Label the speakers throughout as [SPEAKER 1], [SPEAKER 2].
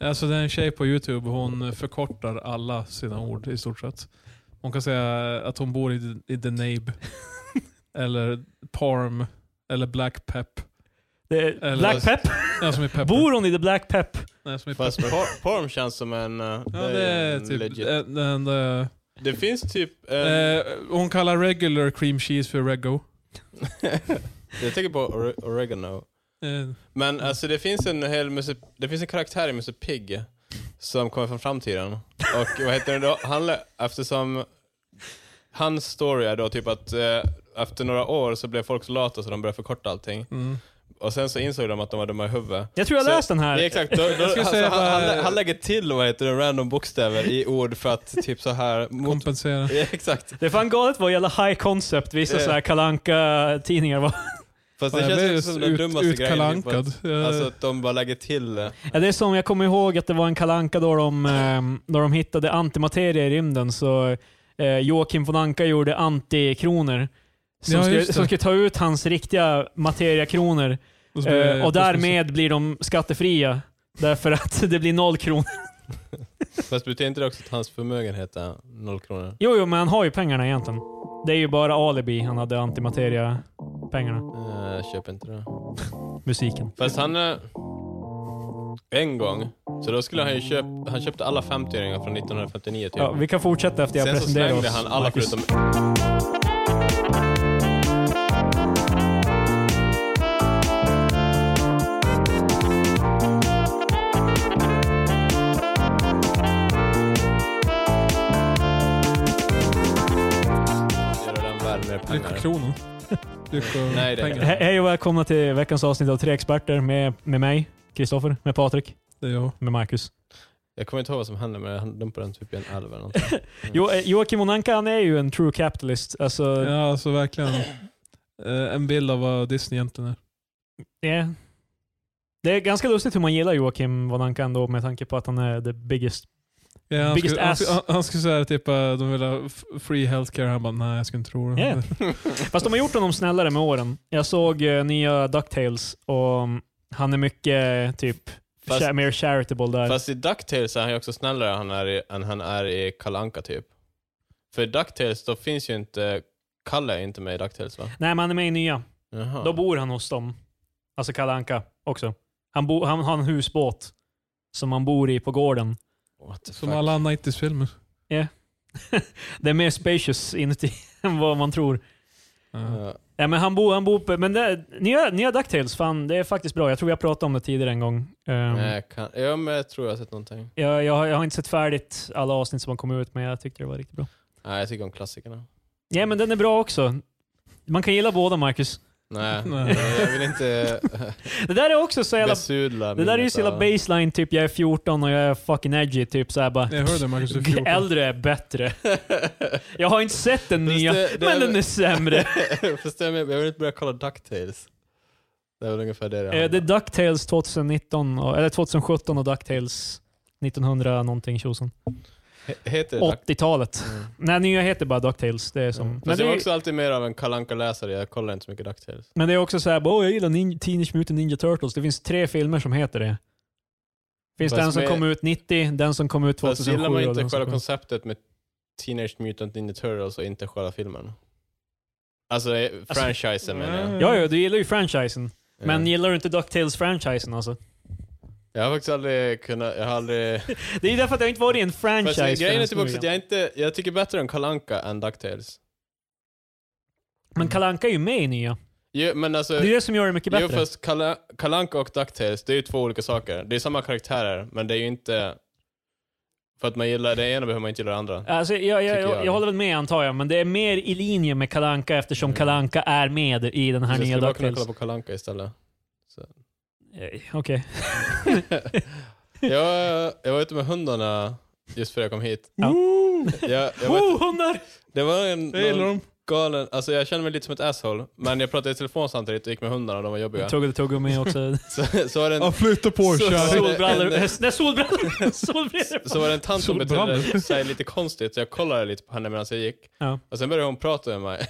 [SPEAKER 1] Alltså det är en tjej på Youtube, hon förkortar alla sina ord i stort sett. Hon kan säga att hon bor i, i The Nabe, eller Parm, eller Black Pep.
[SPEAKER 2] Det är
[SPEAKER 1] Eller-
[SPEAKER 2] Black Pep.
[SPEAKER 1] Nej, som i pepper.
[SPEAKER 2] Bor hon i The Black Pep?
[SPEAKER 1] Nej, som i
[SPEAKER 3] Fast
[SPEAKER 1] pepper.
[SPEAKER 3] por- Porm känns som en... eh,
[SPEAKER 1] Ja, det är
[SPEAKER 3] en
[SPEAKER 1] typ
[SPEAKER 3] legit.
[SPEAKER 1] en, en, eh,
[SPEAKER 3] Det finns typ... en-
[SPEAKER 1] eh, Hon kallar regular cream cheese för rego.
[SPEAKER 3] jag tänker på ore- oregano.
[SPEAKER 1] Eh,
[SPEAKER 3] Men alltså det finns en hel Musse, det finns en karaktär i Musse Pigg som kommer från framtiden. Och vad heter det då? Han, lä- eftersom hans story är då typ att eh, efter några år så blev folk så lata så de började förkorta allting.
[SPEAKER 1] Mm.
[SPEAKER 3] Och sen så insåg de att de var dumma i huvudet.
[SPEAKER 2] Jag tror jag
[SPEAKER 3] Så-
[SPEAKER 2] läst den
[SPEAKER 3] Det
[SPEAKER 2] här.
[SPEAKER 3] är exakt, då, då,
[SPEAKER 1] Jag skulle
[SPEAKER 3] alltså,
[SPEAKER 1] säga
[SPEAKER 3] han, han,
[SPEAKER 1] bara-
[SPEAKER 3] lä- han lägger till vad heter det, random bokstäver i ord för att typ så här mot,
[SPEAKER 1] Kompensera.
[SPEAKER 3] Ja, Exakt.
[SPEAKER 2] Det är fan galet vad jävla high concept vissa
[SPEAKER 3] Eh.
[SPEAKER 2] så här kalanka tidningar var.
[SPEAKER 3] Fast det
[SPEAKER 1] Jag
[SPEAKER 3] känns
[SPEAKER 1] blev
[SPEAKER 3] också som den
[SPEAKER 1] ut-
[SPEAKER 3] dummaste grejen. typ,
[SPEAKER 1] utkalankad. Eh,
[SPEAKER 3] att- Alltså att de bara lägger till. eh,
[SPEAKER 2] Ja, det är som, jag kommer ihåg att det var en kalanka då de, eh, då de hittade antimateria i rymden. Så eh, Joakim von Anka gjorde antikronor. Som,
[SPEAKER 1] Ja,
[SPEAKER 2] skulle,
[SPEAKER 1] just det.
[SPEAKER 2] som skulle ta ut hans riktiga materiakronor.
[SPEAKER 1] Och så blir det
[SPEAKER 2] Eh,
[SPEAKER 1] kosmos-
[SPEAKER 2] och därmed blir de skattefria. Därför att det blir noll kronor.
[SPEAKER 3] Fast betyder inte det också att hans förmögenhet är noll kronor?
[SPEAKER 2] Jo, jo, men han har ju pengarna egentligen. Det är ju bara alibi han hade antimateria-pengarna.
[SPEAKER 3] Eh, Jag köper inte det.
[SPEAKER 2] Musiken.
[SPEAKER 3] Fast han... eh, En gång, så då skulle han ju köpa... Han köpte alla 50-öringar från 1959 typ.
[SPEAKER 2] Ja, vi kan fortsätta efter jag
[SPEAKER 3] Sen så
[SPEAKER 2] presenterar
[SPEAKER 3] slängde
[SPEAKER 2] oss.
[SPEAKER 3] han alla
[SPEAKER 2] Marcus.
[SPEAKER 3] förutom... Göra den värd mer
[SPEAKER 1] Lycka
[SPEAKER 3] pengar.
[SPEAKER 1] kronor. Lycka
[SPEAKER 3] Nej, det är
[SPEAKER 1] pengar.
[SPEAKER 2] He- Hej och välkomna till veckans avsnitt av Tre Experter med, med mig, Kristoffer, med Patrik,
[SPEAKER 1] Det är jag.
[SPEAKER 2] med Marcus.
[SPEAKER 3] Mm. Jag kommer inte ihåg vad som hände men han dumpade den typ i en älv eller någonting.
[SPEAKER 2] Jo, eh, Joakim von Anka han är ju en true capitalist. Alltså, ja.
[SPEAKER 1] Ja, alltså verkligen eh, en bild av vad Disney egentligen är.
[SPEAKER 2] Det är ganska lustigt hur man gillar Joakim von Anka ändå med tanke på att han är the biggest.
[SPEAKER 1] Ja, han,
[SPEAKER 2] Biggest
[SPEAKER 1] skulle, han,
[SPEAKER 2] ass.
[SPEAKER 1] skulle- han, han skulle säga typ eh, de vill ha f- free healthcare, han bara nej jag skulle inte tro det.
[SPEAKER 2] Ja. Fast de har gjort honom snällare med åren. Jag såg eh, nya DuckTales och mm, han är mycket eh, typ
[SPEAKER 3] Fast-
[SPEAKER 2] cha- mer charitable där.
[SPEAKER 3] Fast i DuckTales är han ju också snällare han är i, än han är i Kalanka typ. För i DuckTales då finns ju inte... Kalle är inte med i DuckTales va?
[SPEAKER 2] Nej, men han är med i nya.
[SPEAKER 3] Jaha.
[SPEAKER 2] Då bor han hos dem. Alltså Kalle Anka också. Han, bo, han har en husbåt som han bor i på gården.
[SPEAKER 3] What the
[SPEAKER 1] Som
[SPEAKER 3] fuck?
[SPEAKER 1] alla 90s-filmer.
[SPEAKER 2] Det är mer spacious inuti än vad man tror.
[SPEAKER 1] Ja.
[SPEAKER 3] Ja.
[SPEAKER 2] Ja, men han bor, han bor på, men det, nya, nya DuckTales, fan det är faktiskt bra. Jag tror jag pratade om det tidigare en gång. Ehm,
[SPEAKER 3] Nej, jag kan... Ja, men jag tror jag har sett någonting.
[SPEAKER 2] jag, jag, har, jag har inte sett färdigt alla avsnitt som har kommit ut, men jag tyckte det var riktigt bra.
[SPEAKER 3] Nej, jag tycker om klassikerna.
[SPEAKER 2] Ja, men den är bra också. Man kan gilla båda, Marcus.
[SPEAKER 3] Nej,
[SPEAKER 1] Nej.
[SPEAKER 3] jag vill inte
[SPEAKER 2] Det där är också så jävla...
[SPEAKER 3] besudla
[SPEAKER 2] Det där är ju
[SPEAKER 3] minnet
[SPEAKER 2] så jävla
[SPEAKER 3] av-
[SPEAKER 2] baseline, typ jag är 14 och jag är fucking edgy, typ såhär bara...
[SPEAKER 1] Jag hörde Marcus du är 14.
[SPEAKER 2] Äldre är bättre. Jag har inte sett den
[SPEAKER 3] Fast
[SPEAKER 2] nya,
[SPEAKER 3] det- det
[SPEAKER 2] men
[SPEAKER 3] är-
[SPEAKER 2] den är sämre.
[SPEAKER 3] Fast jag jag vill inte börja kolla DuckTales. Det är väl ungefär det det
[SPEAKER 2] Eh,
[SPEAKER 3] handlar
[SPEAKER 2] det är DuckTales 2019, och- eller 2017 och DuckTales 1900 någonting tjosan.
[SPEAKER 3] He- Heter det Duck-
[SPEAKER 2] 80-talet.
[SPEAKER 3] Mm.
[SPEAKER 2] Nej, nya heter bara DuckTales. Det är som,
[SPEAKER 3] Fast
[SPEAKER 2] men,
[SPEAKER 3] jag
[SPEAKER 2] det
[SPEAKER 3] var
[SPEAKER 2] är,
[SPEAKER 3] också alltid mer av en kalanka läsare jag kollar inte så mycket DuckTales.
[SPEAKER 2] men det är också såhär, oh, jag gillar nin- Teenage Mutant Ninja Turtles. Det finns tre filmer som heter det. Finns
[SPEAKER 3] Fast
[SPEAKER 2] den som
[SPEAKER 3] med-
[SPEAKER 2] kom ut 90, den som kom ut
[SPEAKER 3] Fast
[SPEAKER 2] 2007
[SPEAKER 3] gillar man
[SPEAKER 2] och den
[SPEAKER 3] inte
[SPEAKER 2] som
[SPEAKER 3] själva
[SPEAKER 2] kom...
[SPEAKER 3] konceptet med Teenage Mutant Ninja Turtles och inte själva filmen? Alltså, eh, franchisen menar jag.
[SPEAKER 2] Ja, ja, du gillar ju franchisen. Men
[SPEAKER 3] Ja.
[SPEAKER 2] gillar du inte DuckTales-franchisen alltså?
[SPEAKER 3] Jag har faktiskt aldrig kunnat, jag har aldrig...
[SPEAKER 2] Det är ju därför att jag inte varit i en franchise.
[SPEAKER 3] Fast grejen är
[SPEAKER 2] förrän
[SPEAKER 3] typ också att jag inte, jag tycker bättre om Kalanka än DuckTales.
[SPEAKER 2] Men Kalanka är ju med i nya.
[SPEAKER 3] Jo, men alltså...
[SPEAKER 2] Det är det som gör det mycket bättre.
[SPEAKER 3] Jo, fast Kala, Kalanka och DuckTales, det är ju två olika saker. Det är samma karaktärer, men det är ju inte... För att man gillar det ena behöver man inte gilla det andra.
[SPEAKER 2] Alltså, jag, jag,
[SPEAKER 3] Tycker
[SPEAKER 2] jag,
[SPEAKER 3] jag.
[SPEAKER 2] håller väl med antar jag, men det är mer i linje med Kalanka eftersom
[SPEAKER 3] Mm.
[SPEAKER 2] Kalanka är med i den
[SPEAKER 3] Så
[SPEAKER 2] här
[SPEAKER 3] jag
[SPEAKER 2] nya
[SPEAKER 3] skulle bara kunna kolla
[SPEAKER 2] DuckTales.
[SPEAKER 3] på Kalanka istället.
[SPEAKER 2] Eh, Okej.
[SPEAKER 3] jag, jag var ute med hundarna just före jag kom hit.
[SPEAKER 2] Ja.
[SPEAKER 3] Jag, Mm. jag var,
[SPEAKER 2] Oh, hundar!
[SPEAKER 3] det var en
[SPEAKER 1] Jag gillar
[SPEAKER 3] någon
[SPEAKER 1] dem.
[SPEAKER 3] galen... Alltså jag kände mig lite som ett asshole, men jag pratade i telefon samtidigt och gick med hundarna och de var jobbiga.
[SPEAKER 2] Tuggade tuggummi också.
[SPEAKER 3] Så, så var det en
[SPEAKER 1] Ja, flytta på
[SPEAKER 3] Så-
[SPEAKER 1] kärring.
[SPEAKER 3] så-
[SPEAKER 2] Solbrallor.
[SPEAKER 3] en-
[SPEAKER 2] Nej, solbrallor. solbrallor.
[SPEAKER 3] Så var det en tant som betedde
[SPEAKER 1] Solbrand.
[SPEAKER 3] sig lite konstigt, så jag kollade lite på henne medan jag gick.
[SPEAKER 2] Ja.
[SPEAKER 3] Och sen började hon prata med mig.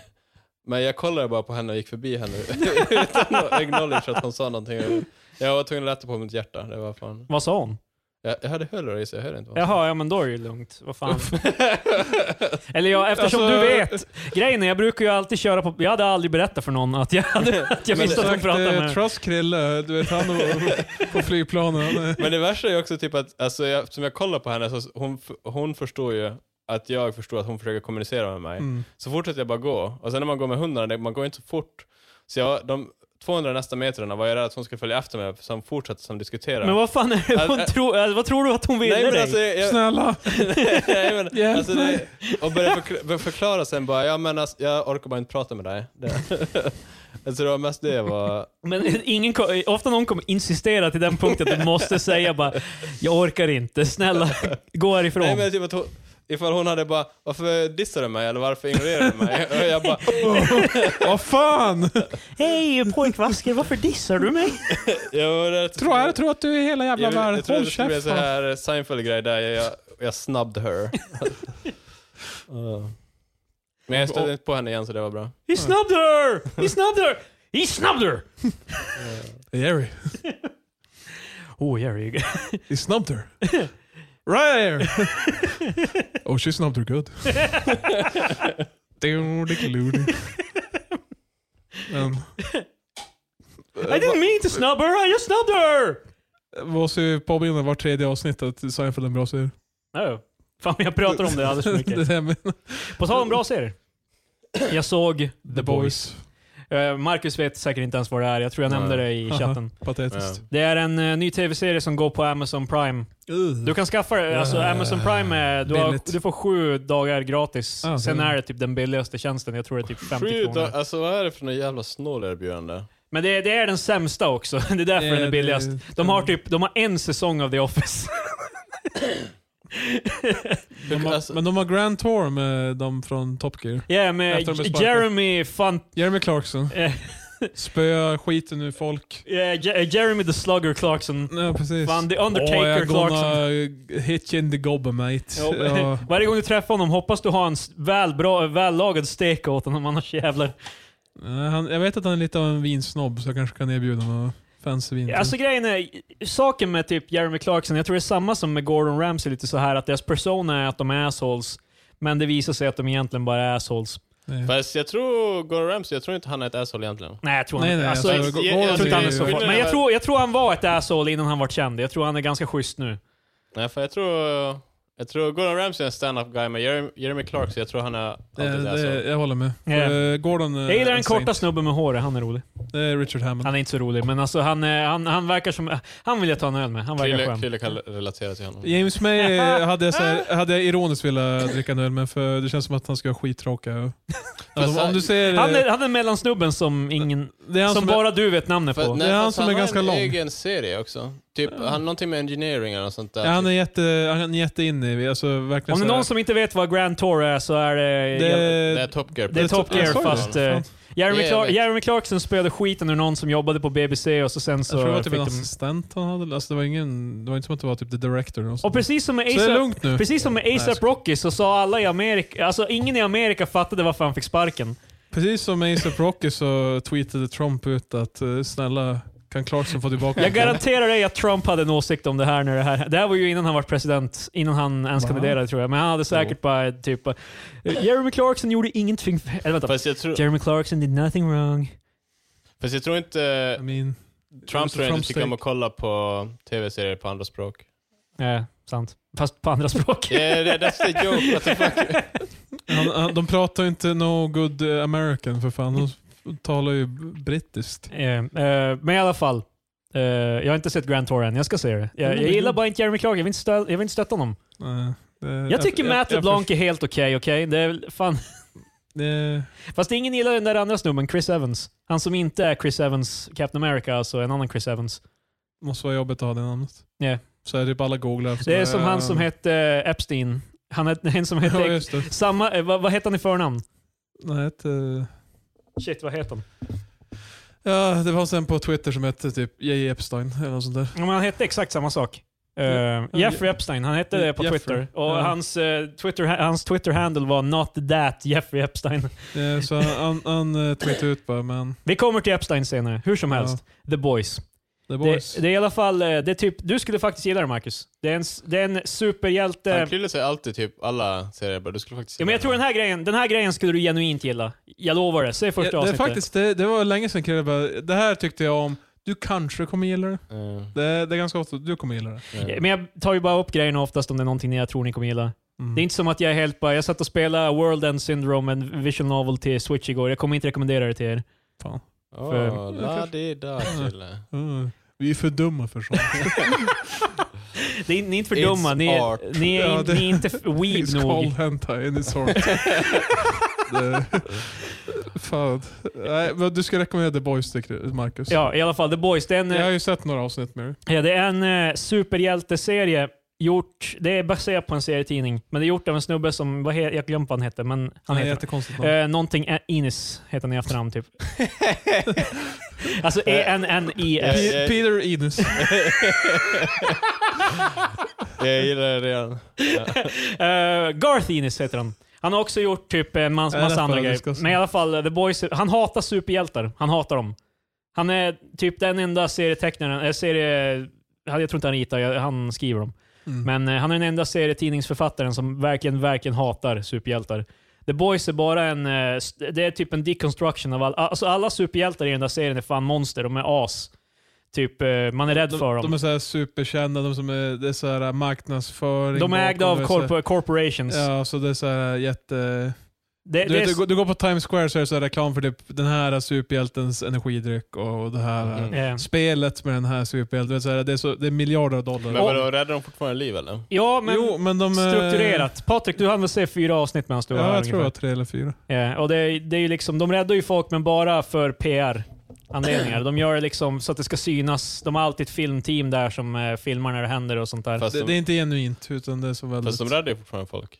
[SPEAKER 3] Men jag kollade bara på henne och gick förbi henne utan att acknowledge att hon sa någonting. Jag var tvungen att lätta på mitt hjärta. Det var fan.
[SPEAKER 2] Vad sa hon?
[SPEAKER 3] Jag, jag hade hörlurar i så jag hörde inte vad han sa.
[SPEAKER 2] Jaha, ja men då är det ju lugnt. Vad fan. Eller ja, eftersom du
[SPEAKER 3] Alltså-
[SPEAKER 2] vet. Grejen är, jag brukar ju alltid köra på... Jag hade aldrig berättat för någon att jag, hade, att jag
[SPEAKER 3] Men
[SPEAKER 2] visste att de
[SPEAKER 1] Exakt,
[SPEAKER 2] pratade med
[SPEAKER 1] eh, Trust Krille, du vet han var- på flygplanen. Han är-
[SPEAKER 3] Men det värsta är också typ att, alltså, jag, som jag kollar på henne, så hon, f- hon förstår ju att jag förstår att hon försöker kommunicera med mig.
[SPEAKER 1] Mm.
[SPEAKER 3] Så fortsätter jag bara gå. Och sen när man går med hundarna, det- man går inte så fort. Så jag, de 200 nästa metrarna var jag rädd att hon skulle följa efter mig, så hon fortsatte som diskutera.
[SPEAKER 2] Men vad fan är det hon
[SPEAKER 3] Ä- ä-
[SPEAKER 2] tror? Alltså, vad tror du att hon ville
[SPEAKER 3] Äh, Nej men
[SPEAKER 2] dig?
[SPEAKER 3] alltså, jag,
[SPEAKER 1] Snälla!
[SPEAKER 3] nej, men,
[SPEAKER 1] Hjälp
[SPEAKER 3] alltså det, och började förkla- började förklara sen bara, ja men alltså, jag orkar bara inte prata med dig. Det. alltså det var mest det jag var,
[SPEAKER 2] Men ingen, ko- ofta någon kommer insistera till den punkten att du måste säga bara Jag orkar inte, snälla gå härifrån.
[SPEAKER 3] nej men typ att hon, ifall hon hade bara, varför dissar du mig eller varför ignorerar du mig? Och jag bara,
[SPEAKER 1] Vad fan!
[SPEAKER 2] Hej pojkvasker, varför dissar du mig?
[SPEAKER 3] jag var rädd.
[SPEAKER 1] Tror jag tror att du är hela jävla
[SPEAKER 3] jag, jag,
[SPEAKER 1] världen.
[SPEAKER 3] jag trodde
[SPEAKER 1] Håll
[SPEAKER 3] det skulle bli en
[SPEAKER 1] käften.
[SPEAKER 3] sån här eh, Seinfeld-grej där jag, jag, jag snubbed her. Uh. Men jag stötte inte på henne igen så det var bra.
[SPEAKER 2] He snubbed her! He snubbed her! He snubbed her!
[SPEAKER 1] Jerry,
[SPEAKER 2] Oh Jerry.
[SPEAKER 1] he snubbed her. Right here! oh, she snubbed her good. Doodly-doodly. Men,
[SPEAKER 2] I didn't mean to snub her, I just snubbed her!
[SPEAKER 1] måste ju påminna var tredje avsnitt att Seinfeld är en bra serie.
[SPEAKER 2] Oh. Fan jag pratar om det alldeles för
[SPEAKER 1] Det är
[SPEAKER 2] mycket.
[SPEAKER 1] det jag menar.
[SPEAKER 2] På tal om bra serier. Jag såg
[SPEAKER 1] The Boys.
[SPEAKER 2] Eh, Marcus vet säkert inte ens vad det är, jag tror jag
[SPEAKER 3] Nej.
[SPEAKER 2] nämnde det i
[SPEAKER 1] Aha.
[SPEAKER 2] chatten.
[SPEAKER 1] Patetiskt.
[SPEAKER 2] Det är en eh, ny tv-serie som går på Amazon Prime. Du kan skaffa det. Alltså,
[SPEAKER 1] Ja.
[SPEAKER 2] Amazon Prime är, du, har,
[SPEAKER 1] Billigt.
[SPEAKER 2] du får sju dagar gratis.
[SPEAKER 1] Ah,
[SPEAKER 2] Sen
[SPEAKER 1] det är-
[SPEAKER 2] är det typ den billigaste tjänsten. Jag tror det är typ 50
[SPEAKER 3] Sju dagar,
[SPEAKER 2] kronor.
[SPEAKER 3] alltså vad är det för något jävla snålerbjudande?
[SPEAKER 2] Men det, det är den sämsta också. Det är därför
[SPEAKER 1] Eh,
[SPEAKER 2] den är
[SPEAKER 1] det-
[SPEAKER 2] billigast. De har typ de har en säsong av The Office. typ-
[SPEAKER 1] De har, alltså- men de har Grand Tour med dem från Top Gear.
[SPEAKER 2] Ja, med
[SPEAKER 1] Efter de är
[SPEAKER 2] J-
[SPEAKER 1] sparkade.
[SPEAKER 2] Jeremy Fun...
[SPEAKER 1] Jeremy Clarkson.
[SPEAKER 2] eh,
[SPEAKER 1] Spöa skiten ur folk.
[SPEAKER 2] eh, J- eh, Jeremy the Slugger Clarkson.
[SPEAKER 1] Ja, precis.
[SPEAKER 2] Fan, The Undertaker
[SPEAKER 1] jag
[SPEAKER 2] Clarkson.
[SPEAKER 1] gonna hit you in the gobber mate.
[SPEAKER 2] Ja, men-
[SPEAKER 1] Ja.
[SPEAKER 2] Varje gång du träffar honom hoppas du har en s- väl bra, vällagad stek åt honom, annars jävlar.
[SPEAKER 1] Nej, Eh, Han, jag vet att han är lite av en vinsnobb, så jag kanske kan erbjuda honom fancy vin. till.
[SPEAKER 2] Alltså grejen är, saken med typ Jeremy Clarkson, jag tror det är samma som med Gordon Ramsay, lite så här att deras persona är att de är assholes, men det visar sig att de egentligen bara är assholes.
[SPEAKER 1] Nej.
[SPEAKER 3] Fast jag tror Gordon Ramsay, jag tror inte han är ett asshole egentligen.
[SPEAKER 2] Nej, jag tror,
[SPEAKER 1] Nej,
[SPEAKER 2] han,
[SPEAKER 1] nej,
[SPEAKER 2] alltså,
[SPEAKER 1] alltså,
[SPEAKER 2] jag,
[SPEAKER 1] Go-
[SPEAKER 3] jag-
[SPEAKER 1] Gordon
[SPEAKER 3] jag
[SPEAKER 2] tror inte han är
[SPEAKER 1] ju-
[SPEAKER 2] så farlig.
[SPEAKER 3] Skillnaden
[SPEAKER 2] Men jag
[SPEAKER 3] är-
[SPEAKER 2] tror, jag tror han var ett asshole innan han var känd. Jag tror han är ganska schysst nu.
[SPEAKER 1] Eh,
[SPEAKER 3] Nej, för jag tror... Jag tror Gordon Ramsay är en stand-up guy, men Jeremy, Jeremy Clark, så jag tror han är alltid
[SPEAKER 2] Alltså,
[SPEAKER 1] det,
[SPEAKER 3] det,
[SPEAKER 1] det, jag håller med.
[SPEAKER 2] Ja.
[SPEAKER 1] Yeah. Gordon eh,
[SPEAKER 2] Jag gillar den
[SPEAKER 1] är saint.
[SPEAKER 2] korta snubben med håret, han är rolig.
[SPEAKER 1] Det är Richard Hammond.
[SPEAKER 2] Han är inte så rolig, men alltså han, eh, han, han verkar som... Han vill jag ta en öl med. Han verkar
[SPEAKER 3] Krille,
[SPEAKER 2] skön.
[SPEAKER 3] Krille kan relatera till honom.
[SPEAKER 1] James May eh, hade jag, så här, hade jag ironiskt velat dricka en öl med, för det känns som att han ska vara skittråkig. Alltså, om du ser... eh,
[SPEAKER 2] Han är, han är mellansnubben som ingen...
[SPEAKER 1] det är han
[SPEAKER 2] Som
[SPEAKER 1] som,
[SPEAKER 2] bara du vet namnet
[SPEAKER 3] För,
[SPEAKER 2] på.
[SPEAKER 1] Det är han
[SPEAKER 3] fast
[SPEAKER 1] som är
[SPEAKER 3] har
[SPEAKER 1] ganska
[SPEAKER 3] en
[SPEAKER 1] lång.
[SPEAKER 3] egen serie också. Typ, han någonting med engineering eller något sånt där. typ.
[SPEAKER 1] ja, han är jätte, han är jätteinne i, alltså verkligen
[SPEAKER 2] Om det är
[SPEAKER 1] så här-
[SPEAKER 2] någon som inte vet vad Grand Tour är så är det...
[SPEAKER 3] det
[SPEAKER 1] det,
[SPEAKER 3] är Top Gear.
[SPEAKER 2] Det är Top Gear
[SPEAKER 1] jag sa ju det.
[SPEAKER 2] fast... eh,
[SPEAKER 1] Fan.
[SPEAKER 2] Jeremy,
[SPEAKER 3] Yeah,
[SPEAKER 2] Clark-
[SPEAKER 3] vet.
[SPEAKER 2] Jeremy Clarkson spöade skiten ur någon som jobbade på BBC och så sen så
[SPEAKER 1] Jag tror att det
[SPEAKER 2] fick
[SPEAKER 1] var typ en
[SPEAKER 2] de...
[SPEAKER 1] assistent han hade. Alltså det, var ingen, det var inte som att det var typ the director. eller något
[SPEAKER 2] Och
[SPEAKER 1] sånt.
[SPEAKER 2] precis som med
[SPEAKER 1] så det är
[SPEAKER 2] ASAP
[SPEAKER 1] lugnt nu.
[SPEAKER 2] Precis som med
[SPEAKER 1] Nej, jag
[SPEAKER 2] ASAP
[SPEAKER 1] ska-
[SPEAKER 2] Rocky så sa alla i Amerika, alltså ingen i Amerika fattade varför han fick sparken.
[SPEAKER 1] Precis som med ASAP Rocky så tweetade Trump ut att eh, snälla kan Clarkson få tillbaka
[SPEAKER 2] Jag garanterar dig att Trump hade en åsikt om det här när det här... Det här var ju innan han var president, innan han ens
[SPEAKER 1] Va?
[SPEAKER 2] kandiderade tror jag. Men han hade säkert bara typ... eh, Jeremy Clarkson gjorde ingenting fel. Eller vänta.
[SPEAKER 3] Fast jag, tror,
[SPEAKER 2] Jeremy Clarkson did nothing wrong.
[SPEAKER 3] fast jag tror inte... eh,
[SPEAKER 1] I
[SPEAKER 2] Mm,
[SPEAKER 1] mean,
[SPEAKER 3] Trump tror jag
[SPEAKER 1] Trump's
[SPEAKER 3] inte tycker om
[SPEAKER 1] take.
[SPEAKER 3] att kolla på tv-serier på andra språk.
[SPEAKER 2] Ja, sant. Fast på andra språk.
[SPEAKER 3] Yeah, that- that's the joke. What the fuck?
[SPEAKER 1] han, han, de pratar ju inte no good eh, American för fan. De talar ju brittiskt.
[SPEAKER 2] Eh, eh, men i alla fall. eh, jag har inte sett Grand Tour än, jag ska se det. Jag,
[SPEAKER 1] men
[SPEAKER 2] jag
[SPEAKER 1] det-
[SPEAKER 2] gillar bara inte Jeremy Clark, jag vill inte, stö- jag vill inte stötta honom.
[SPEAKER 1] Nej, Eh, det-
[SPEAKER 2] Jag tycker Matt
[SPEAKER 1] jag-
[SPEAKER 2] LeBlanc är helt okej, okej? Det är väl fan...
[SPEAKER 1] det-
[SPEAKER 2] Fast ingen gillar den där andra snubben, Chris Evans. Han som inte är Chris Evans, Captain America, alltså en annan Chris Evans.
[SPEAKER 1] måste vara jobbigt att ha det namnet.
[SPEAKER 2] Ja.
[SPEAKER 1] Så är det typ alla googlar. så
[SPEAKER 2] Det är
[SPEAKER 1] bara,
[SPEAKER 2] som
[SPEAKER 1] ja,
[SPEAKER 2] han som hette eh, Epstein. Han är en som
[SPEAKER 1] Ja,
[SPEAKER 2] hette...
[SPEAKER 1] just det.
[SPEAKER 2] Samma, eh, vad, vad hette han i förnamn?
[SPEAKER 1] Nej, ett,
[SPEAKER 2] Shit, vad heter han?
[SPEAKER 1] ja, det var sen på Twitter som hette typ J. Epstein eller något sånt där.
[SPEAKER 2] Ja, men han hette exakt samma sak. Eh,
[SPEAKER 1] Ja,
[SPEAKER 2] Jeffrey Epstein, han hette det på
[SPEAKER 1] Jeffrey.
[SPEAKER 2] Twitter. Och
[SPEAKER 1] Ja.
[SPEAKER 2] hans, eh, Twitter, hans Twitter-handle var “Not that Jeffrey Epstein”.
[SPEAKER 1] Eh, Så han, han, han eh, tweetade ut bara, men
[SPEAKER 2] Vi kommer till Epstein senare, hur som helst. The Boys.
[SPEAKER 1] The Boys.
[SPEAKER 2] Det, det är i alla fall, eh, det är typ, du skulle faktiskt gilla det Marcus. Det är en, s- det är en superhjälte...
[SPEAKER 3] Han kryllar sig alltid typ alla serier. bara, Du skulle faktiskt
[SPEAKER 2] Ja, men jag tror den här grejen, den här grejen skulle du genuint gilla. Jag lovar det. Säg första
[SPEAKER 1] Ja, det, är
[SPEAKER 2] avsnittet.
[SPEAKER 1] faktiskt, det, det var länge sedan Krille bara, det här tyckte jag om, du kanske kommer gilla det.
[SPEAKER 3] Eh,
[SPEAKER 1] Det, det är ganska ofta du kommer gilla det.
[SPEAKER 3] eh.
[SPEAKER 2] Men jag tar ju bara upp grejerna oftast om det är någonting jag tror ni kommer gilla.
[SPEAKER 1] Mm.
[SPEAKER 2] Det är inte som att jag är helt bara, jag satt och spelade World End Syndrome, en visual novel till Switch igår. Jag kommer inte rekommendera det till er. för-
[SPEAKER 3] Åh, la-di-da, kille.
[SPEAKER 1] Mm. Vi är för dumma för sånt.
[SPEAKER 2] Det är, ni är inte för
[SPEAKER 3] It's
[SPEAKER 2] dumma, ni
[SPEAKER 3] art.
[SPEAKER 2] är, ni är,
[SPEAKER 1] Ja, det-
[SPEAKER 2] ni är inte f- weeb
[SPEAKER 1] It's called
[SPEAKER 2] nog.
[SPEAKER 1] hentai and it's hard. det, fan. Nej, men du ska rekommendera The Boys till Krille, Marcus.
[SPEAKER 2] Ja, eh, i alla fall The Boys. Det är en,
[SPEAKER 1] Jag har ju sett några avsnitt med dig.
[SPEAKER 2] ja, det är en eh, superhjälteserie. Gjort, det är baserat på en serietidning, men det är gjort av en snubbe som, vad he, jag glömde vad han hette, men han
[SPEAKER 1] Det är
[SPEAKER 2] heter
[SPEAKER 1] jättekonstigt namn.
[SPEAKER 2] Eh, någonting, eh, Inis heter han i efternamn typ.
[SPEAKER 1] Eh,
[SPEAKER 2] alltså E-N-N-I-S.
[SPEAKER 1] Pe- Peter Inus.
[SPEAKER 3] Jag gillar det redan.
[SPEAKER 2] Eh, Garth Ennis heter han. Han har också gjort typ en massa,
[SPEAKER 1] Ja, det
[SPEAKER 2] massa
[SPEAKER 1] får
[SPEAKER 2] andra
[SPEAKER 1] jag
[SPEAKER 2] grejer.
[SPEAKER 1] discussa.
[SPEAKER 2] Men i alla fall, eh, The Boys, han hatar superhjältar. Han hatar dem. Han är typ den enda serietecknaren, äh, serie... Jag tror inte han ritar, jag- han skriver dem.
[SPEAKER 1] Mm.
[SPEAKER 2] Men eh, han är den enda serietidningsförfattaren som verkligen, verkligen hatar superhjältar. The Boys är bara en... eh, s- Det är typ en deconstruction av alla... Alltså alla superhjältar i den där serien är fan monster. De är as. Typ, eh, man är rädd
[SPEAKER 1] De,
[SPEAKER 2] för dem.
[SPEAKER 1] de är så här superkända, de som är, det är så här marknadsföring.
[SPEAKER 2] De är ägda
[SPEAKER 1] bakom,
[SPEAKER 2] av
[SPEAKER 1] det är så
[SPEAKER 2] corpor- corporations.
[SPEAKER 1] här- Ja, så det är så här jätte...
[SPEAKER 2] Det,
[SPEAKER 1] Du,
[SPEAKER 2] det är
[SPEAKER 1] vet, du, går- du går på Times Square så är det så här reklam för typ den här superhjältens energidryck och det här
[SPEAKER 3] Mm.
[SPEAKER 2] eh,
[SPEAKER 1] spelet med den här superhjälten. Det är, så här, det är, så, det är miljarder av dollar.
[SPEAKER 3] Men
[SPEAKER 2] Om-
[SPEAKER 3] vadå, räddar de fortfarande liv eller?
[SPEAKER 2] Ja, men
[SPEAKER 1] jo, men de, eh,
[SPEAKER 2] strukturerat. Patrik, du hann väl se fyra avsnitt medan du var
[SPEAKER 1] Ja,
[SPEAKER 2] här
[SPEAKER 1] jag tror
[SPEAKER 2] ungefär.
[SPEAKER 1] jag tre eller fyra.
[SPEAKER 2] Ja, och det, är- det är ju liksom, de räddar ju folk, men bara för PR-anledningar. De gör det liksom så att det ska synas. De har alltid ett filmteam där som eh, filmar när det händer och sånt där.
[SPEAKER 3] Fast
[SPEAKER 1] Det,
[SPEAKER 3] de,
[SPEAKER 1] det är inte genuint, utan det är så väldigt...
[SPEAKER 3] fast de räddar ju fortfarande folk.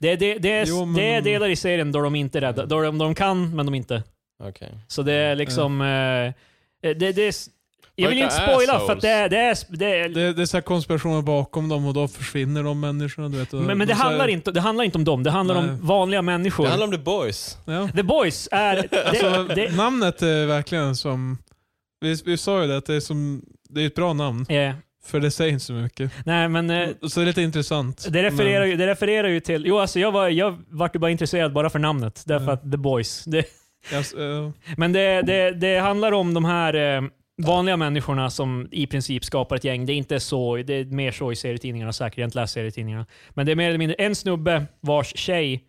[SPEAKER 2] Det, det, det, är,
[SPEAKER 1] Jo, men-
[SPEAKER 2] det är delar i serien då de inte räddar. Då de, de kan, men de inte.
[SPEAKER 3] Okej.
[SPEAKER 2] Så det är liksom... eh, det, det är, s- jag vill ju inte
[SPEAKER 3] Vilka
[SPEAKER 2] spoila, för att
[SPEAKER 3] assholes.
[SPEAKER 2] det är... Det är, sp- det är
[SPEAKER 1] det, det är så här konspirationer bakom dem och då försvinner de människorna. Du vet, och
[SPEAKER 2] men men det,
[SPEAKER 1] de så här-
[SPEAKER 2] handlar inte, det handlar inte om dem, det handlar
[SPEAKER 1] Nej.
[SPEAKER 2] om vanliga människor.
[SPEAKER 3] Det handlar om the boys.
[SPEAKER 1] Ja.
[SPEAKER 2] The Boys är... Det,
[SPEAKER 1] Alltså,
[SPEAKER 2] det,
[SPEAKER 1] Namnet är verkligen som... Vi, vi sa ju det, att det är, som, det är ett bra namn,
[SPEAKER 2] eh,
[SPEAKER 1] för det säger inte så mycket.
[SPEAKER 2] nej, men... eh,
[SPEAKER 1] Så det är lite intressant.
[SPEAKER 2] Det refererar,
[SPEAKER 1] men-
[SPEAKER 2] ju, det refererar ju till... Jo, alltså jag, var, jag vart ju bara intresserad bara för namnet. Därför
[SPEAKER 1] Mm.
[SPEAKER 2] att The Boys. Det,
[SPEAKER 1] Ja, s- eh,
[SPEAKER 2] men det, det, det handlar om de här eh, vanliga människorna som i princip skapar ett gäng. Det är inte så, det är mer så i serietidningarna säkert. Jag har inte läst serietidningarna. Men det är mer eller mindre en snubbe vars tjej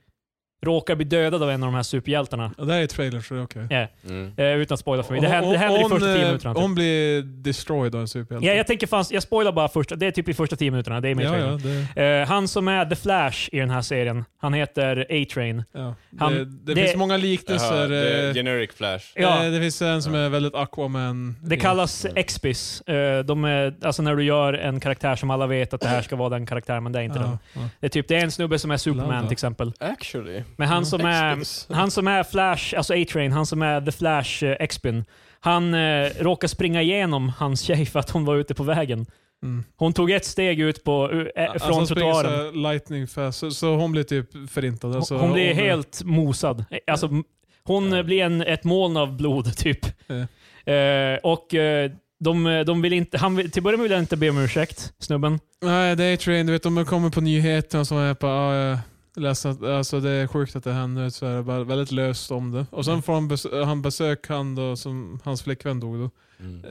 [SPEAKER 2] råkar bli dödad av en av de här superhjältarna.
[SPEAKER 1] ja, det här är trailer, så det är okej.
[SPEAKER 3] Mm.
[SPEAKER 2] Eh, utan att spoila för mig. Det händer, det händer i
[SPEAKER 1] Hon-
[SPEAKER 2] första tio
[SPEAKER 1] eh,
[SPEAKER 2] minuterna. Typ.
[SPEAKER 1] Hon blir destroyed av en superhjälte.
[SPEAKER 2] Ja, jag tänker fanns, jag spoilar bara första, det är typ i första tio minuterna. Det är med i
[SPEAKER 1] ja,
[SPEAKER 2] trailern.
[SPEAKER 1] ja, det,
[SPEAKER 2] Eh, han som är The Flash i den här serien, han heter A-Train.
[SPEAKER 1] ja.
[SPEAKER 2] Han-
[SPEAKER 1] det, det,
[SPEAKER 2] det-
[SPEAKER 1] finns många
[SPEAKER 3] Jaha,
[SPEAKER 1] liknelser.
[SPEAKER 3] det är
[SPEAKER 1] eh,
[SPEAKER 3] generic flash.
[SPEAKER 2] Ja.
[SPEAKER 1] eh, Det finns en som är väldigt Aquaman.
[SPEAKER 2] Det kallas XBIS. Eh, De är, alltså när du gör en karaktär som alla vet att det här ska vara den karaktären, men det är inte den.
[SPEAKER 1] ja, ja.
[SPEAKER 2] Det är, typ, det är en snubbe som är Superman
[SPEAKER 1] Landa.
[SPEAKER 2] till exempel.
[SPEAKER 3] Actually.
[SPEAKER 2] Men han som är,
[SPEAKER 3] Exodus.
[SPEAKER 2] han som är Flash, alltså A-Train, han som är The Flash eh, X-Bin, han eh, råkar springa igenom hans tjej för att hon var ute på vägen.
[SPEAKER 1] Mm.
[SPEAKER 2] Hon tog ett steg ut på, eh, från
[SPEAKER 1] alltså, springer så
[SPEAKER 2] trottoaren.
[SPEAKER 1] här lightning fast, så, så hon blir typ förintad.
[SPEAKER 2] Hon,
[SPEAKER 1] Alltså,
[SPEAKER 2] hon blir helt mosad. Eh, Alltså, m- hon eh, blir en, ett moln av blod, typ. Eh, och eh, de, de vill inte, han vill, till början vill han inte be om ursäkt, snubben.
[SPEAKER 1] Nej, det är train. Du vet, de kommer på nyheterna och så är jag bara, ah, jag är ledsen att, alltså det är sjukt att det händer. Så är det bara väldigt löst om det. Och
[SPEAKER 2] Mm.
[SPEAKER 1] sen får han, bes han besök, han då, som, hans flickvän dog då.
[SPEAKER 3] Mm.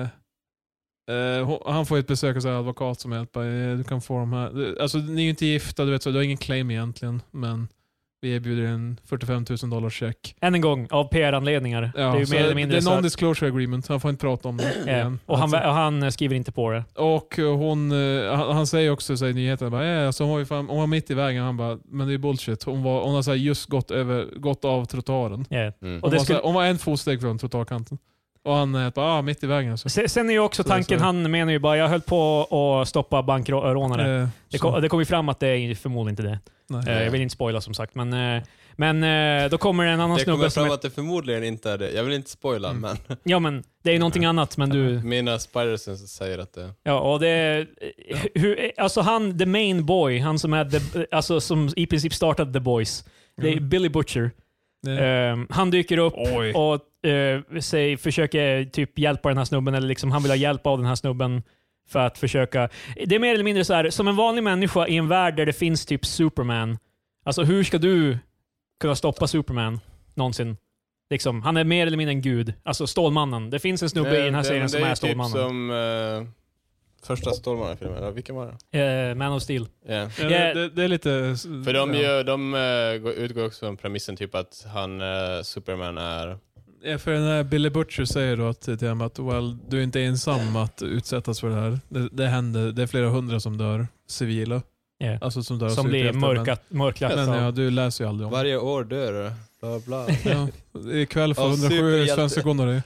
[SPEAKER 1] Eh, eh, hon- han får ett besök av en advokat som hjälper. Eh, du kan få de här. Alltså ni är ju inte gifta, du vet så du har ingen claim egentligen. Men vi erbjuder en 45 000 dollar check.
[SPEAKER 2] Än en gång, av PR-anledningar.
[SPEAKER 1] Ja,
[SPEAKER 2] det är ju
[SPEAKER 1] så
[SPEAKER 2] mer eller mindre
[SPEAKER 1] det
[SPEAKER 2] så
[SPEAKER 1] är
[SPEAKER 2] att-
[SPEAKER 1] non-disclosure agreement, han får inte prata om det.
[SPEAKER 2] eh,
[SPEAKER 1] igen.
[SPEAKER 2] och, han,
[SPEAKER 1] Alltså.
[SPEAKER 2] vä- och han eh, skriver inte på det.
[SPEAKER 1] Och hon, eh, han han säger också så här i nyheterna, bara, eh, alltså hon, var ju fan, hon var mitt i vägen, han bara, men det är bullshit. Hon, var, hon har så här just gått, över, gått av trottoaren.
[SPEAKER 2] Eh.
[SPEAKER 3] Mm.
[SPEAKER 2] Och
[SPEAKER 1] Hon,
[SPEAKER 2] det
[SPEAKER 1] var så
[SPEAKER 2] skulle-
[SPEAKER 1] här, hon var en fotsteg från trottoarkanten. Och han eh, bara, ah, mitt i vägen. Så.
[SPEAKER 2] Se- Sen är ju också
[SPEAKER 1] Så det är
[SPEAKER 2] tanken,
[SPEAKER 1] så.
[SPEAKER 2] han menar ju bara, jag höll på att stoppa bankrånare.
[SPEAKER 1] Eh,
[SPEAKER 2] Det
[SPEAKER 1] så,
[SPEAKER 2] kom, det kom ju fram att det är förmodligen inte det.
[SPEAKER 1] nej.
[SPEAKER 2] Eh, Jag vill inte spoila som sagt, men, eh, men eh, då kommer det en annan
[SPEAKER 3] Det kommer
[SPEAKER 2] snubbe som
[SPEAKER 3] fram
[SPEAKER 2] är,
[SPEAKER 3] att det förmodligen inte är det. Jag vill inte spoila,
[SPEAKER 1] Mm.
[SPEAKER 3] men
[SPEAKER 2] Ja men, det är ju någonting annat, men du...
[SPEAKER 3] mina spidersens säger att det...
[SPEAKER 2] Ja, och det... Hur, alltså han, the main boy, han som är the, alltså som i princip startade The Boys, det är
[SPEAKER 1] Mm.
[SPEAKER 2] Billy Butcher.
[SPEAKER 1] Eh,
[SPEAKER 2] Ehm, han dyker upp och eh, säg, försöker typ hjälpa den här snubben, eller liksom han vill ha hjälp av den här snubben för att försöka. Det är mer eller mindre så här, som en vanlig människa i en värld där det finns typ Superman. Alltså hur ska du kunna stoppa Superman någonsin? Liksom, han är mer eller mindre en gud. Alltså Stålmannen. Det finns en snubbe i den här serien som är, Stålmannen.
[SPEAKER 3] Eh, Det är typ som eh, första Stålmannen-filmen, eller vilken var det?
[SPEAKER 2] Eh, Man of Steel.
[SPEAKER 3] Yeah.
[SPEAKER 1] Ja,
[SPEAKER 2] Ja.
[SPEAKER 1] det, det, det är lite...
[SPEAKER 3] För de,
[SPEAKER 1] ja.
[SPEAKER 3] gör, de eh, går- utgår också från premissen typ att han, eh, Superman är...
[SPEAKER 1] Ja, för den här Billy Butcher säger då att, till dem att well, du är inte ensam att utsättas för det här. Det, det händer, det är flera hundra som dör, civila.
[SPEAKER 2] Ja.
[SPEAKER 1] Alltså som dör av
[SPEAKER 2] Som blir
[SPEAKER 1] superhjältar,
[SPEAKER 2] mörkat, mörklagt.
[SPEAKER 1] Men,
[SPEAKER 2] av-
[SPEAKER 1] men ja, du läser ju aldrig om det.
[SPEAKER 4] Varje år dör bla bla.
[SPEAKER 1] Ja, ikväll får
[SPEAKER 4] Av
[SPEAKER 1] 107
[SPEAKER 4] superhjälte.
[SPEAKER 1] svenska gonorré.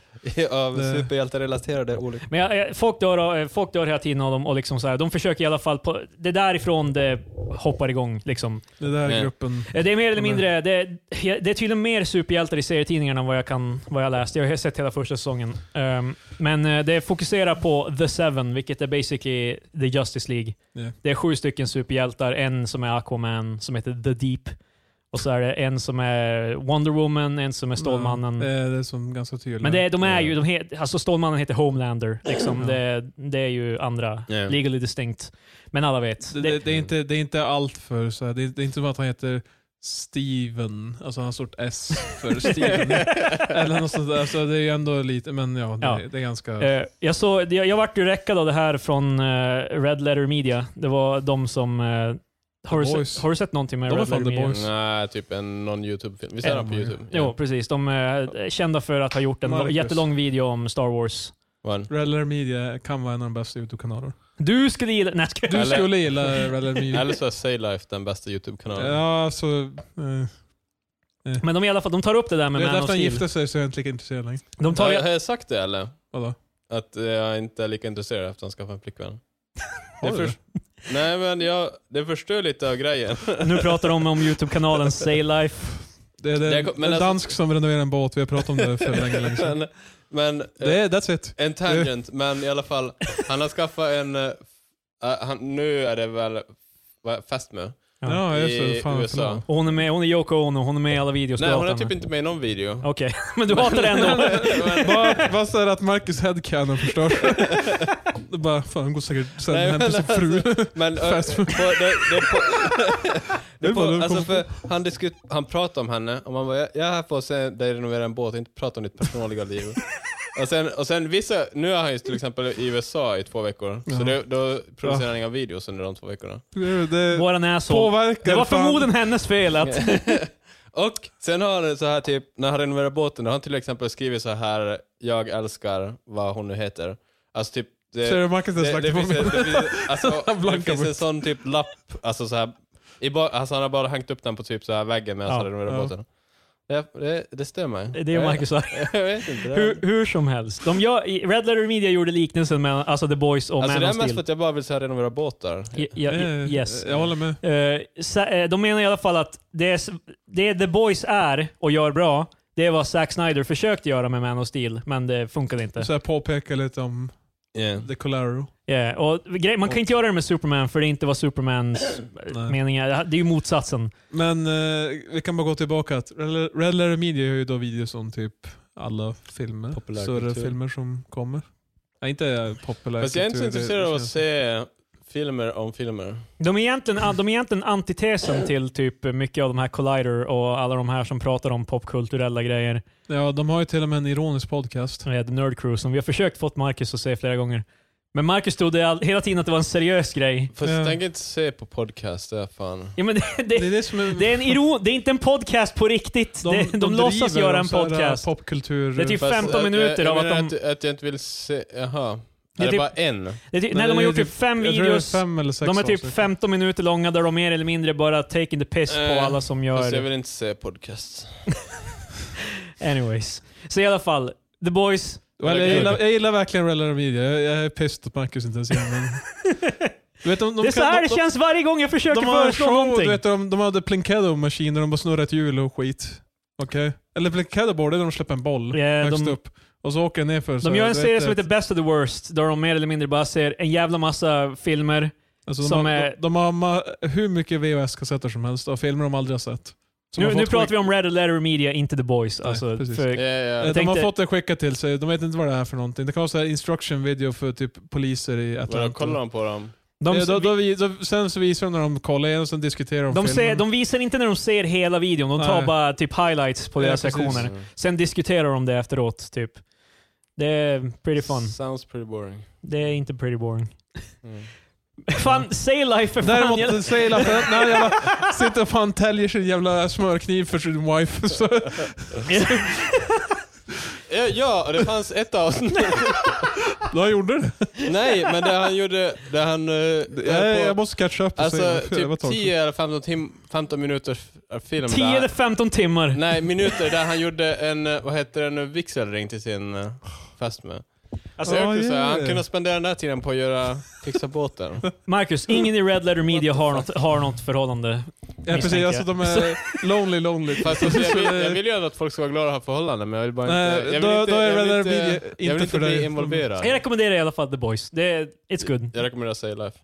[SPEAKER 4] Av
[SPEAKER 1] Det-
[SPEAKER 4] superhjälterelaterade olyckor.
[SPEAKER 2] Men jag, jag- folk, dör, eh, folk dör hela tiden av dem och liksom så här, de försöker i alla fall... På, det är därifrån det hoppar igång. Liksom.
[SPEAKER 1] Det där
[SPEAKER 3] Nej.
[SPEAKER 1] är gruppen.
[SPEAKER 2] Eh, Det är mer eller
[SPEAKER 1] Mm.
[SPEAKER 2] mindre... Det, det är tydligen mer superhjältar i serietidningarna än vad jag, kan, vad jag läst. Jag har sett hela första säsongen. Ehm, men eh, det fokuserar på The Seven, vilket är basically The Justice League.
[SPEAKER 1] Ja.
[SPEAKER 2] Det är sju stycken superhjältar. En som är Aquaman, som heter The Deep. Och så är det en som är Wonder Woman, en som är Stålmannen.
[SPEAKER 1] Ja, eh, det är det som ganska tydligt.
[SPEAKER 2] Men det, de är ju, de het, alltså Stålmannen heter Homelander. Liksom. Det, det är ju andra,
[SPEAKER 3] Ja.
[SPEAKER 2] legally distinct. Men alla vet.
[SPEAKER 1] det,
[SPEAKER 2] Det,
[SPEAKER 1] det, det, är inte, det är inte allt för så här. Det, är, det är inte som att han heter Steven, alltså han har stort S för Steven. Eller något sånt där. Så det är ju ändå lite, men ja, det,
[SPEAKER 2] Ja.
[SPEAKER 1] det är ganska...
[SPEAKER 2] Eh, jag, såg, jag, jag vart ju räckad av det här från eh, Red Letter Media. Det var de som... eh, har, du
[SPEAKER 1] The
[SPEAKER 2] sett,
[SPEAKER 1] Boys.
[SPEAKER 2] har du sett någonting med
[SPEAKER 1] De är
[SPEAKER 2] Red
[SPEAKER 1] fan
[SPEAKER 2] Letter
[SPEAKER 1] The
[SPEAKER 2] Media?
[SPEAKER 1] Boys.
[SPEAKER 3] Nej, typ en, någon YouTube-film. Visst är han på
[SPEAKER 1] Mm.
[SPEAKER 3] YouTube?
[SPEAKER 2] Jo, precis. De är kända för att ha gjort en
[SPEAKER 1] Marcus.
[SPEAKER 2] jättelång video om Star Wars.
[SPEAKER 3] One.
[SPEAKER 1] Red Letter Media kan vara en av de bästa YouTube-kanalerna.
[SPEAKER 2] Du skulle gilla... Nej, jag
[SPEAKER 1] Du
[SPEAKER 3] Eller-
[SPEAKER 1] skulle gilla Red Letter Media.
[SPEAKER 3] Eller så är Say Life den bästa YouTube-kanalen.
[SPEAKER 1] Ja, alltså... Eh,
[SPEAKER 2] skojar. Men de i alla fall, de tar upp det där med
[SPEAKER 1] det är
[SPEAKER 2] Man of
[SPEAKER 1] efter han
[SPEAKER 2] Steel.
[SPEAKER 1] gifte sig så är jag inte lika intresserad längre.
[SPEAKER 2] De tar,
[SPEAKER 3] har, jag, har jag sagt det eller?
[SPEAKER 1] Vadå?
[SPEAKER 3] Att eh, jag inte är lika intresserad efter att han skaffade en flickvän?
[SPEAKER 1] Har du
[SPEAKER 3] förs- Nej men jag, det förstör lite av grejen.
[SPEAKER 2] nu pratar de om YouTube-kanalen Say Life.
[SPEAKER 1] Det är
[SPEAKER 3] Det
[SPEAKER 1] det,
[SPEAKER 3] kom-
[SPEAKER 1] en
[SPEAKER 3] men alltså-
[SPEAKER 1] dansk som renoverar en båt, vi har pratat om det för länge, länge sedan.
[SPEAKER 3] men men eh,
[SPEAKER 1] liksom. Det är, that's it.
[SPEAKER 3] en tangent, men i alla fall. Han har skaffat en, eh, eh, han, nu är det väl vad- fästmö?
[SPEAKER 2] Ja.
[SPEAKER 1] Ja, just
[SPEAKER 3] I
[SPEAKER 1] det. Fan,
[SPEAKER 3] USA.
[SPEAKER 1] förlåt.
[SPEAKER 2] Och Hon är med, hon är Yoko Ono, hon är med i alla videos
[SPEAKER 3] Nej
[SPEAKER 2] du
[SPEAKER 3] hon
[SPEAKER 2] hatar
[SPEAKER 3] är typ
[SPEAKER 2] henne.
[SPEAKER 3] inte med i någon video.
[SPEAKER 2] Okej, men du hatar det ändå.
[SPEAKER 1] Bara- Bara så här att Marcus headcanon förstörs. Det är bara, fan hon går säkert sen
[SPEAKER 3] Nej,
[SPEAKER 1] hem till
[SPEAKER 3] men alltså-
[SPEAKER 1] sin fru.
[SPEAKER 3] Men, eh,
[SPEAKER 1] Fästmö.
[SPEAKER 3] på, det, det, på,
[SPEAKER 1] Det
[SPEAKER 3] det
[SPEAKER 1] är
[SPEAKER 3] på,
[SPEAKER 1] bara du
[SPEAKER 3] alltså
[SPEAKER 1] kommer-
[SPEAKER 3] för han, diskut, han pratade om henne och man bara, jag jag är här för att se dig renovera en båt, inte prata om ditt personliga liv. och, sen, och sen vissa, nu är han ju till exempel i USA i två veckor, så
[SPEAKER 1] Ja.
[SPEAKER 3] det, då producerar han inga videos under de två veckorna.
[SPEAKER 1] Det, det
[SPEAKER 2] Våran asshole.
[SPEAKER 1] påverkar.
[SPEAKER 2] Det var
[SPEAKER 1] fan.
[SPEAKER 2] förmodligen hennes fel att...
[SPEAKER 3] och sen har han så här typ, när han renoverar båten, då har han till exempel skrivit så här, jag älskar vad hon nu heter. Alltså typ, det,
[SPEAKER 1] Ser du Marcus ens
[SPEAKER 3] det,
[SPEAKER 1] lagt
[SPEAKER 3] det,
[SPEAKER 1] på
[SPEAKER 3] finns,
[SPEAKER 1] mig?
[SPEAKER 3] en- det, finns, alltså,
[SPEAKER 1] Han
[SPEAKER 3] det
[SPEAKER 1] blankar
[SPEAKER 3] finns en
[SPEAKER 1] bort.
[SPEAKER 3] sån typ lapp, alltså så här, i ba, alltså han har bara hängt upp den på typ så här väggen medan
[SPEAKER 2] Ja,
[SPEAKER 3] han renoverade
[SPEAKER 1] ja.
[SPEAKER 3] båten. Det, det, det stämmer.
[SPEAKER 2] Det är Marcus arg.
[SPEAKER 3] Jag, jag vet inte. Det är-
[SPEAKER 2] Hur, hur som helst. De gör, i- Red Letter Media gjorde liknelsen mellan alltså The Boys och
[SPEAKER 3] alltså det
[SPEAKER 2] Man
[SPEAKER 3] är
[SPEAKER 2] of
[SPEAKER 3] mest för
[SPEAKER 2] Steel.
[SPEAKER 3] att jag bara vill så här renovera båtar.
[SPEAKER 2] Ja, ja, ja,
[SPEAKER 1] Eh,
[SPEAKER 2] yes.
[SPEAKER 1] Jag håller med.
[SPEAKER 2] Eh, sa- eh, de menar i alla fall att det, är, s- det The Boys är och gör bra, det är vad Zack Snyder försökte göra med Man of Steel, men det funkade inte.
[SPEAKER 1] Så jag påpekar lite om
[SPEAKER 3] Yeah.
[SPEAKER 1] The Colaro.
[SPEAKER 2] Ja, och grej, man kan inte göra det med Superman, för det är inte vad Supermans
[SPEAKER 1] Nej.
[SPEAKER 2] mening är. Det är ju motsatsen.
[SPEAKER 1] Men eh, vi kan bara gå tillbaka. att Red Red Letter Media gör ju då videos om typ alla filmer.
[SPEAKER 3] Populärkultur.
[SPEAKER 1] Större filmer som kommer. Nej, inte populärkultur.
[SPEAKER 3] Fast jag är inte så
[SPEAKER 1] det-
[SPEAKER 3] intresserad
[SPEAKER 1] det
[SPEAKER 3] av att
[SPEAKER 1] känns-
[SPEAKER 3] se filmer om filmer.
[SPEAKER 2] De är egentligen, de är egentligen antitesen till typ mycket av de här Collider och alla de här som pratar om popkulturella grejer.
[SPEAKER 1] Ja, de har ju till och med en ironisk podcast.
[SPEAKER 2] Som heter Nerd Crew, som vi har försökt fått Marcus att se flera gånger. Men Marcus trodde all, hela tiden att det var en seriös grej.
[SPEAKER 3] Fast
[SPEAKER 1] Ja.
[SPEAKER 3] jag tänker inte se på podcast, det är fan.
[SPEAKER 2] Ja, men det,
[SPEAKER 1] Det
[SPEAKER 2] det,
[SPEAKER 1] är det som är...
[SPEAKER 2] det, är en iro, det är inte en podcast på riktigt. De, de, låtsas
[SPEAKER 1] driver om
[SPEAKER 2] göra en
[SPEAKER 1] så här,
[SPEAKER 2] podcast.
[SPEAKER 1] Popkultur.
[SPEAKER 2] Det är typ
[SPEAKER 3] Fast
[SPEAKER 2] 15
[SPEAKER 3] att-
[SPEAKER 2] minuter
[SPEAKER 3] jag,
[SPEAKER 2] av
[SPEAKER 3] jag
[SPEAKER 2] att
[SPEAKER 3] menar
[SPEAKER 2] de...
[SPEAKER 3] Att, att jag inte vill se, jaha.
[SPEAKER 2] Det
[SPEAKER 3] Det
[SPEAKER 2] är
[SPEAKER 3] är, det
[SPEAKER 2] typ-
[SPEAKER 3] bara en?
[SPEAKER 2] Det är, typ-
[SPEAKER 1] Nej,
[SPEAKER 2] nej, de har
[SPEAKER 1] det är
[SPEAKER 2] gjort typ
[SPEAKER 1] typ-
[SPEAKER 2] fem
[SPEAKER 1] jag tror det är
[SPEAKER 2] videos.
[SPEAKER 1] fem eller sex
[SPEAKER 2] De är typ
[SPEAKER 1] avsnitt.
[SPEAKER 2] 15 minuter långa där de mer eller mindre bara taking the piss på
[SPEAKER 3] Eh,
[SPEAKER 2] alla som
[SPEAKER 3] Fast jag
[SPEAKER 2] gör...
[SPEAKER 3] vill inte se podcast.
[SPEAKER 2] Anyways. Så i alla fall, The Boys.
[SPEAKER 1] Well, jag, gillar, jag gillar verkligen Red Letter Media. Jag, jag är pissed att Marcus inte ens gillar den. Du vet, de, de
[SPEAKER 2] det är så
[SPEAKER 1] kan-
[SPEAKER 2] här
[SPEAKER 1] de-
[SPEAKER 2] det känns varje gång jag
[SPEAKER 1] de,
[SPEAKER 2] försöker
[SPEAKER 1] de har en
[SPEAKER 2] föreslå
[SPEAKER 1] show,
[SPEAKER 2] någonting.
[SPEAKER 1] du vet, de, de hade Plinkado-maskiner, de bara snurrade ett hjul och skit. Okej? Eller Plinkado Board, det är när de släpper en boll
[SPEAKER 2] Ja,
[SPEAKER 1] högst
[SPEAKER 2] Eh, de-
[SPEAKER 1] upp. Och så åker den nerför. så
[SPEAKER 2] De gör en
[SPEAKER 1] vet
[SPEAKER 2] serie
[SPEAKER 1] jag
[SPEAKER 2] som
[SPEAKER 1] att-
[SPEAKER 2] heter Best of the Worst, där de mer eller mindre bara ser en jävla massa filmer.
[SPEAKER 1] alltså, de,
[SPEAKER 2] som
[SPEAKER 1] har,
[SPEAKER 2] är-
[SPEAKER 1] de, de har ma- hur mycket VHS-kassetter som helst av filmer de aldrig har sett. Som
[SPEAKER 2] Nu,
[SPEAKER 1] har
[SPEAKER 2] nu
[SPEAKER 1] fått
[SPEAKER 2] pratar
[SPEAKER 1] skick-
[SPEAKER 2] vi om Red Letter Media, inte The Boys.
[SPEAKER 1] Nej,
[SPEAKER 2] alltså,
[SPEAKER 1] precis. Eh,
[SPEAKER 2] för,
[SPEAKER 3] Ja, ja.
[SPEAKER 1] De
[SPEAKER 2] Jag tänkte-
[SPEAKER 1] har fått det skickat till sig. De vet inte vad det är för någonting. Det kan vara så här instruction video för typ poliser i
[SPEAKER 3] Vadå,
[SPEAKER 1] Atlanta.
[SPEAKER 3] kollar de på dem?
[SPEAKER 2] de,
[SPEAKER 1] Eh, då, då, vi- då, sen så visar de när de kollar igen och sen diskuterar de
[SPEAKER 2] de,
[SPEAKER 1] filmen.
[SPEAKER 2] ser, de visar inte när de ser hela videon, de tar
[SPEAKER 1] Nej.
[SPEAKER 2] bara typ highlights på
[SPEAKER 1] Ja,
[SPEAKER 2] deras
[SPEAKER 1] precis.
[SPEAKER 2] sektioner.
[SPEAKER 3] Mm.
[SPEAKER 2] Sen diskuterar de det efteråt, typ. Det är pretty fun.
[SPEAKER 3] Sounds pretty boring.
[SPEAKER 2] Det är inte pretty boring.
[SPEAKER 3] Mm.
[SPEAKER 2] Fan, say life för fan!
[SPEAKER 1] Däremot
[SPEAKER 2] jag-
[SPEAKER 1] säger Lasse att när jävla sitter och fan täljer sin jävla smörkniv för sin wife. Så,
[SPEAKER 3] Ja, Eh, ja, och det fanns ett avsnitt.
[SPEAKER 1] då gjorde det.
[SPEAKER 3] Nej, men där han gjorde... Där han... eh,
[SPEAKER 1] Jag,
[SPEAKER 3] höll på-
[SPEAKER 1] jag måste catcha upp och
[SPEAKER 3] Alltså
[SPEAKER 1] se. Det var ett
[SPEAKER 3] typ
[SPEAKER 1] tag sedan.
[SPEAKER 3] 10 eller 15, tim- 15 minuters f- film
[SPEAKER 2] 10 eller
[SPEAKER 3] där.
[SPEAKER 2] 15 timmar.
[SPEAKER 3] Nej, minuter där han gjorde en, eh, vad heter det, en vigselring till sin eh, fästmö. Alltså,
[SPEAKER 1] Ja,
[SPEAKER 3] jag kunde säga,
[SPEAKER 1] ja,
[SPEAKER 3] han
[SPEAKER 1] ja.
[SPEAKER 3] kunde spendera den där tiden på att göra, fixa båten.
[SPEAKER 2] Marcus, ingen i Red Letter Media har något, har något förhållande.
[SPEAKER 1] Ja, precis,
[SPEAKER 2] misstänker
[SPEAKER 1] alltså,
[SPEAKER 2] jag.
[SPEAKER 1] de är lonely, lonely.
[SPEAKER 3] Fast alltså, jag, vill, jag vill ju ändå att folk ska vara glada och ha förhållanden, men jag vill bara
[SPEAKER 1] Nej,
[SPEAKER 3] inte... Jag vill
[SPEAKER 1] då-
[SPEAKER 3] inte,
[SPEAKER 1] då är
[SPEAKER 3] jag vill
[SPEAKER 1] Red
[SPEAKER 3] inte,
[SPEAKER 1] Media
[SPEAKER 3] jag
[SPEAKER 1] inte
[SPEAKER 3] vill inte
[SPEAKER 1] för
[SPEAKER 3] bli
[SPEAKER 1] dig.
[SPEAKER 3] involverad.
[SPEAKER 2] Jag rekommenderar i alla fall The Boys. Det är, it's good.
[SPEAKER 3] Jag rekommenderar Say Life.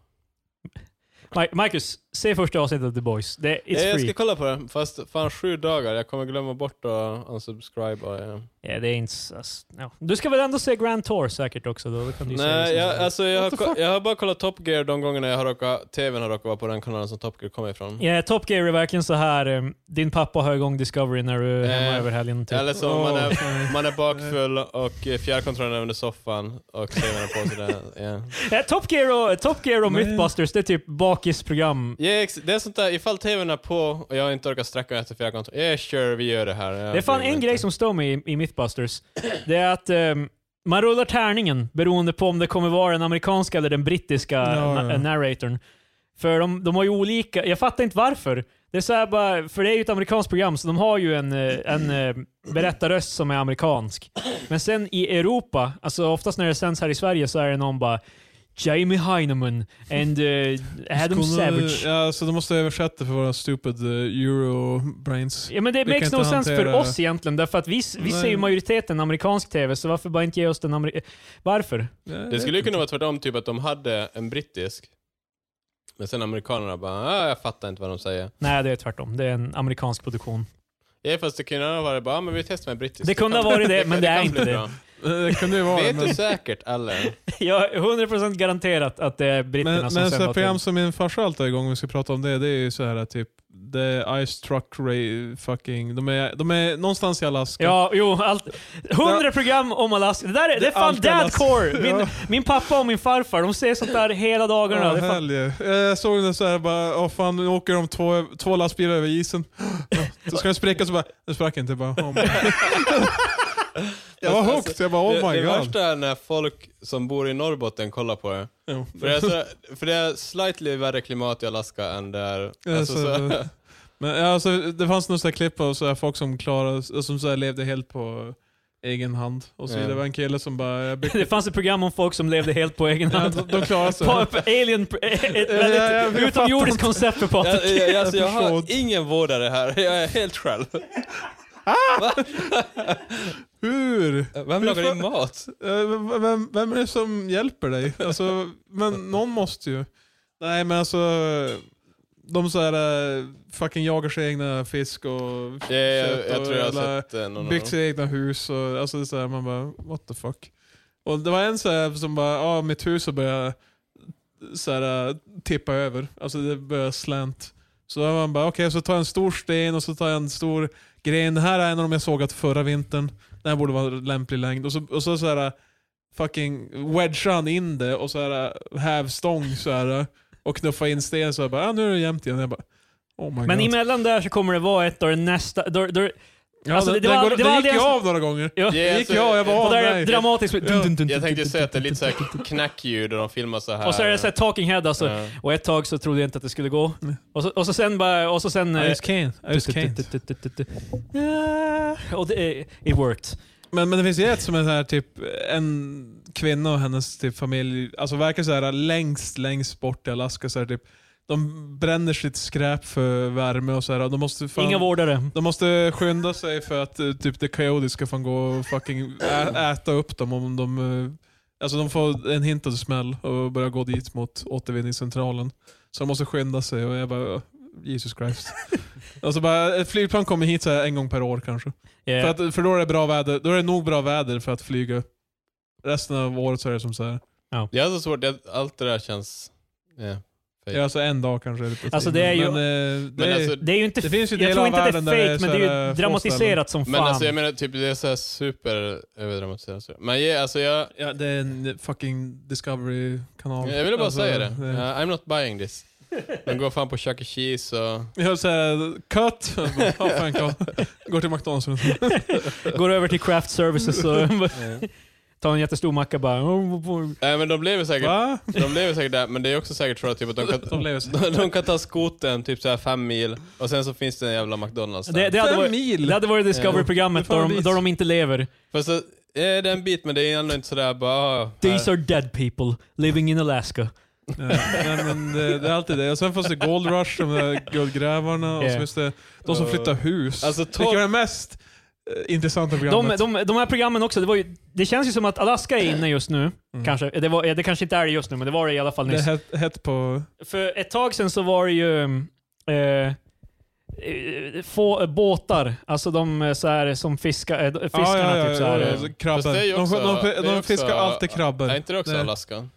[SPEAKER 2] Ma- Marcus, se första avsnittet av The Boys. Det,
[SPEAKER 3] Ja,
[SPEAKER 2] it's
[SPEAKER 3] jag
[SPEAKER 2] free.
[SPEAKER 3] ska kolla på det, fast fan sju dagar. Jag kommer glömma bort att unsubscribe. Och, eh, ja.
[SPEAKER 2] Ja, det är inte... s- ass- ja. Du ska väl ändå se Grand Tour säkert också? Då, då kan du se
[SPEAKER 3] Nej,
[SPEAKER 2] det
[SPEAKER 3] jag,
[SPEAKER 2] som-
[SPEAKER 3] alltså, jag, har,
[SPEAKER 1] What the
[SPEAKER 3] ko-
[SPEAKER 1] fuck?
[SPEAKER 3] jag har bara kollat Top Gear de gångerna jag har råkat, TVn har råkat vara på den kanalen som Top Gear kommer ifrån.
[SPEAKER 2] Ja, Top Gear är verkligen så här. eh, din pappa har igång Discovery när du är hemma
[SPEAKER 3] Eh,
[SPEAKER 2] över helgen. Typ.
[SPEAKER 3] Eller så om man, är,
[SPEAKER 1] Åh,
[SPEAKER 3] man är bakfull och eh, fjärrkontrollen är under soffan och TVn är på sig där. Ja,
[SPEAKER 2] Ja, Eh, Top Gear och, Top Gear och
[SPEAKER 1] Nej.
[SPEAKER 2] Mythbusters, det är typ bakisprogram.
[SPEAKER 3] Ja, ex- det är sånt där, ifall TVn är på och jag inte orkar sträcka mig efter fjärrkontrollen, yeah sure vi gör det här. Jag
[SPEAKER 2] Det är fan
[SPEAKER 3] bryr mig
[SPEAKER 2] en
[SPEAKER 3] inte.
[SPEAKER 2] grej som stör mig i, i Mythbusters. Det är att ehm, man rullar tärningen beroende på om det kommer vara den amerikanska eller den brittiska
[SPEAKER 1] Ja,
[SPEAKER 2] na-
[SPEAKER 1] ja.
[SPEAKER 2] narratorn. För de, de har ju olika, jag fattar inte varför. Det är så här bara, för det är ju ett amerikanskt program så de har ju en, eh, en eh, berättarröst som är amerikansk. Men sen i Europa, alltså oftast när det sänds här i Sverige så är det någon bara Jamie Heineman and eh, Adam
[SPEAKER 1] Skulle-
[SPEAKER 2] Savage.
[SPEAKER 1] Ja, så de måste översätta för våra stupid eh, euro-brains.
[SPEAKER 2] Ja, men det
[SPEAKER 1] Vi
[SPEAKER 2] makes
[SPEAKER 1] kan
[SPEAKER 2] no
[SPEAKER 1] inte
[SPEAKER 2] sense för
[SPEAKER 1] hantera-
[SPEAKER 2] oss egentligen, därför att vi, vi
[SPEAKER 1] Nej.
[SPEAKER 2] ser ju majoriteten amerikansk tv, så varför bara inte ge oss den amerikanska? Varför?
[SPEAKER 3] Det skulle ju kunna vara tvärtom, typ att de hade en brittisk, men sen amerikanerna bara ah, jag fattar inte vad de säger.
[SPEAKER 2] Nej, det är tvärtom. Det är en amerikansk produktion.
[SPEAKER 3] Ja, fast det kunde ha varit bara, ah, men vi testar med brittisk.
[SPEAKER 2] Det kunde ha varit det, men det är
[SPEAKER 3] kan
[SPEAKER 2] inte
[SPEAKER 3] bli
[SPEAKER 2] det.
[SPEAKER 3] bra.
[SPEAKER 1] Det kunde ju vara
[SPEAKER 3] Vet
[SPEAKER 1] men-
[SPEAKER 3] du säkert, eller?
[SPEAKER 2] Jag är 100% garanterat att det är britterna
[SPEAKER 1] Men, men
[SPEAKER 2] som
[SPEAKER 1] sådana
[SPEAKER 2] sänder
[SPEAKER 1] här
[SPEAKER 2] åt
[SPEAKER 1] program
[SPEAKER 2] det.
[SPEAKER 1] som min farsa alltid är igång, om vi ska prata om det, det är ju så här typ det är Ice Truck Ray fucking... De är, de är någonstans i Alaska.
[SPEAKER 2] Ja, jo, allt. 100 program om Alaska. Det, där är, det är fan
[SPEAKER 1] Allt i Alaska.
[SPEAKER 2] dadcore! Min,
[SPEAKER 1] Ja.
[SPEAKER 2] min pappa och min farfar, de ser sånt där hela dagarna.
[SPEAKER 1] Ja,
[SPEAKER 2] det är fan,
[SPEAKER 1] helge. Jag såg den så här bara, åh fan nu åker de två, två lastbilar över isen. Ja, Så ska den spricka så bara, den sprack inte. Jag Bara, oh my. jag var hooked, jag bara oh
[SPEAKER 3] det
[SPEAKER 1] my
[SPEAKER 3] det
[SPEAKER 1] god.
[SPEAKER 3] värsta är när folk som bor i Norrbotten kollar på det.
[SPEAKER 1] Jo.
[SPEAKER 3] För det är, så, för det är slightly värre klimat i Alaska än där.
[SPEAKER 1] Ja,
[SPEAKER 3] Alltså,
[SPEAKER 1] så-
[SPEAKER 3] så,
[SPEAKER 1] Men ja, alltså, det fanns några så här klipp av så här folk som, klarade, som så här levde helt på egen hand. Och så
[SPEAKER 3] Ja.
[SPEAKER 1] vidare. Det var en kille som bara... Jag byggde,
[SPEAKER 2] det fanns ett program om folk som levde helt på egen
[SPEAKER 1] ja,
[SPEAKER 2] hand.
[SPEAKER 1] de, de klarade sig.
[SPEAKER 2] Pa- pa- Alien, ett väldigt
[SPEAKER 1] Ja, ja, ja, jag
[SPEAKER 2] utomjordiskt koncept för Patrik.
[SPEAKER 3] jag, jag, alltså, jag
[SPEAKER 1] Jag förstår.
[SPEAKER 3] har ingen vårdare här, jag är helt själv.
[SPEAKER 1] Hur?
[SPEAKER 3] Vem lagar din mat?
[SPEAKER 1] Eh, Vem, vem är det som hjälper dig? Alltså, men någon måste ju. Nej men alltså, de så här eh, fucking jagar sig egna fisk och
[SPEAKER 3] Ja, jag,
[SPEAKER 1] kött
[SPEAKER 3] jag,
[SPEAKER 1] och
[SPEAKER 3] tror jag har
[SPEAKER 1] jävla-
[SPEAKER 3] sett eh, någon
[SPEAKER 1] byggt
[SPEAKER 3] av dem.
[SPEAKER 1] sina egna hus. Och, alltså det är så här, man bara what the fuck. Och det var en så här som bara, ja ah, mitt hus har börjat så här, eh, tippa över. Alltså det börjar slänt. Så då man bara okej, så tar jag en stor sten och så tar jag en stor gren. Den här är en av de jag sågat förra vintern. Den här borde vara lämplig längd. Och så, och så, så här fucking wedgar han in det och så här hävstång så här och knuffa in sten så här bara ah, nu är det jämnt igen. Jag bara oh my
[SPEAKER 2] Men
[SPEAKER 1] god.
[SPEAKER 2] emellan där så kommer det vara ett av nästa... Då, då,
[SPEAKER 1] ja,
[SPEAKER 2] alltså,
[SPEAKER 1] den,
[SPEAKER 2] det
[SPEAKER 1] den,
[SPEAKER 2] var-
[SPEAKER 1] går,
[SPEAKER 2] det
[SPEAKER 1] den
[SPEAKER 2] var
[SPEAKER 1] gick ju
[SPEAKER 2] aldrig-
[SPEAKER 1] av några gånger.
[SPEAKER 2] ja.
[SPEAKER 3] Ja,
[SPEAKER 1] Alltså, Det gick ju av, jag bara
[SPEAKER 2] Och
[SPEAKER 1] åh
[SPEAKER 2] där är det
[SPEAKER 1] nej.
[SPEAKER 2] dramatiskt...
[SPEAKER 1] Ja.
[SPEAKER 3] Jag tänkte ju säga att det är lite såhär knackljud och de filmar så här.
[SPEAKER 2] Och så är det så här talking head alltså.
[SPEAKER 3] Ja.
[SPEAKER 2] Och ett tag så trodde jag inte att det skulle gå.
[SPEAKER 1] Nej.
[SPEAKER 2] Och så, och så sen bara... Och så sen...
[SPEAKER 1] I
[SPEAKER 2] eh,
[SPEAKER 1] just can't. I just can't.
[SPEAKER 2] Ja, Och det, eh, it worked.
[SPEAKER 1] Men, men det finns ju ett som är så här, typ en kvinna och hennes typ, familj, alltså verkar så här längst, längst bort i Alaska. Så här, typ, de bränner sitt skräp för värme och så här. och De måste, fan,
[SPEAKER 2] Inga vårdare.
[SPEAKER 1] de måste skynda sig för att eh, typ the coyote ska fan gå och fucking ä- äta upp dem om de... eh, Alltså de får en hintad smäll och börjar gå dit mot återvinningscentralen. Så de måste skynda sig och jag bara... Jesus Christ. alltså bara, ett flygplan kommer hit så här en gång per år kanske.
[SPEAKER 2] Eh,
[SPEAKER 1] För, att, för då är det bra väder. Då är det nog bra väder för att flyga. Resten av året så är det som så här.
[SPEAKER 3] Jag har så svårt, jag, allt det där känns... Ja.
[SPEAKER 1] Ja, alltså en dag kanske är lite
[SPEAKER 2] Alltså,
[SPEAKER 1] tidigt.
[SPEAKER 2] det är
[SPEAKER 1] Men,
[SPEAKER 2] ju-
[SPEAKER 1] eh, det
[SPEAKER 3] Men
[SPEAKER 1] är,
[SPEAKER 3] alltså,
[SPEAKER 2] det är ju inte...
[SPEAKER 1] det finns ju
[SPEAKER 2] jag
[SPEAKER 1] delar
[SPEAKER 2] tror
[SPEAKER 1] av
[SPEAKER 2] inte det är
[SPEAKER 1] världen
[SPEAKER 2] fake,
[SPEAKER 1] där det är
[SPEAKER 2] men det
[SPEAKER 1] så
[SPEAKER 2] är
[SPEAKER 1] här
[SPEAKER 2] ju
[SPEAKER 1] få
[SPEAKER 2] dramatiserat som fan.
[SPEAKER 3] Men alltså jag menar typ det är så här super överdramatiserat. Men ja, alltså jag,
[SPEAKER 1] ja, det är en fucking Discovery-kanal.
[SPEAKER 3] jag ville bara
[SPEAKER 1] Alltså,
[SPEAKER 3] säga det. Ja, I'm not buying this. De går fan på Chuck E. Cheese och...
[SPEAKER 1] Jag höll såhär, cut! Jag bara, "Ja, fan, cut." Går till McDonalds.
[SPEAKER 2] Går över till craft services och tar en jättestor macka bara...
[SPEAKER 3] Nej men de lever säkert,
[SPEAKER 1] Va?
[SPEAKER 3] de lever säkert där, men det är också säkert tror jag typ att de kan,
[SPEAKER 1] De lever så.
[SPEAKER 3] de, de kan ta skoten typ så här fem mil och sen så finns det en jävla McDonalds
[SPEAKER 2] Det,
[SPEAKER 3] där.
[SPEAKER 2] det, hade
[SPEAKER 1] Fem
[SPEAKER 2] varit,
[SPEAKER 1] mil!
[SPEAKER 2] det hade varit Discovery-programmet
[SPEAKER 1] Ja, det
[SPEAKER 2] då,
[SPEAKER 1] är fan
[SPEAKER 2] de,
[SPEAKER 1] dit.
[SPEAKER 2] då de inte lever.
[SPEAKER 3] Fast så, ja, det är en bit men det är ändå inte sådär bara... ah,
[SPEAKER 2] These
[SPEAKER 3] här.
[SPEAKER 2] are dead people living in Alaska.
[SPEAKER 1] Ja, nej, men det, det är alltid det. Och sen fanns det Gold Rush, de där guldgrävarna. Och
[SPEAKER 2] Ja.
[SPEAKER 1] så finns det de som flyttar hus.
[SPEAKER 3] Alltså
[SPEAKER 1] Vilket är
[SPEAKER 3] tolv...
[SPEAKER 1] det mest eh, intressanta
[SPEAKER 2] De,
[SPEAKER 1] programmet?
[SPEAKER 2] de, de här programmen också, det, var ju, det känns ju som att Alaska är inne just nu.
[SPEAKER 1] Mm.
[SPEAKER 2] Kanske. Eh, Det, var, det kanske inte är det just nu, men det var det i alla fall
[SPEAKER 1] det är
[SPEAKER 2] nyss.
[SPEAKER 1] hett, hett på...
[SPEAKER 2] För ett tag sedan så var det ju mm, eh, eh, få eh, båtar, alltså de eh, så här, som fiskar, eh, fiskarna typ så här.
[SPEAKER 3] ja,
[SPEAKER 2] eh,
[SPEAKER 3] ja. Fast
[SPEAKER 1] Krabbor.
[SPEAKER 3] det är ju
[SPEAKER 1] De,
[SPEAKER 3] också-
[SPEAKER 1] de,
[SPEAKER 3] det är
[SPEAKER 1] de,
[SPEAKER 3] också-
[SPEAKER 1] fiskar alltid krabbor.
[SPEAKER 3] Är inte det också
[SPEAKER 1] Nej.
[SPEAKER 3] Alaska?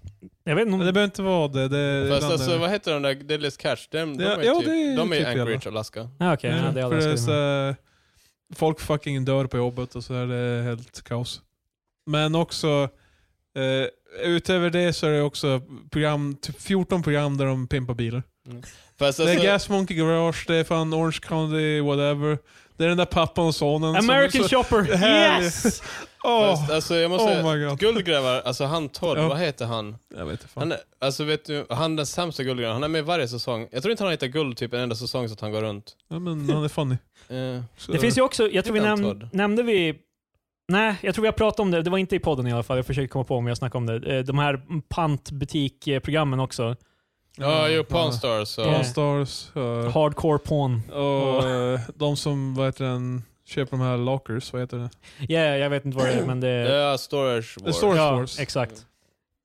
[SPEAKER 2] Jag vet inte
[SPEAKER 1] Men
[SPEAKER 2] om,
[SPEAKER 1] det behöver inte vara det. det är
[SPEAKER 3] Fast
[SPEAKER 1] ibland är
[SPEAKER 3] alltså
[SPEAKER 1] det.
[SPEAKER 3] vad heter de där Deadliest Catch? De, de
[SPEAKER 1] Ja,
[SPEAKER 3] är,
[SPEAKER 1] ja,
[SPEAKER 3] typ,
[SPEAKER 1] det är
[SPEAKER 3] de är
[SPEAKER 1] typ jävla.
[SPEAKER 3] Anchorage, Alaska.
[SPEAKER 2] ah, okej, ja, det är
[SPEAKER 1] för det är
[SPEAKER 2] Alaska.
[SPEAKER 1] så,
[SPEAKER 2] det
[SPEAKER 1] här, folk fucking dör på jobbet och så är det helt kaos. Men också, eh, utöver det så är det också program, typ 14 program där de pimpar bilar.
[SPEAKER 3] Fast
[SPEAKER 1] det är
[SPEAKER 3] alltså,
[SPEAKER 1] Gas Monkey Garage, det är fan Orange County, whatever. Det är den där pappan och sonen.
[SPEAKER 2] med. American
[SPEAKER 1] som, så,
[SPEAKER 2] Chopper!
[SPEAKER 1] Härlig.
[SPEAKER 2] Yes!
[SPEAKER 1] Åh,
[SPEAKER 3] fast, alltså jag måste säga,
[SPEAKER 1] oh my god.
[SPEAKER 3] Guldgrävar, alltså han Todd,
[SPEAKER 1] Ja.
[SPEAKER 3] vad heter han?
[SPEAKER 1] Jag vet inte fan.
[SPEAKER 3] han är, alltså vet du, han den sämsta guldgrävaren, han är med varje säsong. Jag tror inte han har hittat guld typ en enda säsong så att han går runt.
[SPEAKER 1] Ja, men han är funny.
[SPEAKER 3] Eh,
[SPEAKER 1] Så-
[SPEAKER 2] Det finns ju också, jag tror vi
[SPEAKER 3] Hitta en
[SPEAKER 2] näm
[SPEAKER 3] tråd.
[SPEAKER 2] nämnde vi... Nej, jag tror jag pratade om det. Det var inte i podden i alla fall. Jag försöker komma på om jag snackade om det. Eh, De här pantbutikprogrammen också.
[SPEAKER 3] Ja, jo, Pawn
[SPEAKER 1] Stars.
[SPEAKER 3] Stars.
[SPEAKER 2] Ja.
[SPEAKER 3] Och,
[SPEAKER 1] Pawn Stars. eh,
[SPEAKER 2] Hardcore porn.
[SPEAKER 1] och eh, de som, vad heter den, köper de här lockers, vad heter det?
[SPEAKER 2] Ja, ja, jag vet inte vad det är, men det...
[SPEAKER 3] ja, Storage
[SPEAKER 1] Det
[SPEAKER 3] Wars.
[SPEAKER 1] står- Storage
[SPEAKER 2] ja,
[SPEAKER 1] Wars.
[SPEAKER 2] exakt.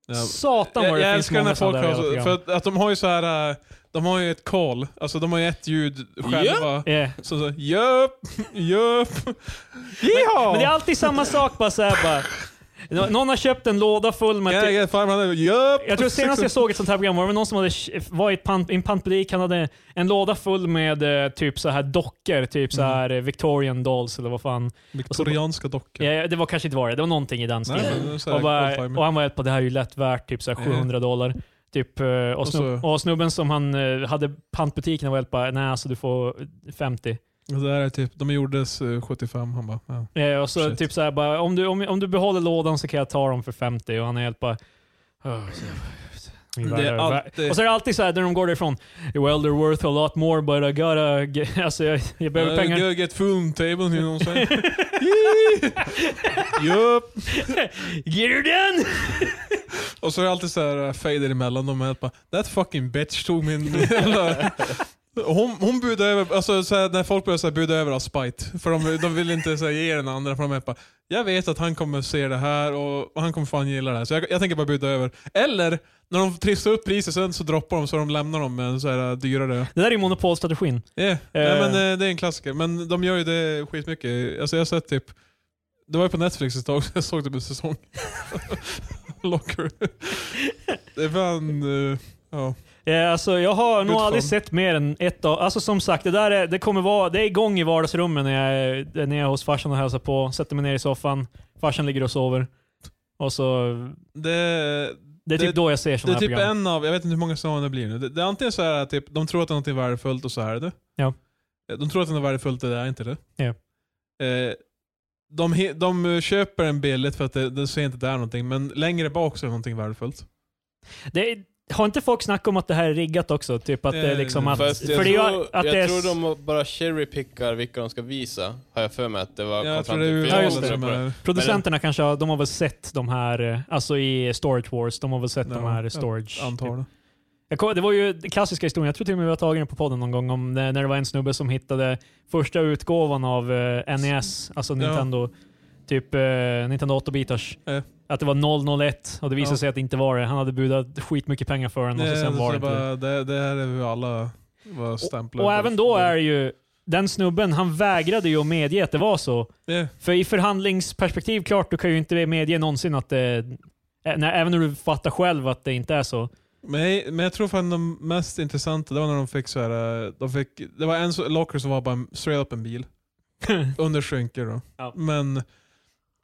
[SPEAKER 1] Ja,
[SPEAKER 2] Satan vad
[SPEAKER 1] jag,
[SPEAKER 2] det
[SPEAKER 1] jag
[SPEAKER 2] finns
[SPEAKER 1] älskar
[SPEAKER 2] många
[SPEAKER 1] när folk
[SPEAKER 2] sådana där
[SPEAKER 1] har så,
[SPEAKER 2] jävla
[SPEAKER 1] för
[SPEAKER 2] program.
[SPEAKER 1] att, att de har ju så här, äh, de har ju ett call, alltså de har ju ett ljud själva.
[SPEAKER 2] Eh,
[SPEAKER 1] Så så, jöp, jöp,
[SPEAKER 2] Men det är
[SPEAKER 1] jaha!
[SPEAKER 2] alltid samma sak bara såhär bara. Nå- Någon har köpt en låda full med... typ-
[SPEAKER 1] Can I get 500? Jöp!
[SPEAKER 2] jag tror senast jag såg ett sånt här program var det någon som hade, sh- var i ett pant, i en pantbutik, han hade en låda full med eh, typ så här dockor, typ
[SPEAKER 1] Mm.
[SPEAKER 2] så här eh, Victorian dolls eller vad fan.
[SPEAKER 1] Viktorianska dockor.
[SPEAKER 2] Ja, det var kanske inte var det, det var någonting i den
[SPEAKER 1] Nej,
[SPEAKER 2] stilen.
[SPEAKER 1] men det är så här
[SPEAKER 2] Och, bara,
[SPEAKER 1] old-timer.
[SPEAKER 2] och han var helt på det här är ju lätt värt typ så här 700 dollar. Typ, eh, och, snub,
[SPEAKER 1] så-
[SPEAKER 2] och snubben som han eh, hade pantbutiken var helt bara, nej alltså du får 50.
[SPEAKER 1] Och det där är typ, de gjordes eh, 75, han bara, ja.
[SPEAKER 2] Eh, och så
[SPEAKER 1] Shit.
[SPEAKER 2] typ så här, bara, om, du, om, om du behåller lådan så kan jag ta dem för 50. Och han är helt bara... "Åh, så- min
[SPEAKER 1] Det är
[SPEAKER 2] värld
[SPEAKER 1] alltid-
[SPEAKER 2] Och så är det alltid så här när de går därifrån. Well they're worth a lot more but I gotta... ge-" Alltså jag, jag behöver
[SPEAKER 1] Uh,
[SPEAKER 2] pengar.
[SPEAKER 1] go get food table, you know what I'm saying? Yee! Jöp!
[SPEAKER 2] Get her done!
[SPEAKER 1] Och så är det alltid så här äh, fader emellan dem. Helt bara, That fucking bitch tog min... jävla-" hon, hon budade över, alltså så här, när folk börjar så här, buda över av spite. För de, de vill inte så här, ge den andra. För de är bara, jag vet att han kommer se det här och han kommer fan gilla det här. Så jag, jag tänker bara buda över. Eller, när de trissar upp priset sen så droppar de så de lämnar dem med en så här äh, dyrare.
[SPEAKER 2] Det där är ju monopolstrategin.
[SPEAKER 1] Yeah. Nej, men, eh, det är en klassiker. Men de gör ju det skitmycket. Alltså, jag har sett typ, det var ju på Netflix ett tag, så jag såg typ en säsong. Locker. det är fan... eh, ja.
[SPEAKER 2] Eh, Alltså, jag har nog
[SPEAKER 1] Good
[SPEAKER 2] aldrig
[SPEAKER 1] fun.
[SPEAKER 2] sett mer än ett av... Alltså som sagt, det där är, det kommer vara, det är igång i vardagsrummet när jag, är- när jag är hos farsan och hälsar på. Sätter mig ner i soffan, farsan ligger och sover. Och så,
[SPEAKER 1] Det,
[SPEAKER 2] det är typ
[SPEAKER 1] Det-
[SPEAKER 2] då jag ser
[SPEAKER 1] det
[SPEAKER 2] sådana
[SPEAKER 1] är
[SPEAKER 2] här
[SPEAKER 1] typ
[SPEAKER 2] program.
[SPEAKER 1] en av, jag vet inte hur många säsonger det blir nu. Det, det är antingen så här att typ, de tror att det är något värdefullt och så är det. Eh,
[SPEAKER 2] Ja.
[SPEAKER 1] De tror att det är något värdefullt, det är inte det.
[SPEAKER 2] Ja.
[SPEAKER 1] Eh, de, he- de eh, köper en billigt för att det, de ser inte att det är någonting, men längre bak så är det någonting värdefullt.
[SPEAKER 2] Det är, har inte folk snackat om att det här är riggat också? Typ att det är
[SPEAKER 1] Eh,
[SPEAKER 2] liksom att...
[SPEAKER 3] Fast jag,
[SPEAKER 2] för det är ju
[SPEAKER 3] tror,
[SPEAKER 2] att
[SPEAKER 3] jag
[SPEAKER 2] det är,
[SPEAKER 3] tror de bara cherrypickar vilka de ska visa, har jag för mig att det var. kom
[SPEAKER 1] Jag tror
[SPEAKER 3] fram
[SPEAKER 1] det är
[SPEAKER 3] till. För
[SPEAKER 2] Ja,
[SPEAKER 3] jag
[SPEAKER 2] just
[SPEAKER 1] urvalet
[SPEAKER 3] håller
[SPEAKER 1] som
[SPEAKER 3] på det.
[SPEAKER 1] är...
[SPEAKER 2] Producenterna kanske har, de har väl sett de här, eh, alltså i Storage Wars, de har väl sett
[SPEAKER 1] Ja,
[SPEAKER 2] de här
[SPEAKER 1] jag
[SPEAKER 2] storage...
[SPEAKER 1] Antar det.
[SPEAKER 2] Jag kom, det var ju den klassiska historien, jag tror till och med vi har tagit den på podden någon gång, om när, när det var en snubbe som hittade första utgåvan av eh, NES, alltså
[SPEAKER 1] Ja.
[SPEAKER 2] Nintendo, typ eh, Nintendo 8-bitars.
[SPEAKER 1] Ja.
[SPEAKER 2] Att det var 001 och det
[SPEAKER 1] Eh.
[SPEAKER 2] visade
[SPEAKER 1] Ja.
[SPEAKER 2] sig att det inte var det. Han hade budat skitmycket pengar för den och så
[SPEAKER 1] Nej,
[SPEAKER 2] sen
[SPEAKER 1] så
[SPEAKER 2] var det
[SPEAKER 1] det,
[SPEAKER 2] inte det.
[SPEAKER 1] bara, det, det här är vi alla Var stämplad.
[SPEAKER 2] Och även då är ju den snubben, han vägrade ju att medge att det var så.
[SPEAKER 1] Ja.
[SPEAKER 2] För i förhandlingsperspektiv, klart, du kan ju inte medge någonsin att det... ä- när- även när du fattar själv att det inte är så.
[SPEAKER 1] Men, men jag tror fan de mest intressanta, det var när de fick så här, eh, de fick, det var en så- locker som var bara en- straight up en bil. Under skynke då.
[SPEAKER 2] Ja.
[SPEAKER 1] Men,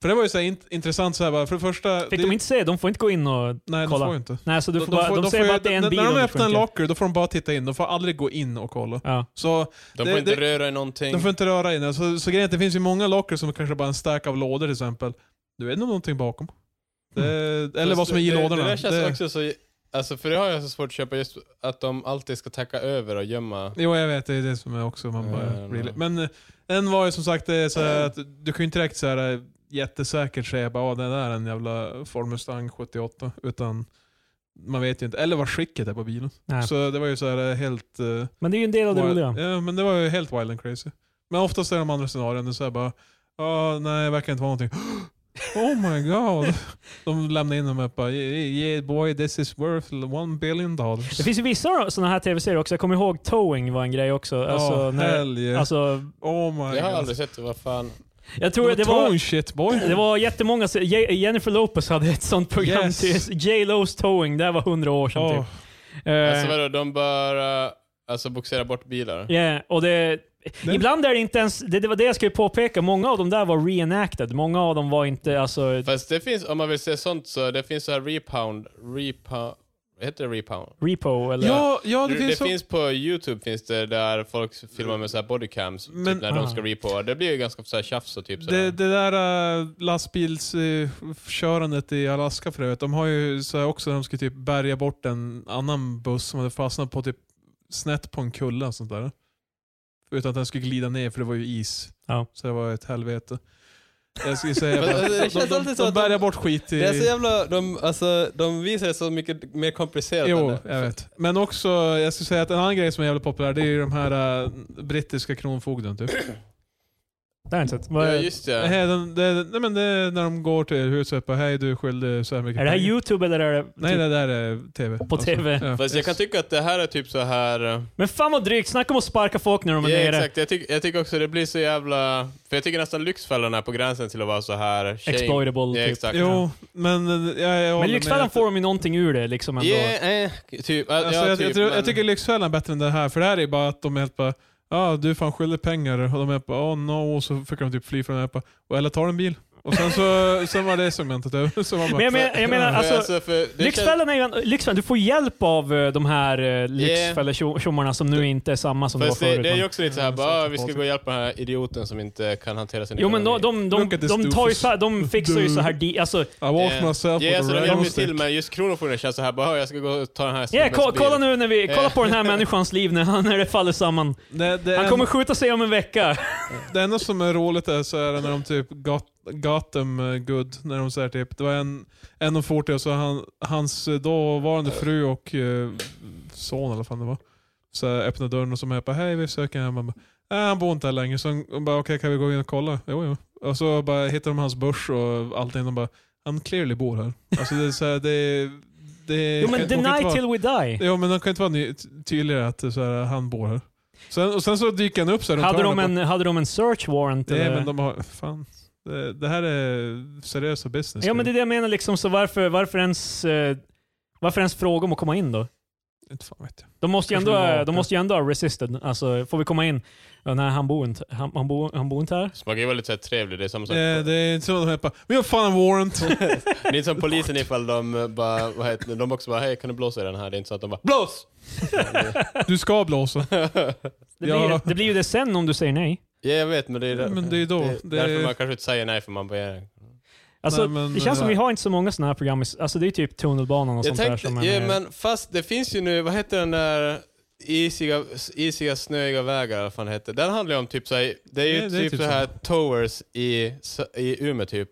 [SPEAKER 1] för det var ju så här, int- intressant så här bara, för det första...
[SPEAKER 2] Fick
[SPEAKER 1] det,
[SPEAKER 2] de inte säga, de får inte gå in och...
[SPEAKER 1] nej, de
[SPEAKER 2] kolla?
[SPEAKER 1] får ju inte.
[SPEAKER 2] Nej, så du får bara, de, säger bara att det är en
[SPEAKER 1] när-
[SPEAKER 2] bil.
[SPEAKER 1] När de
[SPEAKER 2] under
[SPEAKER 1] öppnar en
[SPEAKER 2] skynken.
[SPEAKER 1] locker, då får de bara titta in. De får aldrig gå in och kolla.
[SPEAKER 2] Ja.
[SPEAKER 1] Så
[SPEAKER 3] De
[SPEAKER 1] Det-
[SPEAKER 3] får inte
[SPEAKER 1] det-
[SPEAKER 3] röra i någonting.
[SPEAKER 1] de får inte röra in. Alltså, Så, så grejen är att det finns ju många locker som kanske bara är en stack av lådor till exempel. Du vet nog någonting bakom. Det, Eller vad som är i
[SPEAKER 3] Mm. det,
[SPEAKER 1] lådorna.
[SPEAKER 3] Det där känns
[SPEAKER 1] Det-
[SPEAKER 3] också så... Alltså för det har jag så svårt att köpa, just att de alltid ska täcka över och gömma.
[SPEAKER 1] Jo, jag vet. Det är det som är också... Man bara,
[SPEAKER 3] Ja, ja, Mm. ja.
[SPEAKER 1] really. Men eh, en var ju som sagt det är så här att du kan ju inte direkt så här, eh, jättesäkert säga bara "Ah, det där är en jävla Ford Mustang 78. Utan man vet ju inte. Eller vad skicket är på bilen.
[SPEAKER 2] Nej.
[SPEAKER 1] Så det var ju så här eh, helt... eh,
[SPEAKER 2] Men det är ju en del av det
[SPEAKER 1] wild,
[SPEAKER 2] roliga.
[SPEAKER 1] ja, men det var ju helt wild and crazy. Men oftast är de andra scenarierna så här bara... Ja, nej, det verkar inte vara någonting. Oh my god. De lämnar in dem och bara "Yeah, yeah boy this is worth one billion dollars.
[SPEAKER 2] Det finns ju vissa sådana här tv-serier också. Jag kommer ihåg Towing var en grej också. Alltså,
[SPEAKER 1] Ja,
[SPEAKER 2] när,
[SPEAKER 1] hell yeah.
[SPEAKER 2] alltså,
[SPEAKER 1] oh my
[SPEAKER 3] Jag har
[SPEAKER 1] god.
[SPEAKER 3] aldrig sett vad fan...
[SPEAKER 2] jag tror det var...
[SPEAKER 1] Tone shit boy.
[SPEAKER 2] Det var jättemånga, se- Je- Jennifer Lopez hade ett sånt program
[SPEAKER 1] Yes.
[SPEAKER 2] till J. Lo's Towing, det här var hundra år sedan
[SPEAKER 1] Åh,
[SPEAKER 2] typ. Eh,
[SPEAKER 3] Alltså vadå, de bara... Alltså boxera bort bilar.
[SPEAKER 2] ja, och det,
[SPEAKER 1] Den-
[SPEAKER 2] ibland är det inte ens, det, det var det jag skulle påpeka, många av dem där var reenacted, många av dem var inte, alltså
[SPEAKER 3] Fast det finns, om man vill se sånt så, det finns så här repound, repound, heter det repound?
[SPEAKER 2] repo eller...
[SPEAKER 1] ja, ja,
[SPEAKER 3] Det,
[SPEAKER 1] det, finns, så,
[SPEAKER 3] finns på youtube finns det där folk filmar med så här bodycams,
[SPEAKER 1] Men-
[SPEAKER 3] typ när
[SPEAKER 2] ah.
[SPEAKER 3] de ska repoa. Det blir ju ganska så här tjafs och typ så
[SPEAKER 1] det,
[SPEAKER 3] här.
[SPEAKER 1] det där äh, lastbilskörandet i Alaska för övrigt. De har ju så här också när de ska typ bärga bort en annan buss som hade fastnat på typ snett på en kulle och sånt där. Utan att den skulle glida ner för det var ju is.
[SPEAKER 2] Ja.
[SPEAKER 1] Så det var ett helvete. Jag skulle säga
[SPEAKER 4] Men,
[SPEAKER 1] bara,
[SPEAKER 4] alltså, det
[SPEAKER 1] de,
[SPEAKER 4] känns
[SPEAKER 1] de, de,
[SPEAKER 4] alltid så att de-
[SPEAKER 1] bärgar bort skit i...
[SPEAKER 4] Det är så jävla, de, alltså, de visar det så mycket mer komplicerat än
[SPEAKER 1] Jo,
[SPEAKER 4] det.
[SPEAKER 1] jag vet. Men också, jag skulle säga att en annan grej som är jävligt populär, det är ju de här äh, brittiska kronfogden typ.
[SPEAKER 2] Det har jag inte sett. Vad-
[SPEAKER 3] Ja just det.
[SPEAKER 1] Nej, de, det- nej, men det är när de går till huset och bara hej du är skyldig så här mycket
[SPEAKER 2] Är det här
[SPEAKER 1] pengar."
[SPEAKER 2] YouTube eller är det... Typ,
[SPEAKER 1] Nej det där är tv.
[SPEAKER 2] På TV.
[SPEAKER 1] ja.
[SPEAKER 3] Fast jag kan tycka att det här är typ så här...
[SPEAKER 2] Men fan vad drygt, snacka om att sparka folk när de är
[SPEAKER 3] ja,
[SPEAKER 2] nere.
[SPEAKER 3] exakt. Jag, tycker jag tycker också det blir så jävla... För jag tycker nästan Lyxfällan är på gränsen till att vara så här... shame.
[SPEAKER 2] Exploitable
[SPEAKER 3] Ja,
[SPEAKER 2] typ.
[SPEAKER 3] exakt.
[SPEAKER 1] Jo, men eh, jag, jag håller
[SPEAKER 2] Men Lyxfällan
[SPEAKER 1] med.
[SPEAKER 2] får de ju någonting ur det liksom ändå.
[SPEAKER 3] Yeah, eh, typ.
[SPEAKER 1] Alltså,
[SPEAKER 3] ja,
[SPEAKER 1] jag,
[SPEAKER 3] typ,
[SPEAKER 1] jag, tror,
[SPEAKER 3] men-
[SPEAKER 1] jag tycker Lyxfällan är bättre än det här, för det här är bara att de är helt bara Ja, du är fan skyldig pengar. Och de är bara oh no, och så fick de typ fly från det här. bara, "Och Eller tar en bil. Och sen så sen var det segmentet över. Så var bara,
[SPEAKER 2] Men jag menar, jag menar
[SPEAKER 3] För
[SPEAKER 2] alltså...
[SPEAKER 3] för det känns-
[SPEAKER 2] Lyxfällan är ju en, Lyxfällan, du får hjälp av eh, de här eh, Lyxfällor-tjommarna som nu inte är samma som det var
[SPEAKER 3] Fast det,
[SPEAKER 2] förut.
[SPEAKER 3] det är ju
[SPEAKER 2] men-
[SPEAKER 3] också lite
[SPEAKER 1] Mm,
[SPEAKER 3] så här, bara, "Ah, vi ska gå och hjälpa den här idioten som inte kan hantera sin
[SPEAKER 2] Jo men de,
[SPEAKER 3] ekonomi."
[SPEAKER 2] de, de,
[SPEAKER 1] Look at this
[SPEAKER 2] de, tar ju
[SPEAKER 1] doofus.
[SPEAKER 2] så här, de fixar ju så här, di- alltså,
[SPEAKER 1] I walked
[SPEAKER 3] Eh,
[SPEAKER 1] myself
[SPEAKER 3] Ja,
[SPEAKER 1] with
[SPEAKER 3] alltså
[SPEAKER 1] a
[SPEAKER 3] de
[SPEAKER 1] random
[SPEAKER 3] hjälper ju till,
[SPEAKER 1] stick.
[SPEAKER 3] men just Kronofogden känns så här, bara, "Ah, jag ska gå och ta den här
[SPEAKER 2] ja,
[SPEAKER 3] snubbens
[SPEAKER 2] ko-
[SPEAKER 3] bil."
[SPEAKER 2] kolla nu när vi, kolla
[SPEAKER 3] Eh.
[SPEAKER 2] på den här människans liv när, han, när det faller samman.
[SPEAKER 1] Det, det,
[SPEAKER 2] Han
[SPEAKER 1] en-
[SPEAKER 2] kommer skjuta sig om en vecka.
[SPEAKER 1] Det enda som är roligt är så här när de typ got, got them eh, good. När de säger typ, det var en, en och 40 och så han, hans eh, dåvarande fru och eh, son eller vad fan det var. Så här, öppnar dörren och så är bara hej vi söker en. Man bara, Nej, han bor inte här längre. Så de bara okej kan vi gå in och kolla? Jo, jo. Och så bara hittar de hans börs och allting. De bara han clearly bor här. Alltså det är så här, det, det
[SPEAKER 2] Jo
[SPEAKER 1] de
[SPEAKER 2] men
[SPEAKER 1] kan inte
[SPEAKER 2] deny
[SPEAKER 1] vara-
[SPEAKER 2] till we die.
[SPEAKER 1] Jo men de kan inte vara ny- tydligare att så här, han bor här. Sen, och sen så dyker han upp så här runt
[SPEAKER 2] Hade
[SPEAKER 1] hörnet
[SPEAKER 2] de,
[SPEAKER 1] på-
[SPEAKER 2] en, hade de en search warrant?
[SPEAKER 1] Nej,
[SPEAKER 2] Typ, eller?
[SPEAKER 1] men de har... Fan. Det, det här är seriösa business.
[SPEAKER 2] Ja men det är det jag menar liksom, så varför, varför ens... eh, Varför ens fråga om att komma in då?
[SPEAKER 1] Inte fan vet jag.
[SPEAKER 2] De måste ju
[SPEAKER 1] Kanske de var
[SPEAKER 2] ändå,
[SPEAKER 1] vakna.
[SPEAKER 2] de måste ju ändå ha resisted. Alltså, får vi komma in? Ja, nej, han bor inte, han, han bor, han bor inte här.
[SPEAKER 3] Så man kan ju vara lite så här trevlig, det är samma sak.
[SPEAKER 1] Eh, det är inte så att de är bara Vi har fan en warrant!
[SPEAKER 3] Det är inte som polisen ifall de eh, bara, vad heter det, de också bara, hej kan du blåsa i den här? Det är inte så att de bara, blås!
[SPEAKER 1] Du ska blåsa.
[SPEAKER 2] Det
[SPEAKER 1] Ja.
[SPEAKER 2] blir, det blir ju det sen om du säger nej.
[SPEAKER 3] Ja jag vet men det är där-
[SPEAKER 1] Men det är då.
[SPEAKER 3] Det,
[SPEAKER 1] Det-
[SPEAKER 3] därför man kanske inte säger nej för man bara, ja.
[SPEAKER 2] Alltså,
[SPEAKER 1] Nej, men-
[SPEAKER 2] det känns som vi har inte så många sådana här program. i s- Alltså det är typ tunnelbanan och
[SPEAKER 3] Jag
[SPEAKER 2] sånt
[SPEAKER 3] tänkte,
[SPEAKER 2] där som
[SPEAKER 3] ja
[SPEAKER 2] är,
[SPEAKER 3] men fast det finns ju nu, vad heter den där isiga, isiga snöiga vägar eller vad fan det heter. Den handlar ju om typ såhär, det är ju
[SPEAKER 1] Ja, det är
[SPEAKER 3] typ,
[SPEAKER 1] typ
[SPEAKER 3] så här towers i, s- i Umeå typ.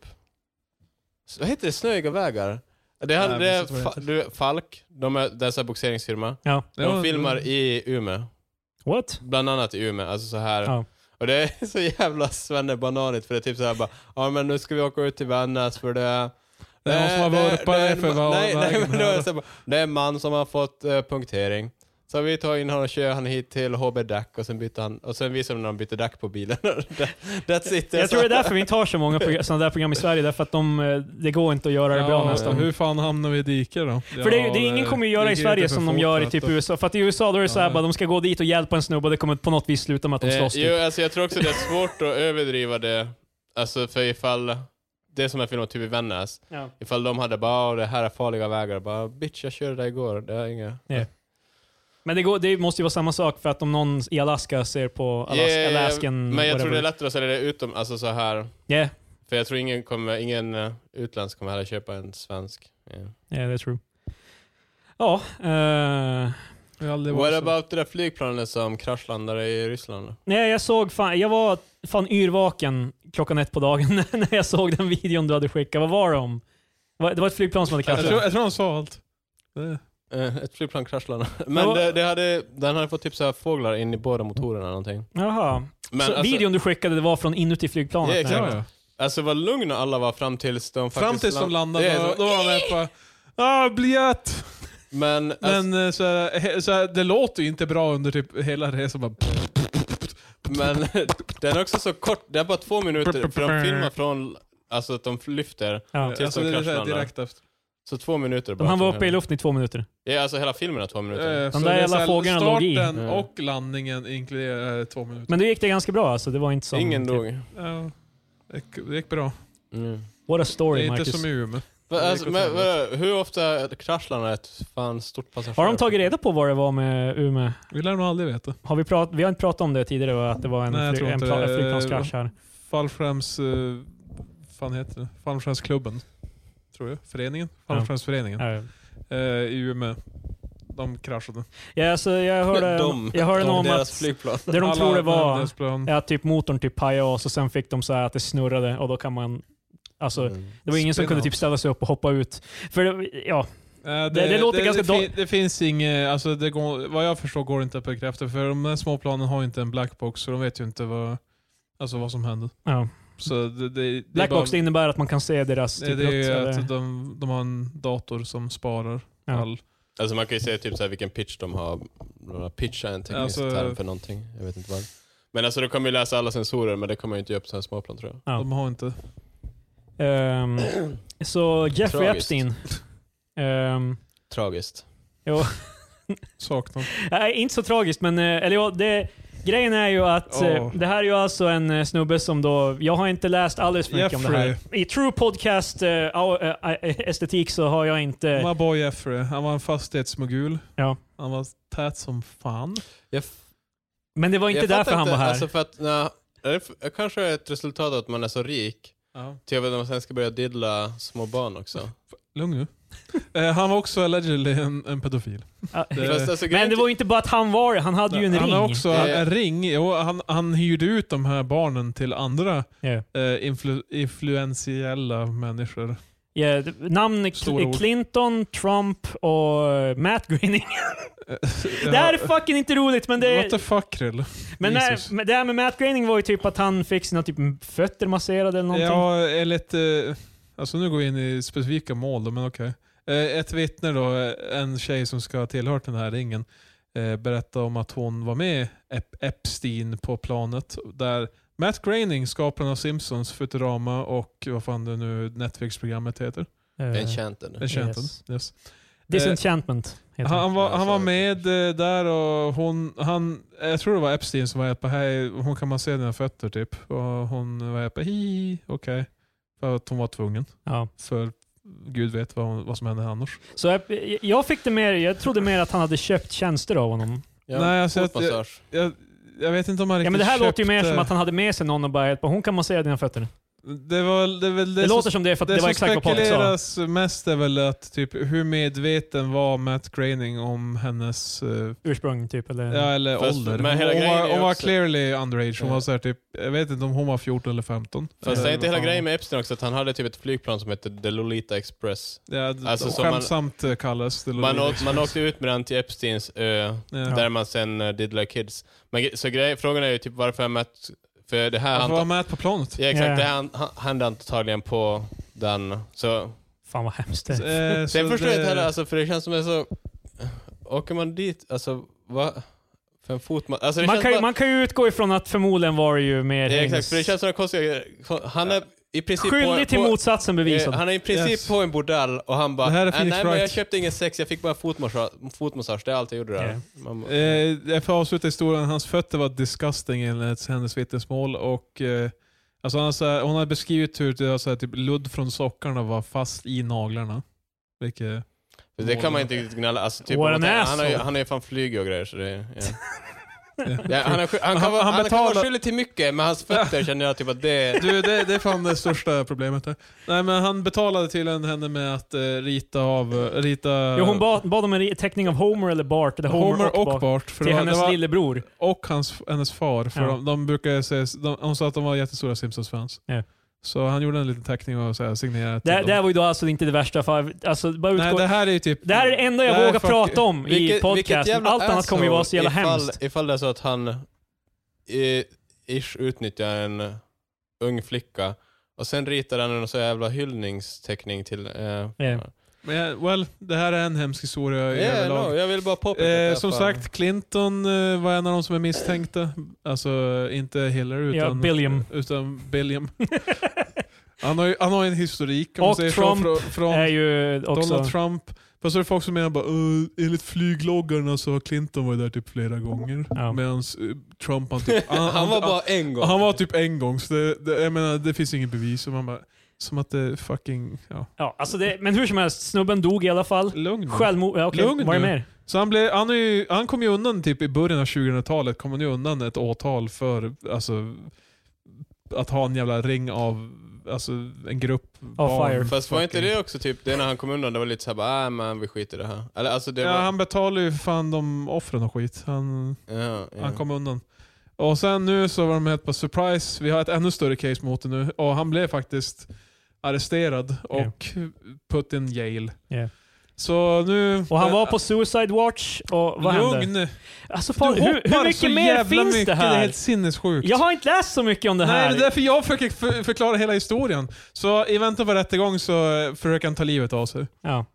[SPEAKER 3] S- Vad heter det? Snöiga vägar? Det
[SPEAKER 1] Nej,
[SPEAKER 3] handlar,
[SPEAKER 1] jag
[SPEAKER 3] det är
[SPEAKER 1] minns inte vad det
[SPEAKER 3] fa, du, Falk, de är, det är så här boxeringsfirma.
[SPEAKER 2] Ja.
[SPEAKER 3] De
[SPEAKER 1] Ja,
[SPEAKER 3] filmar
[SPEAKER 1] det-
[SPEAKER 3] i Umeå.
[SPEAKER 2] What?
[SPEAKER 3] Bland annat i Umeå, alltså så här.
[SPEAKER 2] Ja.
[SPEAKER 3] Och det är så jävla svennebananigt för det är typ så här bara, ja men nu ska vi åka ut till Vännäs för det
[SPEAKER 1] Det är någon som har
[SPEAKER 3] det-
[SPEAKER 1] vurpat
[SPEAKER 3] det är
[SPEAKER 1] dig
[SPEAKER 3] en
[SPEAKER 1] för
[SPEAKER 3] ma-
[SPEAKER 1] vad-
[SPEAKER 3] nej, nej,
[SPEAKER 1] vägen
[SPEAKER 3] men då är
[SPEAKER 1] här.
[SPEAKER 3] det, så här bara, det är en man som har fått eh, punktering. Så vi tar in honom och kör han hit till HB Dac och sen byter han, och sen visar de när han byter Dac på bilen. That's it. Alltså,
[SPEAKER 2] Jag tror det är därför vi inte har så många progr- sådana där program i Sverige, därför att de, eh, det går inte att göra det bra
[SPEAKER 1] Ja,
[SPEAKER 2] nästan.
[SPEAKER 1] Hur fan hamnar vi i diket då?
[SPEAKER 2] För det, är ju- det, är ingen kommer ju göra i Sverige som de gör i typ USA. För att i USA då är det såhär
[SPEAKER 1] Ja.
[SPEAKER 2] bara, de ska gå dit och hjälpa en snubbe och det kommer på något vis sluta med att de
[SPEAKER 3] Eh,
[SPEAKER 2] slåss. typ.
[SPEAKER 3] jo, alltså jag tror också det är svårt att överdriva det. Alltså för ifall, det som är filmat typ i Vännäs,
[SPEAKER 2] Ja.
[SPEAKER 3] ifall de hade bara "Åh, det här är farliga vägar, bara bitch jag körde där igår, det är inga...
[SPEAKER 2] Ja. Men det, går, det måste ju vara samma sak för att om någon i Alaska ser på Alas
[SPEAKER 3] Yeah,
[SPEAKER 2] Alaskan...
[SPEAKER 3] men jag tror det
[SPEAKER 2] whatever.
[SPEAKER 3] är lättare att sälja det utom, alltså så här.
[SPEAKER 2] Yeah,
[SPEAKER 3] För jag tror ingen, kommer, ingen eh, utländsk kommer heller köpa en svensk. Yeah.
[SPEAKER 2] yeah, that's true. Ja, eh,
[SPEAKER 3] What about det där flygplanet som kraschlandade i Ryssland?
[SPEAKER 2] nej, jag såg fan, jag var fan yrvaken klockan ett på dagen när jag såg den videon du hade skickat. Vad var det om? Va- Det var ett flygplan som hade
[SPEAKER 1] Jag tror,
[SPEAKER 2] kraschat.
[SPEAKER 1] jag tror han sa allt. Det-
[SPEAKER 3] Eh, ett flygplan kraschlandade.
[SPEAKER 2] Men
[SPEAKER 3] Men
[SPEAKER 2] vad-
[SPEAKER 3] det, det hade, den hade fått typ så här fåglar in i båda motorerna eller någonting.
[SPEAKER 2] Jaha.
[SPEAKER 3] Men
[SPEAKER 2] så
[SPEAKER 3] alltså,
[SPEAKER 2] videon du skickade det var från inuti flygplanet?
[SPEAKER 3] Ja, exakt.
[SPEAKER 2] Nej.
[SPEAKER 1] Ja, ja.
[SPEAKER 3] alltså vad lugna alla var fram tills de faktiskt...
[SPEAKER 1] Fram tills de
[SPEAKER 3] land-
[SPEAKER 1] landade,
[SPEAKER 3] Ja,
[SPEAKER 1] då,
[SPEAKER 3] så-
[SPEAKER 1] då var han helt bara Ah, biljett!
[SPEAKER 3] Men, alltså,
[SPEAKER 1] Men eh, så här, he- så här, det låter ju inte bra under typ hela resan. Bara,
[SPEAKER 3] men den är också så kort, det är bara två minuter, för de filmar från, alltså att de lyfter,
[SPEAKER 2] Ja.
[SPEAKER 3] tills
[SPEAKER 1] alltså, det
[SPEAKER 3] de
[SPEAKER 1] är så här,
[SPEAKER 3] kraschlandar.
[SPEAKER 1] direkt efter.
[SPEAKER 3] så två minuter bara.
[SPEAKER 2] De han var uppe i luften i två minuter.
[SPEAKER 3] Ja, alltså hela filmen är två minuter.
[SPEAKER 1] Eh,
[SPEAKER 2] De
[SPEAKER 1] så
[SPEAKER 2] där
[SPEAKER 1] det är
[SPEAKER 2] jävla
[SPEAKER 1] så här,
[SPEAKER 2] fåglarna låg i. Mm.
[SPEAKER 1] Starten
[SPEAKER 3] Ja.
[SPEAKER 1] och landningen inkluderar eh, två minuter.
[SPEAKER 2] Men då gick det ganska bra alltså. Det var inte som... Mm.
[SPEAKER 3] Ingen dog.
[SPEAKER 1] Ja, det gick- det gick bra.
[SPEAKER 3] Mm.
[SPEAKER 2] What
[SPEAKER 1] Det
[SPEAKER 2] a story
[SPEAKER 1] är inte
[SPEAKER 2] Marcus.
[SPEAKER 1] som i Umeå.
[SPEAKER 3] Va-
[SPEAKER 1] Det
[SPEAKER 3] Alltså,
[SPEAKER 1] gick åt
[SPEAKER 3] men,
[SPEAKER 1] helvete.
[SPEAKER 3] va- hur ofta kraschlandar ett fan stort passagerare?
[SPEAKER 2] Har de tagit reda på vad det var med Umeå?
[SPEAKER 1] Vi lär nog aldrig veta.
[SPEAKER 2] Har vi, prat, vi har inte pratat om det tidigare, va? att det var en,
[SPEAKER 1] Nej, jag
[SPEAKER 2] fly,
[SPEAKER 1] tror
[SPEAKER 2] en
[SPEAKER 1] inte
[SPEAKER 2] pla,
[SPEAKER 1] det.
[SPEAKER 2] flygplanskrasch här.
[SPEAKER 1] Fallskärms... Eh, fan heter det? Fallskärmsklubben. Tror jag. Föreningen. Fallskärmsföreningen.
[SPEAKER 2] Ja.
[SPEAKER 1] Eh, I Umeå. De kraschade.
[SPEAKER 2] Ja, alltså, jag hörde,
[SPEAKER 3] de,
[SPEAKER 2] jag hörde
[SPEAKER 3] de,
[SPEAKER 2] något om
[SPEAKER 3] deras
[SPEAKER 2] att
[SPEAKER 3] flygplan.
[SPEAKER 2] det de tror det var
[SPEAKER 1] deras plan.
[SPEAKER 2] är att typ motorn typ pajade och så sen fick de så här att det snurrade och då kan man... Alltså,
[SPEAKER 3] Mm.
[SPEAKER 2] det var ingen som
[SPEAKER 1] Spin
[SPEAKER 2] kunde
[SPEAKER 1] out.
[SPEAKER 2] typ ställa sig upp och hoppa ut. För det, ja,
[SPEAKER 1] Eh, det,
[SPEAKER 2] det låter ganska
[SPEAKER 1] det, fin- det finns inget, alltså det går, vad jag förstår går det inte att bekräfta för de här småplanen har ju inte en blackbox så de vet ju inte vad, alltså vad som händer.
[SPEAKER 2] ja.
[SPEAKER 1] Så det, det, det är
[SPEAKER 2] Blackbox det
[SPEAKER 1] bara,
[SPEAKER 2] innebär att man kan se deras
[SPEAKER 1] det,
[SPEAKER 2] typ,
[SPEAKER 1] det är
[SPEAKER 2] rutt,
[SPEAKER 1] ju
[SPEAKER 2] eller-
[SPEAKER 1] att de, de har en dator som sparar
[SPEAKER 2] Ja.
[SPEAKER 1] all...
[SPEAKER 3] Alltså man kan ju säga typ så här vilken pitch de har. De har pitcha är en teknisk
[SPEAKER 1] Alltså-
[SPEAKER 3] term för någonting. Jag vet inte vad. Men alltså du kommer ju läsa alla sensorer men det kommer ju inte göra på sådana här småplan tror jag.
[SPEAKER 2] Ja.
[SPEAKER 1] De har inte...
[SPEAKER 2] Ehm, så Jeffrey
[SPEAKER 3] Tragiskt.
[SPEAKER 2] Epstein. Ehm,
[SPEAKER 3] Tragiskt.
[SPEAKER 1] Saknar.
[SPEAKER 2] nej, inte så tragiskt, men eh, eller, ja, det, grejen är ju att eh,
[SPEAKER 1] Åh.
[SPEAKER 2] det här är ju alltså en eh, snubbe som då, jag har inte läst alldeles för mycket om det här. I true podcast eh, au- eh, eh, estetik så har jag
[SPEAKER 1] De
[SPEAKER 2] inte...
[SPEAKER 1] har boy Jeffrey. E. Han var en fastighetsmogul.
[SPEAKER 2] Ja.
[SPEAKER 1] Han var tät som fan.
[SPEAKER 3] Jag,
[SPEAKER 2] Men det var inte därför han var här.
[SPEAKER 3] Alltså för att, nej, är det f- kanske är ett resultat av att man är så rik.
[SPEAKER 1] Ja.
[SPEAKER 3] Till jag vet att man sen ska börja diddla små barn också.
[SPEAKER 1] Lugn nu. eh, han var också allegedly en, en pedofil.
[SPEAKER 2] Ja.
[SPEAKER 1] Det-
[SPEAKER 3] Fast, alltså,
[SPEAKER 2] men
[SPEAKER 3] grejen-
[SPEAKER 2] det var ju inte bara att han var det, han hade ju en
[SPEAKER 1] han
[SPEAKER 2] ring.
[SPEAKER 1] har också
[SPEAKER 3] Eh.
[SPEAKER 1] en ring. Jo, han, han hyrde ut de här barnen till andra
[SPEAKER 2] Ja.
[SPEAKER 1] eh, influ, influentiella människor.
[SPEAKER 2] Ja, det- namn är
[SPEAKER 1] Stora
[SPEAKER 2] Cl-
[SPEAKER 1] ord.
[SPEAKER 2] Clinton, Trump och eh, Matt Groening.
[SPEAKER 1] Eh, Ja.
[SPEAKER 2] Det här är fucking inte roligt men det,
[SPEAKER 1] What the fuck Krill?
[SPEAKER 2] Men
[SPEAKER 1] Jesus.
[SPEAKER 2] när, men det här med Matt Groening var ju typ att han fick sina typ fötter masserade eller någonting.
[SPEAKER 1] Ja, enligt... Eh, alltså nu går vi in i specifika mål då, men okej. Eh, ett vittne då, eh, en tjej som ska ha tillhört den här ringen, eh, berättade om att hon var med Ep- Epstein på planet där Matt Groening, skaparen av Simpsons, Futurama och vad fan det nu Netflix-programmet heter.
[SPEAKER 2] Eh,
[SPEAKER 3] Enchanted.
[SPEAKER 1] Enchanted.
[SPEAKER 2] Yes.
[SPEAKER 1] Yes.
[SPEAKER 2] Disenchantment heter
[SPEAKER 1] Han,
[SPEAKER 2] han.
[SPEAKER 1] han, var,
[SPEAKER 3] Ja,
[SPEAKER 1] han var
[SPEAKER 3] så-
[SPEAKER 1] med eh, där och hon, han, jag tror det var Epstein som var på hej, hon kan man se dina fötter typ. Och hon var på hi, okej. För att hon var tvungen.
[SPEAKER 2] Ja.
[SPEAKER 1] För gud vet vad, hon, vad som hände annars.
[SPEAKER 2] Så jag, jag fick det mer, jag trodde mer att han hade köpt tjänster av honom.
[SPEAKER 3] Ja,
[SPEAKER 1] Nej, alltså, jag-
[SPEAKER 3] fotmassage.
[SPEAKER 1] Jag, jag vet inte om han
[SPEAKER 2] Ja,
[SPEAKER 1] riktigt
[SPEAKER 2] men det här låter ju mer
[SPEAKER 1] köpte-
[SPEAKER 2] som att han hade med sig någon och bara hjälpa. Hon kan massera dina fötter. Det,
[SPEAKER 1] Det, var, det, är väl det, som,
[SPEAKER 2] låter som det för att
[SPEAKER 1] det,
[SPEAKER 2] det, var
[SPEAKER 1] som
[SPEAKER 2] exakt vad Patrik sa.
[SPEAKER 1] spekuleras mest är väl att typ, hur medveten var Matt Groening om hennes eh,
[SPEAKER 2] Ursprung typ. Eller,
[SPEAKER 1] Ja, eller
[SPEAKER 3] Fast-
[SPEAKER 1] ålder.
[SPEAKER 3] men hela
[SPEAKER 1] hon,
[SPEAKER 3] grejen är
[SPEAKER 1] var,
[SPEAKER 3] ju
[SPEAKER 1] hon var
[SPEAKER 3] också-
[SPEAKER 1] clearly underage. Hon
[SPEAKER 3] Ja.
[SPEAKER 1] var så här, typ, jag vet inte om hon var 14 eller Eh, 15.
[SPEAKER 3] Fast
[SPEAKER 1] Eller
[SPEAKER 3] det är
[SPEAKER 1] vad
[SPEAKER 3] inte hela
[SPEAKER 1] fan
[SPEAKER 3] grejen
[SPEAKER 1] hon-
[SPEAKER 3] med Epstein också att han hade typ ett flygplan som hette The Lolita Express.
[SPEAKER 1] Ja, d-
[SPEAKER 3] Alltså, som man-
[SPEAKER 1] skämtsamt eh, kallas det.
[SPEAKER 3] Man, åt, man åkte ut med den till Epsteins ö
[SPEAKER 1] Ja.
[SPEAKER 3] Där man sen uh, diddlar kids. Men, ge- så grej, frågan är ju typ varför är Matt... För det här
[SPEAKER 1] Han var
[SPEAKER 3] han,
[SPEAKER 1] med på planet.
[SPEAKER 3] ja, exakt,
[SPEAKER 2] Ja.
[SPEAKER 3] det här han- han- hände antagligen på den. Så,
[SPEAKER 2] Fan vad hemskt det
[SPEAKER 1] Så,
[SPEAKER 2] är.
[SPEAKER 1] eh,
[SPEAKER 3] sen
[SPEAKER 1] så
[SPEAKER 3] förstår jag
[SPEAKER 1] det-
[SPEAKER 3] inte heller, alltså, för det känns som att så... Åker man dit, alltså Va? Fem fot? Man, alltså det
[SPEAKER 2] Man
[SPEAKER 3] känns
[SPEAKER 2] kan, ju-
[SPEAKER 3] bara-
[SPEAKER 2] man kan ju utgå ifrån att förmodligen var det ju mer...
[SPEAKER 3] Ja, exakt,
[SPEAKER 2] Engels-
[SPEAKER 3] för det känns som en konstig grej. Han är i princip
[SPEAKER 2] Skyldig till
[SPEAKER 3] på, på,
[SPEAKER 2] motsatsen
[SPEAKER 3] eh,
[SPEAKER 2] bevisad.
[SPEAKER 3] Han är i princip
[SPEAKER 1] Yes.
[SPEAKER 3] på en bordell och han bara
[SPEAKER 1] Det här är
[SPEAKER 3] "Ah, Nej
[SPEAKER 1] Phoenix
[SPEAKER 3] men jag
[SPEAKER 1] Wright."
[SPEAKER 3] köpte ingen sex, jag fick bara en fotmassage, fotmassage det är allt jag gjorde där.
[SPEAKER 2] Ja.
[SPEAKER 3] Man bara,
[SPEAKER 1] Eh, jag får avsluta historien. Hans fötter var disgusting enligt hennes vittnesmål. Och, eh, alltså han har, så här, hon har beskrivit hur det var så här, typ, ludd från sockarna var fast i naglarna. Vilket,
[SPEAKER 3] det kan man inte riktigt gnälla. Alltså, typ,
[SPEAKER 2] What
[SPEAKER 3] om man
[SPEAKER 2] an
[SPEAKER 3] tänker- han, har ju,
[SPEAKER 2] asshole.
[SPEAKER 3] han har ju fan flyg och grejer så det... Ja.
[SPEAKER 1] ja.
[SPEAKER 3] Ja, han, är, sky- han, kan,
[SPEAKER 1] Han-
[SPEAKER 3] vara,
[SPEAKER 1] han
[SPEAKER 3] han, kan vara
[SPEAKER 1] betalar-
[SPEAKER 3] skyldig till mycket, men hans fötter känner jag typ att det är...
[SPEAKER 1] Du, det, det är fan det största problemet här. Nej, men han betalade till en- henne med att eh, rita av... eh, Rita
[SPEAKER 2] Jo, hon bad, bad om en re- teckning av Homer eller Bart, eller Homer, och, Bart,
[SPEAKER 1] Bart. För det
[SPEAKER 2] till
[SPEAKER 1] var,
[SPEAKER 2] hennes
[SPEAKER 1] det var,
[SPEAKER 2] lillebror.
[SPEAKER 1] och hans, hennes far. För
[SPEAKER 2] Ja.
[SPEAKER 1] de, de brukar säga, de, hon sa att de var jättestora Simpsons-fans.
[SPEAKER 2] Ja.
[SPEAKER 1] Så han gjorde en liten teckning och så här, signerade till
[SPEAKER 2] Det,
[SPEAKER 1] dem.
[SPEAKER 2] det här var ju då alltså inte det värsta, för, alltså, bara utgå,
[SPEAKER 1] Typ. Nej, det här är ju typ...
[SPEAKER 2] det här är det enda jag
[SPEAKER 1] det här
[SPEAKER 2] vågar
[SPEAKER 1] är fuck-
[SPEAKER 2] prata om i
[SPEAKER 3] Vilket- vilket
[SPEAKER 2] podcasten.
[SPEAKER 3] jävla
[SPEAKER 2] Allt annat kommer ju vara så jävla
[SPEAKER 3] asshole ifall,
[SPEAKER 2] hemskt.
[SPEAKER 3] Ifall det är så att han eh, ish utnyttjar en ung flicka och sen ritar han en så jävla hyllningsteckning till... Eh,
[SPEAKER 2] Ja.
[SPEAKER 1] Men, jag- well, det här är en hemsk historia
[SPEAKER 3] yeah,
[SPEAKER 1] överlag.
[SPEAKER 3] no, jag vill bara påpeka att
[SPEAKER 1] Eh,
[SPEAKER 3] jag
[SPEAKER 1] som
[SPEAKER 3] fan-
[SPEAKER 1] sagt, Clinton eh, var en av de som är misstänkta. Alltså eh, inte Hillary
[SPEAKER 2] Ja,
[SPEAKER 1] utan...
[SPEAKER 2] Billiam.
[SPEAKER 1] Utan Billiam. han, har ju, han har ju en historik kan man
[SPEAKER 2] Och
[SPEAKER 1] säga. från,
[SPEAKER 2] Trump
[SPEAKER 1] från
[SPEAKER 2] är ju också...
[SPEAKER 1] Donald Trump. Fast så är det folk som menar bara uh, enligt flygloggarna så har Clinton varit där typ flera gånger.
[SPEAKER 2] Ja.
[SPEAKER 1] Medan Trump han typ... Han,
[SPEAKER 3] Han var bara en gång.
[SPEAKER 1] han, han var typ en gång. Så det, det, jag menar, det finns ingen bevis. Och man bara, som att det fucking... Ja.
[SPEAKER 2] Ja, alltså det, men hur som helst, snubben dog i alla fall.
[SPEAKER 1] Lugn nu.
[SPEAKER 2] Självmord, ja, okej,
[SPEAKER 1] Lugn
[SPEAKER 2] vad är det
[SPEAKER 1] nu.
[SPEAKER 2] mer?
[SPEAKER 1] Så han, blev, han, är ju, han kom ju undan typ i början av 2000-talet, kom han ju undan ett åtal för alltså, att ha en jävla ring av alltså, en grupp
[SPEAKER 2] fire.
[SPEAKER 3] Fast var inte
[SPEAKER 1] Fucking-
[SPEAKER 3] det också typ, det när han kom undan, det var lite såhär bara, äh, men vi skiter i det här. Eller alltså det
[SPEAKER 1] Ja,
[SPEAKER 3] var...
[SPEAKER 1] han betalar ju fan de offren och skit. Han,
[SPEAKER 3] ja, ja.
[SPEAKER 1] han kom undan. Och sen nu så var de helt på surprise, vi har ett ännu större case mot det nu. Och han blev faktiskt arresterad
[SPEAKER 2] Ja.
[SPEAKER 1] och put in jail.
[SPEAKER 2] Ja.
[SPEAKER 1] Så nu...
[SPEAKER 2] Och han var på Suicide Watch, och vad hände?
[SPEAKER 1] Lugn!
[SPEAKER 2] Alltså,
[SPEAKER 1] Du
[SPEAKER 2] fan, hur, hur
[SPEAKER 1] hoppar så
[SPEAKER 2] mycket mer
[SPEAKER 1] jävla
[SPEAKER 2] finns
[SPEAKER 1] mycket,
[SPEAKER 2] det
[SPEAKER 1] Det är
[SPEAKER 2] här?
[SPEAKER 1] helt sinnessjukt.
[SPEAKER 2] Jag har inte läst så mycket om det här.
[SPEAKER 1] Nej, det är därför jag försöker för- förklara hela historien. Så i väntan på rättegång så eh, försöker han ta livet av sig.
[SPEAKER 2] ja.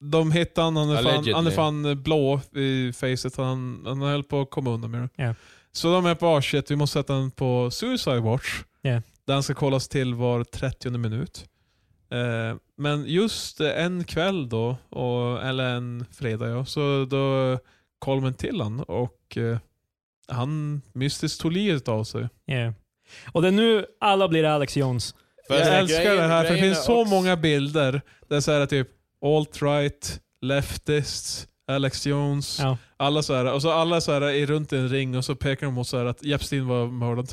[SPEAKER 1] De hittade han, han är fan,
[SPEAKER 3] Allegedly.
[SPEAKER 1] han är fan eh, blå i facet. Han, han höll på att komma undan med det.
[SPEAKER 2] Ja.
[SPEAKER 1] Så de är på ah shit, vi måste sätta honom på Suicide Watch.
[SPEAKER 2] Ja.
[SPEAKER 1] Där han ska kollas till var 30 minut. Eh, men just eh, en kväll då, och, eller en fredag ja, så då kollar man till han och eh, han mystiskt tog livet av sig.
[SPEAKER 2] ja. Och det är nu alla blir Alex Jones.
[SPEAKER 1] jag
[SPEAKER 3] Fast grejen-
[SPEAKER 1] älskar det här, för det
[SPEAKER 3] grejen
[SPEAKER 1] finns
[SPEAKER 3] är
[SPEAKER 1] så
[SPEAKER 3] också-
[SPEAKER 1] många bilder där så här typ alt-right, leftists, Alex Jones,
[SPEAKER 2] Ja.
[SPEAKER 1] alla så här, och så alla så här är runt i en ring och så pekar de mot så här att Epstein var mördad.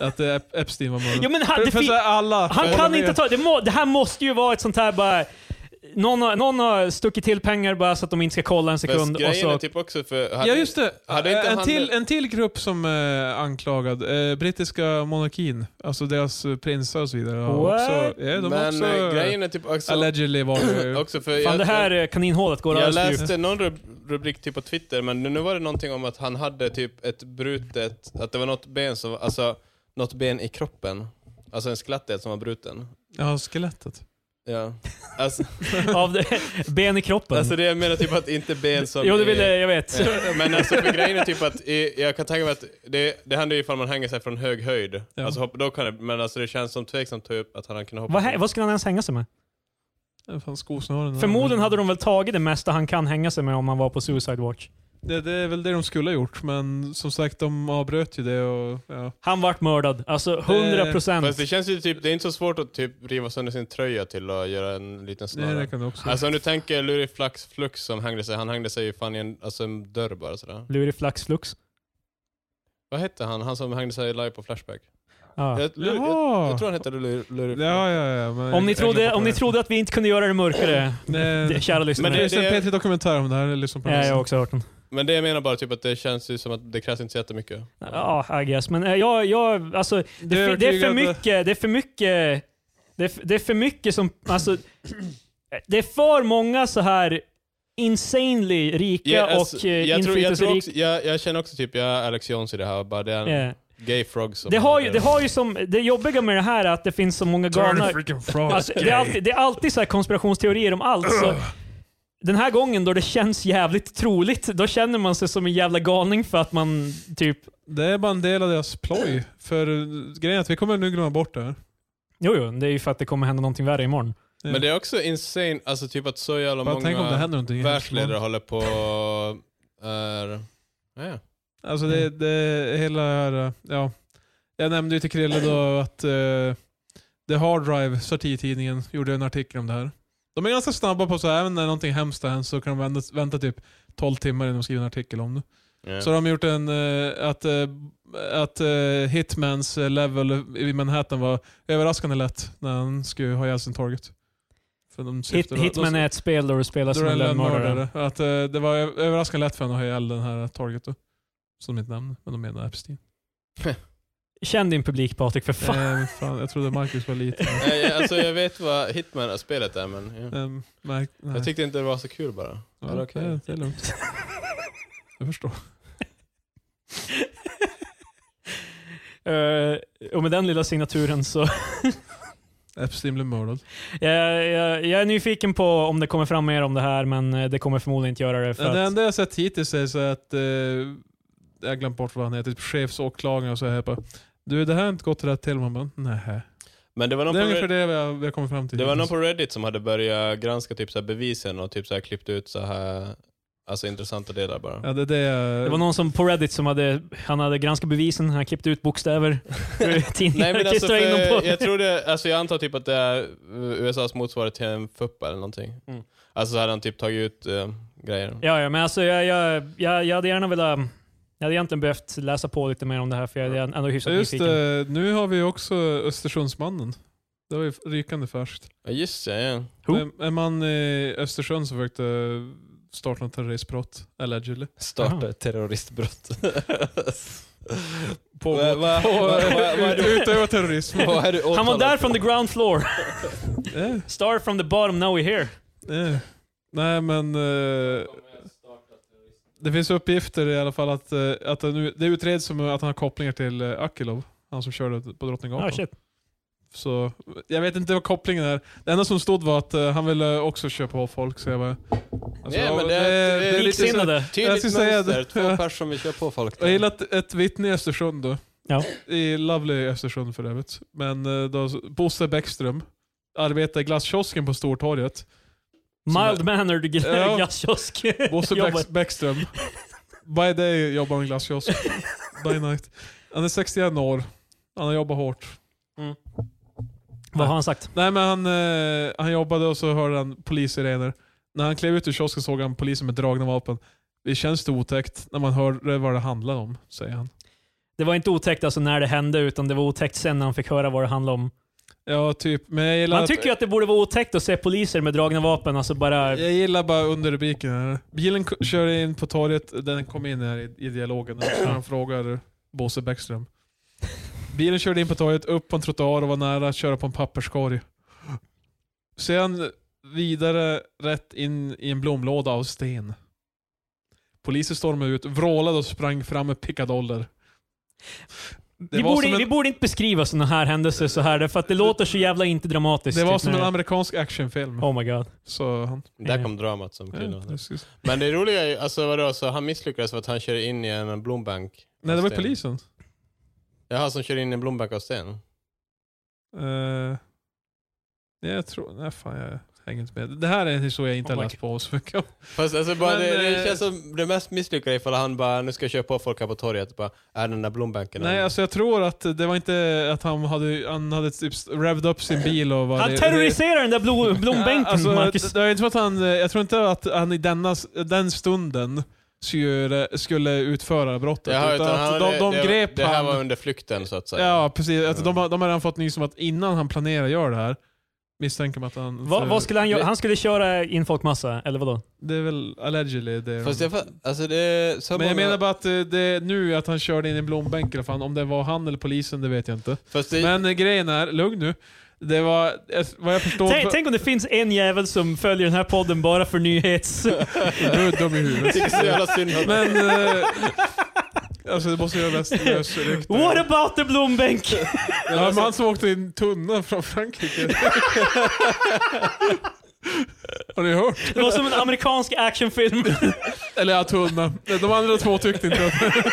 [SPEAKER 1] Att eh, Ep- Epstein var mördad.
[SPEAKER 2] Ja, men han,
[SPEAKER 1] för,
[SPEAKER 2] det
[SPEAKER 1] för
[SPEAKER 2] fin-
[SPEAKER 1] så här, alla,
[SPEAKER 2] han
[SPEAKER 1] för
[SPEAKER 2] kan
[SPEAKER 1] de är-
[SPEAKER 2] inte ta... Det, må, det här måste ju vara ett sånt här bara... Någon har, någon har stuckit till pengar bara så att de inte ska kolla en
[SPEAKER 3] Fast
[SPEAKER 2] sekund. Och
[SPEAKER 3] grejen
[SPEAKER 2] så,
[SPEAKER 3] är typ också för...
[SPEAKER 1] Ja just det,
[SPEAKER 3] hade inte
[SPEAKER 1] en,
[SPEAKER 3] han-
[SPEAKER 1] till, en till grupp som är anklagad, eh, brittiska monarkin, alltså deras eh, prinsar och så vidare. har
[SPEAKER 2] What?
[SPEAKER 1] Också, ja, de har
[SPEAKER 3] men
[SPEAKER 1] också,
[SPEAKER 3] eh, grejen är typ också...
[SPEAKER 1] allegedly var det ju.
[SPEAKER 3] också för
[SPEAKER 2] fan,
[SPEAKER 3] jag-
[SPEAKER 2] det här eh, kaninhålet går
[SPEAKER 3] Jag
[SPEAKER 2] alldeles för djupt.
[SPEAKER 3] läste någon rub- rubrik typ på Twitter, men nu var det någonting om att han hade typ ett brutet, att det var något ben som, alltså något ben i kroppen. Alltså en skelettdel som var bruten.
[SPEAKER 1] Ja, skelettet.
[SPEAKER 3] Ja. Alltså,
[SPEAKER 2] av det, ben i kroppen.
[SPEAKER 3] alltså det jag menar typ att inte ben som...
[SPEAKER 2] jo, det
[SPEAKER 3] är-
[SPEAKER 2] ville jag vet.
[SPEAKER 3] Eh, Men alltså för grejen är typ att, i, jag kan tänka mig att det, det händer ju ifall man hänger sig från hög höjd.
[SPEAKER 1] Ja.
[SPEAKER 3] Alltså hopp, då kan det, men alltså det känns som tveksamt typ att han kunde hoppa.
[SPEAKER 2] Vad, hä- vad skulle han ens hänga sig med?
[SPEAKER 1] Det är Fan,
[SPEAKER 3] Mm.
[SPEAKER 1] skosnören.
[SPEAKER 2] Förmodligen hade de väl tagit det mesta han kan hänga sig med om han var på Suicide Watch.
[SPEAKER 1] Det, det är väl det de skulle ha gjort, men som sagt de avbröt ju det och ja.
[SPEAKER 2] Han vart mördad. Alltså 100 procent.
[SPEAKER 3] Fast det känns ju typ, det är inte så svårt att typ riva sönder sin tröja till att göra en liten snara.
[SPEAKER 1] Det, det kan du också.
[SPEAKER 3] Alltså om du tänker Luri Flax Flux som hängde sig, han hängde sig ju fan i en, alltså en dörr bara sådär.
[SPEAKER 2] Lurig flax flux.
[SPEAKER 3] Vad hette han, han som hängde sig live på Flashback?
[SPEAKER 2] Ja.
[SPEAKER 3] Jag, Luri, jag,
[SPEAKER 1] Ah. Jaha!
[SPEAKER 3] jag tror han hette Luri, Luri Flax.
[SPEAKER 1] Ja, ja, ja. men-
[SPEAKER 2] Om ni,
[SPEAKER 1] jag
[SPEAKER 2] trodde,
[SPEAKER 1] glömde
[SPEAKER 2] om ni
[SPEAKER 1] det.
[SPEAKER 2] trodde att vi inte kunde göra det mörkare,
[SPEAKER 1] Nej.
[SPEAKER 2] det, kära lyssnare.
[SPEAKER 3] Mm. Men
[SPEAKER 1] Det finns
[SPEAKER 2] det,
[SPEAKER 1] en
[SPEAKER 3] det-
[SPEAKER 1] P3 dokumentär om det här, liksom på
[SPEAKER 2] ja, jag har
[SPEAKER 1] ja,
[SPEAKER 2] också hört den.
[SPEAKER 3] Men det jag menar bara typ att det känns ju som att det krävs inte så jättemycket.
[SPEAKER 2] Ja, I guess. Men eh, jag, jag, alltså, det,
[SPEAKER 1] är
[SPEAKER 2] är det är för
[SPEAKER 1] övertygande.
[SPEAKER 2] mycket, det är för mycket, det är, f- det är för mycket som, alltså, det är för många så här insanely rika
[SPEAKER 3] Ja, alltså,
[SPEAKER 2] och eh,
[SPEAKER 3] jag, tror, jag, tror
[SPEAKER 2] inflytelserika.
[SPEAKER 3] också, jag, jag känner också typ, jag är Alex Jones i det här, bara det är en
[SPEAKER 2] Yeah.
[SPEAKER 3] gay frog som...
[SPEAKER 2] Det har, ju, det har ju som, det jobbiga med det här är att det finns så många galna...
[SPEAKER 1] freaking frog.
[SPEAKER 2] Alltså, det, är alltid, det är alltid så här konspirationsteorier om allt. Så den här gången då det känns jävligt troligt, då känner man sig som en jävla galning för att man typ...
[SPEAKER 1] Det är bara en del av deras ploj. För eh, grejen är att vi kommer nu glömma bort det här.
[SPEAKER 2] Jo, jo, det är ju för att det kommer hända någonting värre imorgon.
[SPEAKER 1] Ja.
[SPEAKER 3] Men det är också insane, alltså typ att så jävla
[SPEAKER 1] Bara
[SPEAKER 3] många
[SPEAKER 1] tänk om det händer någonting. hemskt.
[SPEAKER 3] världsledare håller på är... Ja.
[SPEAKER 1] Alltså det,
[SPEAKER 2] Mm.
[SPEAKER 1] det hela här, eh, ja. Jag nämnde ju till Krille då att eh, The Hard Drive, satirtidningen, gjorde en artikel om det här. De är ganska snabba på så här, även när någonting hemskt har hänt så kan de vända, vänta typ 12 timmar innan de skriver en artikel om det.
[SPEAKER 3] Ja.
[SPEAKER 1] Så de har de gjort en, eh, att, eh, att eh, Hitmans eh, level i Manhattan var överraskande lätt när han skulle ha ihjäl sin target. För de
[SPEAKER 2] Hit,
[SPEAKER 1] syftade-
[SPEAKER 2] Hitman
[SPEAKER 1] de-
[SPEAKER 2] är ett spel där du spelar
[SPEAKER 1] då
[SPEAKER 2] som en lönnmördare.
[SPEAKER 1] lönnmördare. Att eh, det var ö- överraskande lätt för honom att ha ihjäl den här target då. Som de inte nämnde, men de menar Epstein.
[SPEAKER 2] Känn din publik Patrik, för fan.
[SPEAKER 1] Eh, fan, jag trodde Marcus var liten.
[SPEAKER 3] Nej, jag- alltså jag vet vad Hitman-spelet är men... Ja.
[SPEAKER 1] Eh, märk, nej.
[SPEAKER 3] Jag tyckte inte det var så kul bara.
[SPEAKER 1] Ja,
[SPEAKER 3] men okej.
[SPEAKER 1] det, det är lugnt. Jag förstår.
[SPEAKER 2] Eh, och med den lilla signaturen så...
[SPEAKER 1] Epstein blev mördad.
[SPEAKER 2] jag, jag, jag är nyfiken på om det kommer fram mer om det här, men eh, det kommer förmodligen inte göra det. För
[SPEAKER 1] Det
[SPEAKER 2] att,
[SPEAKER 1] enda jag har sett hittills är så att, eh, jag har glömt bort vad han heter, typ chefsåklagaren och så här. bara, Du, det här har inte gått rätt till. Man bara, nej.
[SPEAKER 3] Men det var
[SPEAKER 1] Det
[SPEAKER 3] någon
[SPEAKER 1] är
[SPEAKER 3] på
[SPEAKER 1] ungefär det
[SPEAKER 3] Reddit,
[SPEAKER 1] vi har, vi har kommit fram till.
[SPEAKER 3] det var någon på Reddit som hade börjat granska typ så här bevisen och typ så här klippt ut så här alltså intressanta delar bara.
[SPEAKER 1] ja, det, är det, jag-
[SPEAKER 2] det var någon som på Reddit som hade, han hade granskat bevisen, han klippte ut bokstäver ur
[SPEAKER 3] Nej
[SPEAKER 2] tidningar och
[SPEAKER 3] men alltså,
[SPEAKER 2] klistrade in dem
[SPEAKER 3] för,
[SPEAKER 2] på.
[SPEAKER 3] jag tror det, alltså jag antar typ att det är USAs motsvarighet till en FUPPA eller någonting.
[SPEAKER 2] Mm.
[SPEAKER 3] Alltså så hade han typ tagit ut eh, grejer.
[SPEAKER 2] Ja, ja, men alltså jag, jag, jag, jag hade gärna velat... Jag hade egentligen behövt läsa på lite mer om det här, för jag är ändå
[SPEAKER 1] Så
[SPEAKER 2] hyfsat
[SPEAKER 1] just
[SPEAKER 2] nyfiken.
[SPEAKER 1] det, nu har vi ju också Östersundsmannen. Det var ju rykande färskt.
[SPEAKER 3] Ja just det, ja.
[SPEAKER 2] Who?
[SPEAKER 1] En, en man i Östersund som försökte starta ett terroristbrott, allegedly.
[SPEAKER 4] Starta
[SPEAKER 2] Jaha.
[SPEAKER 4] ett terroristbrott.
[SPEAKER 1] På,
[SPEAKER 4] Vad- vad-
[SPEAKER 1] på,
[SPEAKER 4] vad- vad- vad-
[SPEAKER 1] ut- utöva terrorism.
[SPEAKER 4] Vad är du
[SPEAKER 2] Han var
[SPEAKER 4] åtalad
[SPEAKER 2] där
[SPEAKER 4] för?
[SPEAKER 2] from the ground floor.
[SPEAKER 1] Eh,
[SPEAKER 2] Start from the bottom, now we're here.
[SPEAKER 1] eh. Nej men... eh, det finns uppgifter i alla fall att, eh, att det, nu, det utreds som att han har kopplingar till eh, Akilov. Han som körde på Drottninggatan.
[SPEAKER 2] Ah, shit.
[SPEAKER 1] Så jag vet inte vad kopplingen är. Det enda som stod var att eh, han ville också köpa av folk, så jag bara... Alltså,
[SPEAKER 3] Ja, men det- det-
[SPEAKER 1] lite så-
[SPEAKER 2] Liksinnade.
[SPEAKER 1] Jag
[SPEAKER 3] Tydligt
[SPEAKER 1] skulle säga
[SPEAKER 3] mönster,
[SPEAKER 1] det.
[SPEAKER 3] två personer som vill köra på folk.
[SPEAKER 1] Jag gillar ett, ett vittne i Östersund då.
[SPEAKER 2] Ja.
[SPEAKER 1] I lovely Östersund för övrigt. Men eh, då, Bosse Bäckström arbetar i glasskiosken på Stortorget.
[SPEAKER 2] Mild mannered
[SPEAKER 1] Ja.
[SPEAKER 2] glasskiosk.
[SPEAKER 1] Bosse
[SPEAKER 2] Jobbar.
[SPEAKER 1] Bäck, Bäckström. By day jobbar han i glasskiosk. By night. Han är 61 år. Han har jobbat hårt.
[SPEAKER 2] Vad har han sagt?
[SPEAKER 1] Nej men han, eh, han jobbade och så hörde han polissirener. När han klev ut ur kiosken såg han polisen med dragna vapen. Det känns det otäckt när man hörde vad det handlade om, säger han.
[SPEAKER 2] Det var inte otäckt alltså när det hände, utan det var otäckt sen när han fick höra vad det handlade om.
[SPEAKER 1] Ja, typ. Men jag gillar
[SPEAKER 2] Man
[SPEAKER 1] att-
[SPEAKER 2] tycker ju att det borde vara otäckt att se poliser med dragna vapen, alltså bara...
[SPEAKER 1] Jag gillar bara underrubriken här. Bilen k- kör in på torget, den kom in här i, i dialogen. När han frågar Bosse Bäckström. Bilen körde in på torget, upp på en trottoar och var nära att köra på en papperskorg. Sedan vidare rätt in i en blomlåda av sten. Polisen stormade ut, vrålade och sprang fram med pickadoller. Det
[SPEAKER 2] Vi
[SPEAKER 1] var
[SPEAKER 2] borde,
[SPEAKER 1] som en-
[SPEAKER 2] vi borde inte beskriva sådana här händelser så här, för att det låter så jävla inte dramatiskt.
[SPEAKER 1] Det var
[SPEAKER 2] typ,
[SPEAKER 1] som
[SPEAKER 2] när
[SPEAKER 1] en amerikansk actionfilm.
[SPEAKER 2] Oh my god.
[SPEAKER 1] Så han...
[SPEAKER 3] Där kom dramat som kvinna.
[SPEAKER 1] Ja, precis.
[SPEAKER 3] Men det roliga är ju, alltså vadå, så han misslyckades för att han körde in i en blombank?
[SPEAKER 1] Nej, det var
[SPEAKER 3] av sten.
[SPEAKER 1] polisen.
[SPEAKER 3] Jaha, som körde in i en blombank av sten?
[SPEAKER 1] Eh, nej, jag tror... Nej, fan jag hänger inte med. Det här är en historia jag inte
[SPEAKER 2] Oh
[SPEAKER 1] har
[SPEAKER 2] my
[SPEAKER 1] läst på så mycket om.
[SPEAKER 3] Fast alltså bara,
[SPEAKER 1] Men,
[SPEAKER 3] det, det
[SPEAKER 1] eh,
[SPEAKER 3] känns som det mest misslyckade ifall han bara, nu ska jag köra på folk här på torget, bara, är den där blombanken?
[SPEAKER 1] Nej, alltså jag tror att det var inte att han hade, han hade typ revved upp sin bil och var...
[SPEAKER 2] Han terroriserar den där blo-
[SPEAKER 1] Ja,
[SPEAKER 2] blombänken,
[SPEAKER 1] alltså,
[SPEAKER 2] Marcus.
[SPEAKER 1] det- det är inte så att han, jag tror inte att han i denna, den stunden skulle, skulle utföra brottet.
[SPEAKER 3] Jaha,
[SPEAKER 1] utan att
[SPEAKER 3] han-
[SPEAKER 1] de, de
[SPEAKER 3] det,
[SPEAKER 1] grep
[SPEAKER 3] Det här
[SPEAKER 1] han.
[SPEAKER 3] var under flykten så att säga.
[SPEAKER 1] ja, precis. Att de, har- de har redan fått nys om att innan han planerar att göra det här, misstänker man att han...
[SPEAKER 2] Vad-
[SPEAKER 1] för-
[SPEAKER 2] vad skulle han göra?
[SPEAKER 3] det-
[SPEAKER 2] Han skulle köra in folkmassa, eller vadå?
[SPEAKER 1] Det är väl allegedly det
[SPEAKER 3] Fast jag, fa- alltså det är så
[SPEAKER 1] Men jag
[SPEAKER 3] många-
[SPEAKER 1] menar bara att eh, det nu att han körde in i en blombänk eller fan, om det var han eller polisen det vet jag inte.
[SPEAKER 3] Fast det,
[SPEAKER 1] Men eh, grejen är, lugn nu. Det var, eh, vad jag förstår...
[SPEAKER 2] Tänk, tänk om det finns en jävel som följer den här podden bara för nyhets...
[SPEAKER 1] Nu är dum i
[SPEAKER 3] jag
[SPEAKER 1] huvudet.
[SPEAKER 3] tycker så jävla synd om
[SPEAKER 1] Men... eh, Alltså det måste ju vara mest lösryckt.
[SPEAKER 2] What about the blombänk?
[SPEAKER 1] Det var en man som åkte i en tunna från Frankrike. Har ni hört?
[SPEAKER 2] Det var som en amerikansk actionfilm.
[SPEAKER 1] Eller ja, tunna. De andra två tyckte inte att...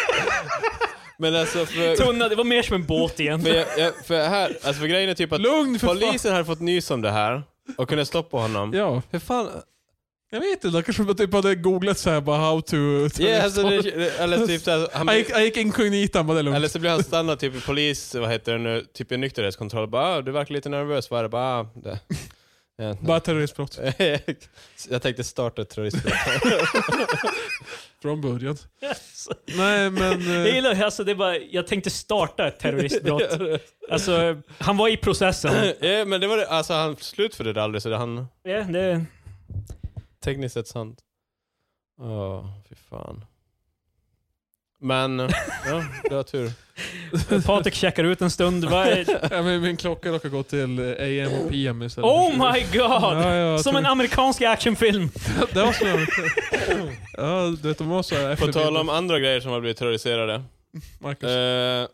[SPEAKER 3] Men alltså för...
[SPEAKER 2] Tunna, det var mer som en båt igen.
[SPEAKER 3] För, jag, jag, för, här, alltså för grejen är typ att
[SPEAKER 1] Lugn för fan!
[SPEAKER 3] polisen hade fått nys om det här och kunde stoppa honom.
[SPEAKER 1] Ja.
[SPEAKER 4] Hur fan?
[SPEAKER 1] Jag vet inte, de kanske typ hade googlat såhär bara how to...
[SPEAKER 3] Yeah, alltså, det, det- eller typ så här, han,
[SPEAKER 1] jag, gick, jag gick inkognito, han bara det är
[SPEAKER 3] eller
[SPEAKER 1] lugnt.
[SPEAKER 3] så blev han stannad typ i polis, vad heter det nu, typ i nykterhetskontroll. Bara, ah, du verkar lite nervös, vad är det? Bara, ah, det. Ja,
[SPEAKER 1] Bara terroristbrott.
[SPEAKER 3] jag tänkte starta ett terroristbrott.
[SPEAKER 1] Från början.
[SPEAKER 2] Yes.
[SPEAKER 1] Nej men...
[SPEAKER 2] Jag
[SPEAKER 1] eh,
[SPEAKER 2] gillar alltså, det är bara, jag tänkte starta ett terroristbrott. Alltså, han var i processen.
[SPEAKER 3] ja, men det var det, alltså han slutförde det aldrig så det han
[SPEAKER 2] Ja, det,
[SPEAKER 3] tekniskt sett sant. Ja, fy fan. Men, ja, du har tur.
[SPEAKER 2] Patrik checkar ut en stund. Vad är-
[SPEAKER 1] ja, men min klocka råkar gå till eh, AM och PM istället.
[SPEAKER 2] Oh my god!
[SPEAKER 1] Ja, ja,
[SPEAKER 2] Som en amerikansk actionfilm.
[SPEAKER 1] Det var så. Ja, du vet de var så här
[SPEAKER 3] På tal om andra grejer som har blivit terroriserade.
[SPEAKER 1] Marcus.
[SPEAKER 3] Eh,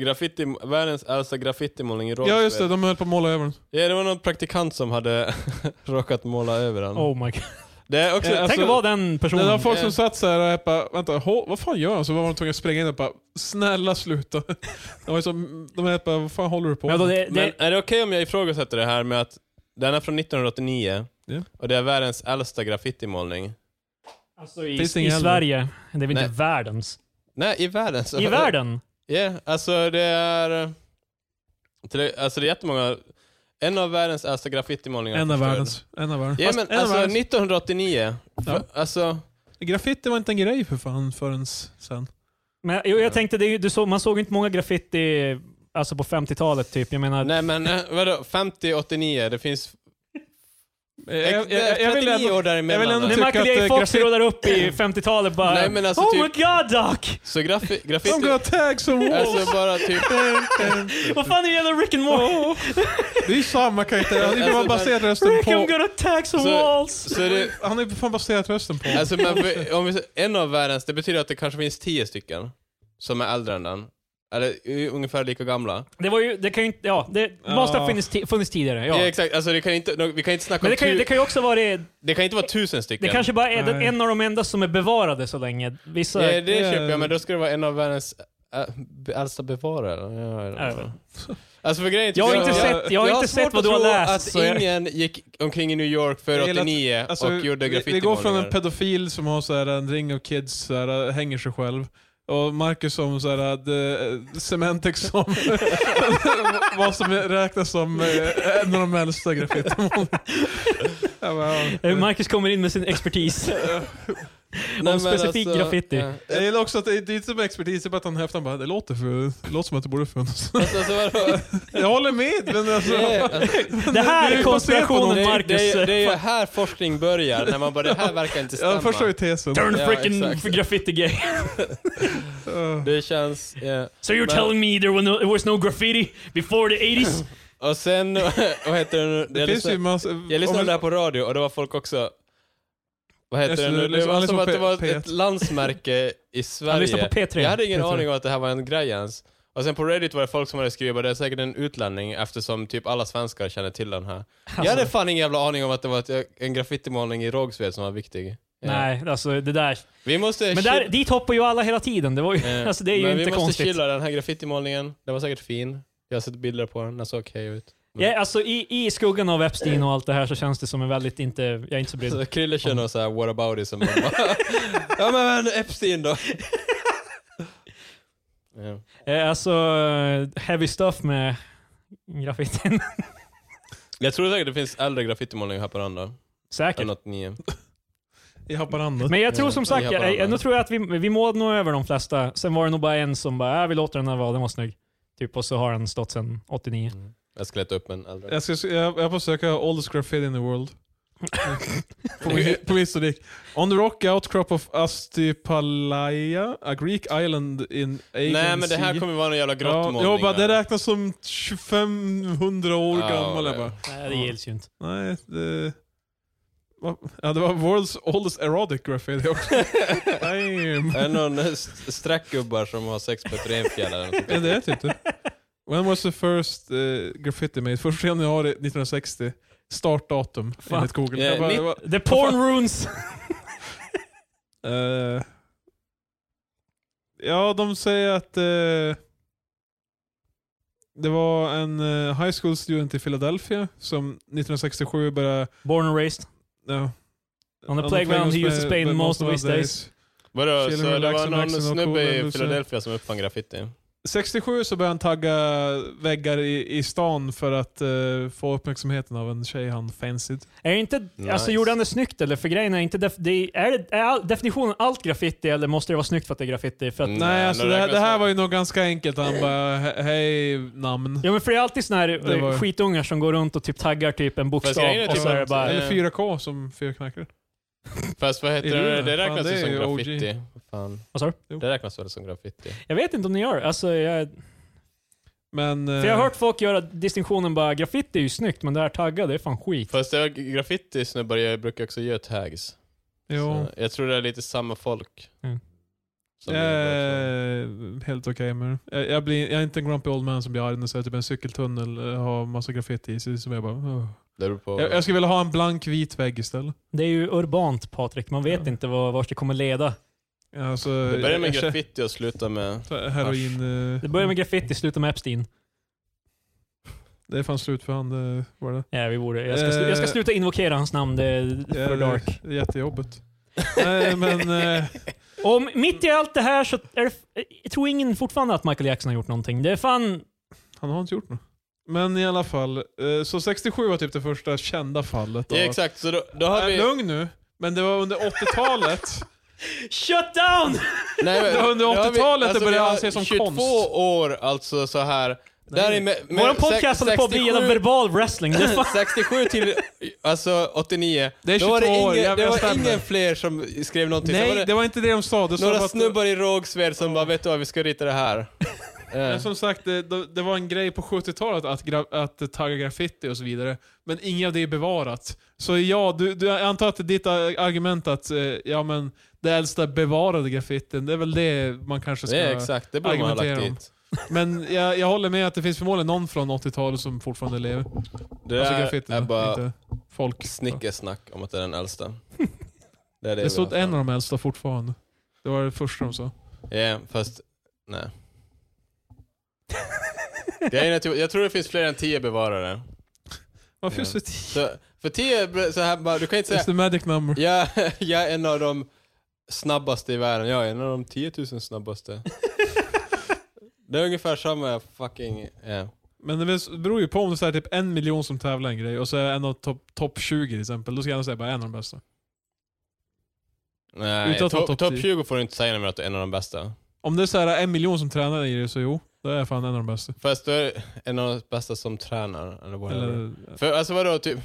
[SPEAKER 3] graffiti, världens äldsta graffitimålning i Rågsved.
[SPEAKER 1] ja just det, de höll på att måla över den.
[SPEAKER 3] Ja, det var någon praktikant som hade råkat måla över den.
[SPEAKER 2] Oh my god.
[SPEAKER 3] Det är också,
[SPEAKER 1] Eh,
[SPEAKER 2] Tänk
[SPEAKER 1] Alltså,
[SPEAKER 2] att vara den
[SPEAKER 1] Det var
[SPEAKER 2] personen.
[SPEAKER 1] folk
[SPEAKER 3] eh.
[SPEAKER 1] som satt så här och bara, vänta, hå, vad fan gör de? Så var de tvungna att springa in och bara, snälla sluta. De var som, de var bara, vad fan håller du på
[SPEAKER 2] Men
[SPEAKER 1] med?
[SPEAKER 2] då, det,
[SPEAKER 3] men
[SPEAKER 2] det,
[SPEAKER 3] är det okej om jag ifrågasätter det här med att den är från 1989
[SPEAKER 1] Ja.
[SPEAKER 3] och det är världens äldsta graffitimålning?
[SPEAKER 2] alltså i,
[SPEAKER 1] Finns det
[SPEAKER 2] i
[SPEAKER 1] ingen heller?
[SPEAKER 2] Sverige, det är väl inte
[SPEAKER 3] Nej.
[SPEAKER 2] världens?
[SPEAKER 3] Nej, i världen. Så.
[SPEAKER 2] I världen?
[SPEAKER 3] Ja, alltså det är... Till, alltså det är jättemånga... En av världens äldsta graffitimålningar.
[SPEAKER 1] En av
[SPEAKER 3] förstörd.
[SPEAKER 1] världens. En av världens.
[SPEAKER 3] Ja,
[SPEAKER 1] Fast
[SPEAKER 3] men
[SPEAKER 1] en av
[SPEAKER 3] alltså
[SPEAKER 1] världens.
[SPEAKER 3] 1989. För, alltså...
[SPEAKER 1] Graffiti var inte en grej för fan förrän sen.
[SPEAKER 2] Men, jo, jag tänkte, det, är ju- du såg, man såg inte många graffiti alltså på 50-talet typ. Jag menar,
[SPEAKER 3] Nej men eh, vadå, 50, 89, det finns...
[SPEAKER 1] Eh, Jag, jag,
[SPEAKER 3] Det är
[SPEAKER 1] jag, jag vill
[SPEAKER 3] 39
[SPEAKER 1] ändå,
[SPEAKER 3] år däremellan.
[SPEAKER 1] jag vill ändå
[SPEAKER 3] där.
[SPEAKER 2] när
[SPEAKER 1] tycker
[SPEAKER 2] Michael J
[SPEAKER 1] att, eh,
[SPEAKER 2] Fox
[SPEAKER 1] graffiti-
[SPEAKER 2] rullar upp i 50-talet bara
[SPEAKER 3] Nej, men alltså
[SPEAKER 2] Oh
[SPEAKER 3] typ-
[SPEAKER 2] my god Doc!
[SPEAKER 3] Så graffi,
[SPEAKER 1] de går
[SPEAKER 3] graffiti...
[SPEAKER 1] tags som walls.
[SPEAKER 3] Alltså bara typ...
[SPEAKER 2] Vad fan är det jävla Rick and Morty?
[SPEAKER 1] Det är ju samma karaktär. Han är ju
[SPEAKER 3] Alltså,
[SPEAKER 1] bara baserat rösten
[SPEAKER 2] Rick I'm
[SPEAKER 1] på... Alltså-
[SPEAKER 2] gonna attack some
[SPEAKER 3] Så-
[SPEAKER 2] walls!
[SPEAKER 3] Så det,
[SPEAKER 1] Han är ju för fan baserat rösten på...
[SPEAKER 3] alltså men vi- om vi, säger- en av världens, det betyder att det kanske finns 10 stycken som är äldre än den. Eller i- ungefär lika gamla.
[SPEAKER 2] Det var ju, det kan ju inte, ja, det
[SPEAKER 1] Ja.
[SPEAKER 2] måste ha funnits, ti- funnits tidigare.
[SPEAKER 3] Ja.
[SPEAKER 2] Ja.
[SPEAKER 3] exakt, alltså det kan inte, vi kan inte snacka
[SPEAKER 2] Men
[SPEAKER 3] om
[SPEAKER 2] det kan, ju,
[SPEAKER 3] tu,
[SPEAKER 2] det kan ju också vara det,
[SPEAKER 3] inte vara tusen stycken.
[SPEAKER 2] det kanske bara är den,
[SPEAKER 1] Nej.
[SPEAKER 2] en av de enda som är bevarade så länge. Vissa,
[SPEAKER 3] ja, Eh, det
[SPEAKER 1] Ja.
[SPEAKER 3] köper jag, men då ska det vara en av världens äh, äldsta bevarare. Ja, jag vet inte. Alltså för grejen är typ-
[SPEAKER 2] jag har inte
[SPEAKER 1] jag-
[SPEAKER 2] sett, jag har inte
[SPEAKER 3] svårt
[SPEAKER 2] sett vad
[SPEAKER 3] att
[SPEAKER 2] du har
[SPEAKER 3] tro
[SPEAKER 2] läst. Så
[SPEAKER 3] Att
[SPEAKER 2] jag,
[SPEAKER 3] ingen gick omkring i New York
[SPEAKER 1] Jag
[SPEAKER 3] för
[SPEAKER 1] gillar att-
[SPEAKER 3] 89
[SPEAKER 1] Alltså,
[SPEAKER 3] och gjorde
[SPEAKER 1] vi,
[SPEAKER 3] graffiti
[SPEAKER 1] vi går från en pedofil som har så här, en ring av kids, så här, äh, hänger sig själv. Och Marcus som så här, äh, hade cementexamen. vad som räknas som eh, en av de äldsta graffitimålarna. Jag bara,
[SPEAKER 2] Eh,
[SPEAKER 1] ja.
[SPEAKER 2] Marcus kommer in med sin expertis.
[SPEAKER 3] Nej,
[SPEAKER 2] om
[SPEAKER 3] men
[SPEAKER 2] specifik
[SPEAKER 1] alltså-
[SPEAKER 2] graffiti.
[SPEAKER 3] ja.
[SPEAKER 1] Jag gillar också att det, det är inte som expertis, det är bara att han häftar bara, det låter, för, det låter som att det borde funnits.
[SPEAKER 3] Alltså, alltså, vadå?
[SPEAKER 1] Jag håller med! Men alltså,
[SPEAKER 3] Det-
[SPEAKER 2] Det här
[SPEAKER 1] Det är
[SPEAKER 2] är
[SPEAKER 1] ju baserat på någon-
[SPEAKER 2] konspirationen
[SPEAKER 3] det,
[SPEAKER 2] Marcus.
[SPEAKER 3] det, är- det är ju här forskning börjar, när man bara det här verkar inte stämma.
[SPEAKER 1] jag förstår ju tesen.
[SPEAKER 2] Turn
[SPEAKER 3] Ja, exakt.
[SPEAKER 2] freaking graffiti gay.
[SPEAKER 1] Eh,
[SPEAKER 3] Det känns... ja.
[SPEAKER 2] So you're
[SPEAKER 3] Men-
[SPEAKER 2] telling me there was, no, there was no graffiti before the 80s?
[SPEAKER 3] Och sen, vad heter det nu?
[SPEAKER 1] Det
[SPEAKER 3] jag,
[SPEAKER 1] finns ju
[SPEAKER 3] lyssnade,
[SPEAKER 1] massa...
[SPEAKER 3] jag lyssnade
[SPEAKER 1] om-
[SPEAKER 3] där på radio och det var folk också... Vad heter
[SPEAKER 1] Jag
[SPEAKER 3] det nu?
[SPEAKER 1] lyssnade-
[SPEAKER 3] Det var
[SPEAKER 1] lyssnade
[SPEAKER 3] som
[SPEAKER 1] på
[SPEAKER 3] att det
[SPEAKER 1] P- P1.
[SPEAKER 3] var ett landsmärke i
[SPEAKER 2] Han lyssnar
[SPEAKER 3] Sverige.
[SPEAKER 2] på P3.
[SPEAKER 3] Jag hade ingen
[SPEAKER 1] P3.
[SPEAKER 3] aning om att det här var en grej ens. Och sen på Reddit var det folk som hade skrivit att det är säkert en utlänning eftersom typ alla svenskar känner till den här. Jag hade fan ingen jävla aning om att det var ett, en graffitimålning i Rågsved som var viktig. Ja.
[SPEAKER 2] Nej, alltså det där.
[SPEAKER 3] Vi måste...
[SPEAKER 2] Men
[SPEAKER 3] chi-
[SPEAKER 2] där, dit hoppar ju alla hela tiden. Det, var ju,
[SPEAKER 3] Eh,
[SPEAKER 2] alltså, det är ju
[SPEAKER 3] men vi
[SPEAKER 2] inte
[SPEAKER 3] måste
[SPEAKER 2] konstigt.
[SPEAKER 3] chilla den här graffitimålningen. Den var säkert fin. Jag har sett bilder på den, den såg okej ut.
[SPEAKER 2] Ja, alltså, i, I skuggan av Epstein och allt det här så känns det som en väldigt inte... Jag är inte så brydd.
[SPEAKER 3] Så Krille kör någon såhär what about it som bara, Ja men, men Epstein då. ja.
[SPEAKER 2] Eh, Alltså, eh, heavy stuff med graffitin.
[SPEAKER 3] Jag tror säkert det finns äldre graffitimålningar i Haparanda.
[SPEAKER 2] Säkert.
[SPEAKER 3] Än 89.
[SPEAKER 1] I Haparanda.
[SPEAKER 2] Men jag tror som
[SPEAKER 3] Ja, i
[SPEAKER 2] sagt, jag,
[SPEAKER 3] Haparanda.
[SPEAKER 2] jag, nu tror jag att vi, vi målade nog över de flesta. Sen var det nog bara en som bara, äh, vi låter den här vara, den var snygg. Typ, och så har den stått sedan 89.
[SPEAKER 3] Jag ska leta upp en äldre.
[SPEAKER 1] Jag, ska, jag, jag får söka oldest graffiti in the world. på, min, på min historik. On the rock outcrop of Astipalaya, a Greek island in Aegean
[SPEAKER 3] Nej men det här
[SPEAKER 1] sea.
[SPEAKER 3] kommer vara någon jävla
[SPEAKER 1] Ja,
[SPEAKER 3] grottmålning.
[SPEAKER 1] jag bara, det
[SPEAKER 3] här.
[SPEAKER 1] räknas som 2500 år
[SPEAKER 3] Ja,
[SPEAKER 1] gammal. Jag bara,
[SPEAKER 2] Nej, det gills ju inte.
[SPEAKER 1] nej, det... Va? Ja, det var world's oldest erotic graffiti också. Damn.
[SPEAKER 3] Är det någon st- strackgubbar som har sex på ett renfjäll eller något sånt
[SPEAKER 1] Ja,
[SPEAKER 3] där?
[SPEAKER 1] det är typ det. When was the first eh, graffiti made? Första januari 1960. startdatum
[SPEAKER 2] Fan. Eh,
[SPEAKER 1] enligt Google.
[SPEAKER 3] Ja,
[SPEAKER 1] Jag bara,
[SPEAKER 3] nitt-
[SPEAKER 1] jag bara,
[SPEAKER 2] The porn runes!
[SPEAKER 1] Eh, ja, de säger att eh, det var en eh, high school student i Philadelphia som 1967 började...
[SPEAKER 2] Born and raised.
[SPEAKER 1] ja,
[SPEAKER 2] On the playground he used to play
[SPEAKER 1] but
[SPEAKER 2] most of his days.
[SPEAKER 3] Vadå,
[SPEAKER 1] Chilling,
[SPEAKER 3] så det var
[SPEAKER 1] relaxing,
[SPEAKER 3] någon
[SPEAKER 1] relaxing, no
[SPEAKER 3] snubbe
[SPEAKER 1] cool
[SPEAKER 3] i
[SPEAKER 1] and
[SPEAKER 3] Philadelphia som uppfann graffiti?
[SPEAKER 1] 67 så började han tagga väggar i, i stan för att eh, få uppmärksamheten av en tjej han fancied.
[SPEAKER 2] Är inte, alltså
[SPEAKER 3] Nice.
[SPEAKER 2] gjorde han det snyggt eller? För grejen är inte, def, det, är, det, är all, definitionen allt graffiti eller måste det vara snyggt för att det är graffiti? För att,
[SPEAKER 3] Mm.
[SPEAKER 1] Nej,
[SPEAKER 3] Nej,
[SPEAKER 1] alltså
[SPEAKER 3] det
[SPEAKER 1] det, här- det
[SPEAKER 3] räknas
[SPEAKER 1] här
[SPEAKER 3] väl.
[SPEAKER 1] var ju nog ganska enkelt. Han bara, "He- hej namn.
[SPEAKER 2] Ja men för det är alltid såna här
[SPEAKER 1] Det
[SPEAKER 2] eh,
[SPEAKER 1] var-
[SPEAKER 2] skitungar som går runt och typ taggar typ en
[SPEAKER 3] Fast
[SPEAKER 2] bokstav
[SPEAKER 3] grejen är
[SPEAKER 2] och
[SPEAKER 3] typ
[SPEAKER 2] så är det
[SPEAKER 3] att-
[SPEAKER 2] bara...
[SPEAKER 1] Eller 4K som fyrknackare.
[SPEAKER 3] Fast vad heter
[SPEAKER 1] Är det
[SPEAKER 3] det?
[SPEAKER 1] det?
[SPEAKER 3] Det räknas
[SPEAKER 1] Fan,
[SPEAKER 3] ju
[SPEAKER 1] det är
[SPEAKER 3] som
[SPEAKER 1] ju OG.
[SPEAKER 3] graffiti. Fan.
[SPEAKER 2] Vad sa du?
[SPEAKER 1] Jo.
[SPEAKER 3] Det räknas väl som graffiti?
[SPEAKER 2] Jag vet inte om ni gör det. Alltså, jag,
[SPEAKER 1] Men...
[SPEAKER 2] för jag har hört folk göra distinktionen bara graffiti är ju snyggt men det här tagga det är fan skit.
[SPEAKER 3] Fast det är graffiti snubbar jag brukar också göra tags.
[SPEAKER 1] eh, Jo.
[SPEAKER 3] Så jag tror det är lite samma folk.
[SPEAKER 2] Mm.
[SPEAKER 3] Som gör det.
[SPEAKER 1] Eh, helt okej med det. jag, jag, blir, jag är inte en grumpy old man som blir arg när jag ser typ en cykeltunnel eh, har massa graffiti i sig. Som jag, bara, "Åh."
[SPEAKER 3] det beror på.
[SPEAKER 1] jag, jag skulle vilja ha en blank vit vägg istället.
[SPEAKER 2] Det är ju urbant Patrik, man vet
[SPEAKER 1] Ja.
[SPEAKER 2] inte vad, vart det kommer leda.
[SPEAKER 1] Alltså,
[SPEAKER 3] det börjar med
[SPEAKER 1] jag- jag-
[SPEAKER 3] graffiti och slutar med...
[SPEAKER 1] Heroin. eh,
[SPEAKER 2] Det börjar med graffiti, slutar med Epstein.
[SPEAKER 1] det är fan slut för han. Det var det.
[SPEAKER 2] Ja, vi borde, jag, ska, slu-
[SPEAKER 1] Eh.
[SPEAKER 2] jag ska sluta invokera hans namn, det är
[SPEAKER 1] Ja,
[SPEAKER 2] för
[SPEAKER 1] det är
[SPEAKER 2] dark.
[SPEAKER 1] Jättejobbigt. Nej, men, eh,
[SPEAKER 2] Och mitt i allt det här så är det, jag tror ingen fortfarande att Michael Jackson har gjort någonting. Det är fan...
[SPEAKER 1] han har inte gjort något. Men i alla fall. eh, så 67 var typ det första kända fallet.
[SPEAKER 3] Ja,
[SPEAKER 1] av-
[SPEAKER 3] exakt, så då, då har
[SPEAKER 1] Äh,
[SPEAKER 3] vi... Typ,
[SPEAKER 1] Lugn nu. Men det var under 80-talet.
[SPEAKER 2] Shut down!
[SPEAKER 3] Nej, men,
[SPEAKER 1] Det var under
[SPEAKER 3] då har vi- alltså,
[SPEAKER 1] 80-talet det
[SPEAKER 3] vi
[SPEAKER 1] började
[SPEAKER 3] har
[SPEAKER 1] anses som
[SPEAKER 3] 22
[SPEAKER 1] konst.
[SPEAKER 3] år, alltså så här. Där är med, med
[SPEAKER 2] Vår podcast
[SPEAKER 3] sex-
[SPEAKER 2] håller på att bli
[SPEAKER 3] 67
[SPEAKER 2] genom verbal wrestling. Det är fan,
[SPEAKER 3] 67 till alltså 89.
[SPEAKER 1] Det är
[SPEAKER 3] då var det
[SPEAKER 1] 22 år,
[SPEAKER 3] ingen,
[SPEAKER 1] jag-
[SPEAKER 3] det
[SPEAKER 1] jag
[SPEAKER 3] var
[SPEAKER 1] stämmer.
[SPEAKER 3] ingen fler som skrev någonting. Sen
[SPEAKER 1] Nej,
[SPEAKER 3] var det,
[SPEAKER 1] det var inte det de sa. Det sa bara
[SPEAKER 3] några
[SPEAKER 1] att-
[SPEAKER 3] snubbar i Rågsved som bara vet du vad, vi ska rita det här. Eh.
[SPEAKER 1] Men som sagt, det, det, det var en grej på 70-talet att, gra- att tagga graffiti och så vidare. Men inget av det är bevarat. Så ja, du, du, jag antar att ditt ar- argument att eh, ja, men det äldsta bevarade graffitin, det är väl det man kanske ska...
[SPEAKER 3] Det är exakt, det borde man ha lagt
[SPEAKER 1] argumentera om.
[SPEAKER 3] dit.
[SPEAKER 1] Men jag, jag håller med att det finns förmodligen någon från 80-talet som fortfarande lever.
[SPEAKER 3] Det
[SPEAKER 1] alltså
[SPEAKER 3] där
[SPEAKER 1] graffitin,
[SPEAKER 3] är bara
[SPEAKER 1] inte folk.
[SPEAKER 3] snickersnack om att det är den äldsta. Det, är det
[SPEAKER 1] Det
[SPEAKER 3] vi
[SPEAKER 1] stod
[SPEAKER 3] har.
[SPEAKER 1] en av de äldsta fortfarande. Det var det första de sa.
[SPEAKER 3] Ja, fast nej. Grejen är att jag- jag tror det finns fler än tio bevarare.
[SPEAKER 1] Varför
[SPEAKER 3] Ja.
[SPEAKER 1] är det så tidigt?
[SPEAKER 3] Så, för tio, br- så här, bara, du kan inte
[SPEAKER 1] It's
[SPEAKER 3] säga
[SPEAKER 1] the magic number.
[SPEAKER 3] jag, jag är en av de snabbaste i världen. Jag är en av de 10 000 snabbaste. Det är ungefär samma fucking... ja.
[SPEAKER 1] Men det vis- beror ju på om det är så här typ en miljon som tävlar i en grej och så är en av topp top 20 till exempel. Då ska jag ändå säga bara en av de bästa.
[SPEAKER 3] Nej,
[SPEAKER 1] Utan att vara topp
[SPEAKER 3] topp top,
[SPEAKER 1] 10.
[SPEAKER 3] 20 får du inte säga när att du är en av de bästa.
[SPEAKER 1] Om det är så här en miljon som tränar i det så jo, då är jag fan en av de bästa.
[SPEAKER 3] Fast du är en av de bästa som tränar. Eller whatever.
[SPEAKER 1] Eller,
[SPEAKER 3] För alltså vadå, typ,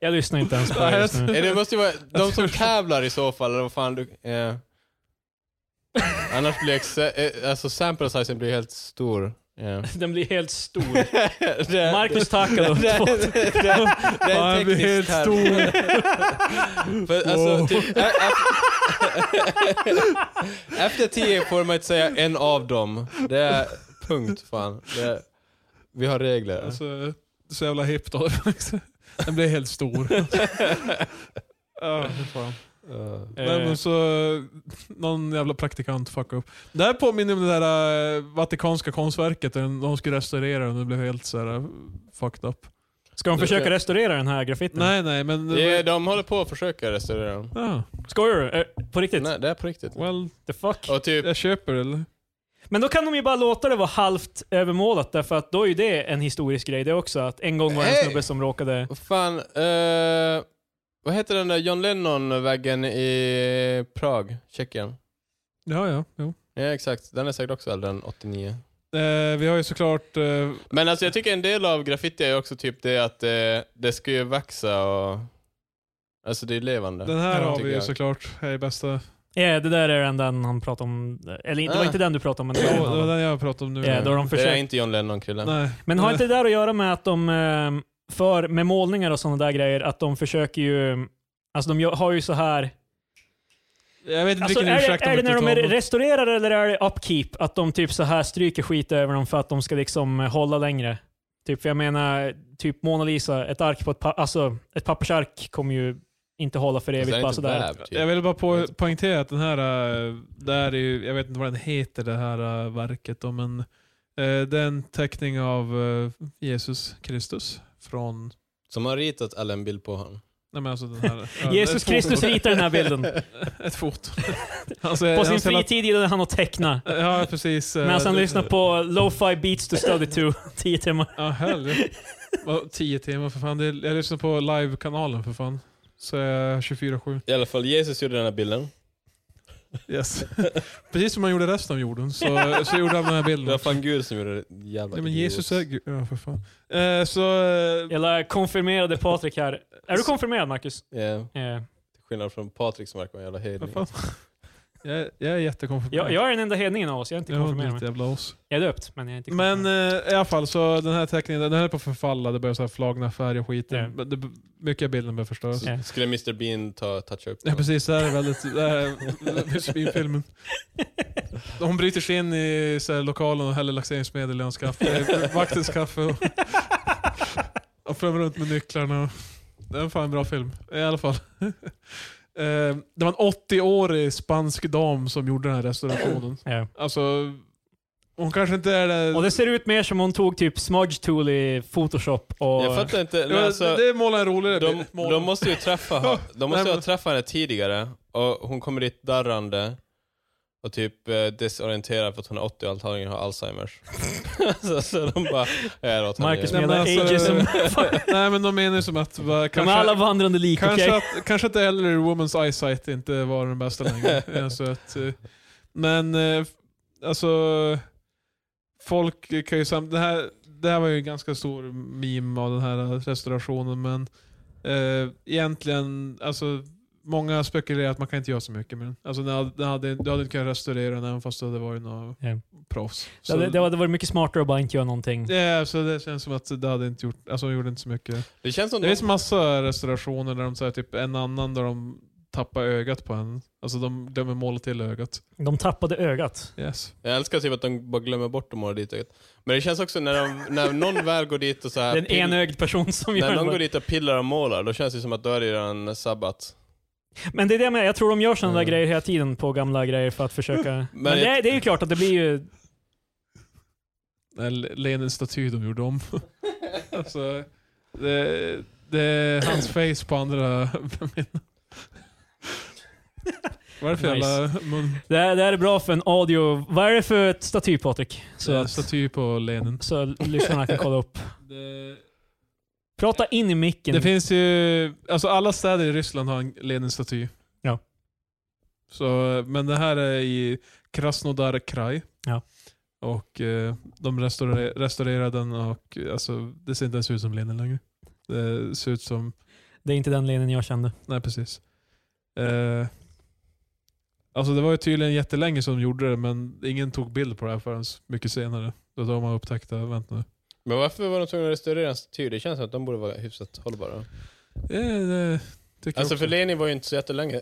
[SPEAKER 2] jag lyssnar inte ens på
[SPEAKER 1] Nej,
[SPEAKER 2] det just nu.
[SPEAKER 3] eh, det måste ju vara de som tävlar i så fall, eller vad fan du... eh. Annars blir exa- eh, alltså sample sizen blir helt stor. eh. Yeah.
[SPEAKER 2] Den blir helt stor.
[SPEAKER 3] det,
[SPEAKER 2] Marcus Takalo.
[SPEAKER 3] det, det, det, det är
[SPEAKER 1] han
[SPEAKER 3] en
[SPEAKER 1] blir helt
[SPEAKER 3] teknisk term.
[SPEAKER 1] stor.
[SPEAKER 3] För, alltså, typ, e- e- efter tio får man inte säga en av dem. Det är punkt fan. Det är, vi har regler.
[SPEAKER 1] Alltså, så jävla hippt av Den blir helt stor. Ja, fy fan.
[SPEAKER 3] Eh,
[SPEAKER 1] Nej, men så, eh, någon jävla praktikant fuckade upp. Det här påminner om det där eh, Vatikanska konstverket, där de skulle restaurera den och det blev helt så här eh, fucked up.
[SPEAKER 2] Ska de försöka restaurera den här graffitin?
[SPEAKER 1] Nej, nej, men...
[SPEAKER 3] det, de håller på att försöka restaurera dem.
[SPEAKER 1] Ja,
[SPEAKER 2] Skojar du? Eh, På riktigt?
[SPEAKER 3] Nej, det är på riktigt.
[SPEAKER 1] well, eh.
[SPEAKER 2] The fuck?
[SPEAKER 3] Och typ,
[SPEAKER 1] jag köper det, eller?
[SPEAKER 2] Men då kan de ju bara låta det vara halvt övermålat därför att då är ju det en historisk grej det också. Att en gång var det en
[SPEAKER 3] Hey!
[SPEAKER 2] snubbe som råkade...
[SPEAKER 3] vad fan, eh, vad heter den där John Lennon-väggen i Prag, Tjeckien?
[SPEAKER 1] Ja, ja, jo.
[SPEAKER 3] Ja exakt, den är säkert också äldre än 89.
[SPEAKER 1] Eh, vi har ju såklart... Eh,
[SPEAKER 3] Men alltså jag tycker en del av graffiti är också typ det att eh, det ska ju växa och... Alltså det är levande.
[SPEAKER 1] den här
[SPEAKER 2] Ja,
[SPEAKER 1] har vi
[SPEAKER 3] tycker
[SPEAKER 1] ju
[SPEAKER 3] jag.
[SPEAKER 1] såklart. Här är bästa.
[SPEAKER 2] Ja, Eh, det där är den den han pratade om. Eller det var
[SPEAKER 3] Ah.
[SPEAKER 2] inte den du pratade om, men det var
[SPEAKER 1] Det
[SPEAKER 2] den
[SPEAKER 1] var det var
[SPEAKER 2] han-
[SPEAKER 1] den jag pratade om nu.
[SPEAKER 2] Ja, då har de
[SPEAKER 3] Det är
[SPEAKER 2] försökt.
[SPEAKER 3] inte John Lennon kille.
[SPEAKER 1] Nej.
[SPEAKER 2] Men har
[SPEAKER 1] Nej.
[SPEAKER 2] inte det där att göra med att de, eh, för med målningar och sådana där grejer, att de försöker ju, alltså de gör- har ju så här,
[SPEAKER 1] Jag vet inte
[SPEAKER 2] alltså är,
[SPEAKER 1] vilken ursäkt
[SPEAKER 2] det, är det när de är
[SPEAKER 1] brukar ta, men-
[SPEAKER 2] restaurerar eller är det upkeep? Att de typ så här stryker skit över dem för att de ska liksom eh, hålla längre? Typ, för jag menar, typ Mona Lisa, ett ark på ett, pa- alltså, ett pappersark kommer ju inte hålla för
[SPEAKER 3] Fast
[SPEAKER 2] evigt
[SPEAKER 3] den
[SPEAKER 2] bara
[SPEAKER 3] Alltså, är inte
[SPEAKER 2] sådär.
[SPEAKER 3] vävd,
[SPEAKER 1] Jag
[SPEAKER 3] typ.
[SPEAKER 1] vill bara po poängtera att den här, eh, det här är ju, jag vet inte vad den heter det här eh, verket då, men eh, det är en teckning av eh, Jesus Kristus från,
[SPEAKER 3] Som har ritat alla en bild på honom.
[SPEAKER 1] nej men alltså den här. ja,
[SPEAKER 2] Jesus
[SPEAKER 1] ett foto.
[SPEAKER 2] Kristus ritar den här bilden.
[SPEAKER 1] Ett foto. Alltså,
[SPEAKER 2] På
[SPEAKER 1] han
[SPEAKER 2] sin
[SPEAKER 1] ser att-
[SPEAKER 2] fritid gillade han att teckna.
[SPEAKER 1] Ja precis. eh,
[SPEAKER 2] Medan han
[SPEAKER 1] det-
[SPEAKER 2] lyssnar på Lo-Fi Beats to Study to 10 timmar.
[SPEAKER 1] Ja hellre. Vad, Tio timmar för fan. Det är, jag lyssnar på live-kanalen för fan. Så jag är 24-7.
[SPEAKER 3] I alla fall, Jesus gjorde den här bilden.
[SPEAKER 1] Yes. Precis som han gjorde resten av jorden så, så gjorde han den här
[SPEAKER 3] Det var
[SPEAKER 1] bilden.
[SPEAKER 3] fan Gud som gjorde det. Jävla
[SPEAKER 1] Nej Mm. men
[SPEAKER 3] idiot.
[SPEAKER 1] Jesus är Gud. Ja för fan. Eh, så... eh,
[SPEAKER 2] Eller konfirmerade Patrik här. Är du konfirmerad Marcus?
[SPEAKER 3] Ja,
[SPEAKER 2] Eh,
[SPEAKER 3] till skillnad från Patrik som verkar vara en jävla
[SPEAKER 1] Vad
[SPEAKER 3] hedning.
[SPEAKER 1] fan? Jag, jag är jättekonfirmerad.
[SPEAKER 2] Jag, jag är den enda hedningen av oss, jag är inte
[SPEAKER 1] Jag har
[SPEAKER 2] konfirmerad.
[SPEAKER 1] ett
[SPEAKER 2] men-
[SPEAKER 1] jävla oss.
[SPEAKER 2] Jag är döpt, men jag är inte konfirmerad.
[SPEAKER 1] Men eh, i alla fall, så den här teckningen den höll på att förfalla. Det började så här flagna färger och skit.
[SPEAKER 2] Ja.
[SPEAKER 1] Det- det- Mycket av bilden började förstöras.
[SPEAKER 2] Ja.
[SPEAKER 3] Skulle Mr Bean ta, toucha upp
[SPEAKER 1] Ja precis, det här är väldigt... Det här är filmen. Hon bryter sig in i så här, lokalen och häller laxeringsmedel i hans kaffe. eh, Vaktens kaffe. Och, och fram runt med nycklarna. och- Det är fan en bra film. I alla fall. Eh, Det var en 80-årig spansk dam som gjorde den här restaurationen.
[SPEAKER 2] Ja.
[SPEAKER 1] Alltså, hon kanske inte är det...
[SPEAKER 2] Och det ser ut mer som hon tog typ smudge tool i photoshop och...
[SPEAKER 3] Jag fattar inte.
[SPEAKER 1] Ja,
[SPEAKER 3] Nej, alltså,
[SPEAKER 1] det målar en roligare
[SPEAKER 3] de,
[SPEAKER 1] bild. Målar-
[SPEAKER 3] de måste ju träffa, de
[SPEAKER 1] Nej,
[SPEAKER 3] måste ju ha
[SPEAKER 1] men-
[SPEAKER 3] träffat henne tidigare och hon kommer dit darrande och typ eh, desorienterad för att hon är 80 och antagligen har Alzheimers. så, så de bara, ja, låt henne
[SPEAKER 2] Marcus
[SPEAKER 1] Nej, men
[SPEAKER 3] göra
[SPEAKER 2] menar
[SPEAKER 1] alltså-
[SPEAKER 2] ageism.
[SPEAKER 1] Nej men de menar ju som att... va,
[SPEAKER 2] De är
[SPEAKER 1] kanske-
[SPEAKER 2] alla vandrande lik, okej?
[SPEAKER 1] Kanske, att, kanske att äldre woman's eyesight inte var den bästa längre. alltså att, eh, men eh, alltså, folk kan ju sam- det, här, det här var ju en ganska stor meme av den här restaurationen men eh, egentligen, alltså många spekulerar att man kan inte göra så mycket med den. Alltså, den hade, den hade, du hade inte kunnat restaurera den även fast det hade varit några
[SPEAKER 2] Ja.
[SPEAKER 1] proffs. Så,
[SPEAKER 2] Det, hade- det hade varit mycket smartare att bara inte göra någonting.
[SPEAKER 1] Ja, så det känns som att det hade inte gjort, alltså de gjorde inte så mycket.
[SPEAKER 3] Det känns som
[SPEAKER 1] Det
[SPEAKER 3] de,
[SPEAKER 1] finns massa restaurationer där de säger typ en annan där de tappar ögat på en. Alltså de glömmer måla till ögat.
[SPEAKER 2] De tappade ögat.
[SPEAKER 1] Yes.
[SPEAKER 3] jag älskar typ att de bara glömmer bort att måla dit ögat. Men det känns också när, de, när någon väl går dit och så här
[SPEAKER 2] Det är en
[SPEAKER 3] pill-
[SPEAKER 2] enögd person som gör
[SPEAKER 3] när någon
[SPEAKER 2] det.
[SPEAKER 3] går dit och pillar och målar, då känns det som att då är det ju redan sabbat.
[SPEAKER 2] Men det är det jag menar, jag tror de gör sådana där
[SPEAKER 3] Mm.
[SPEAKER 2] grejer hela tiden på gamla grejer för att försöka... Men,
[SPEAKER 3] Men
[SPEAKER 2] det,
[SPEAKER 3] jag-
[SPEAKER 2] är- det är ju klart att det blir ju...
[SPEAKER 1] Den Lenins staty de gjorde om. alltså, det, det är hans face på andra minnen. Vad är det för
[SPEAKER 2] Nice.
[SPEAKER 1] jävla mun?
[SPEAKER 2] Det här, det här är bra för en audio... Vad är det för ett staty Patrik? Så,
[SPEAKER 1] det är en
[SPEAKER 2] att,
[SPEAKER 1] Staty på Lenin.
[SPEAKER 2] så lyssnarna kan kolla upp.
[SPEAKER 1] Det,
[SPEAKER 2] Prata in i micken.
[SPEAKER 1] det finns ju, alltså alla städer i Ryssland har en Lenins staty.
[SPEAKER 2] Ja.
[SPEAKER 1] Så, men det här är i Krasnodar kraj.
[SPEAKER 2] Ja.
[SPEAKER 1] Och eh, de restaurer- restaurerar den och eh, alltså, det ser inte ens ut som Lenin längre. Det ser ut som,
[SPEAKER 2] Det är inte den Lenin jag kände.
[SPEAKER 1] nej precis. Eh, alltså det var ju tydligen jättelänge som de gjorde det men ingen tog bild på det här förrän mycket senare. Då har man upptäckt det, vänta nu.
[SPEAKER 3] Men varför var de tvungna att restaurera en staty? Det känns som att de borde vara hyfsat hållbara.
[SPEAKER 1] Eh, det tycker
[SPEAKER 3] Alltså
[SPEAKER 1] jag också.
[SPEAKER 3] för Lenin var ju inte så jättelänge.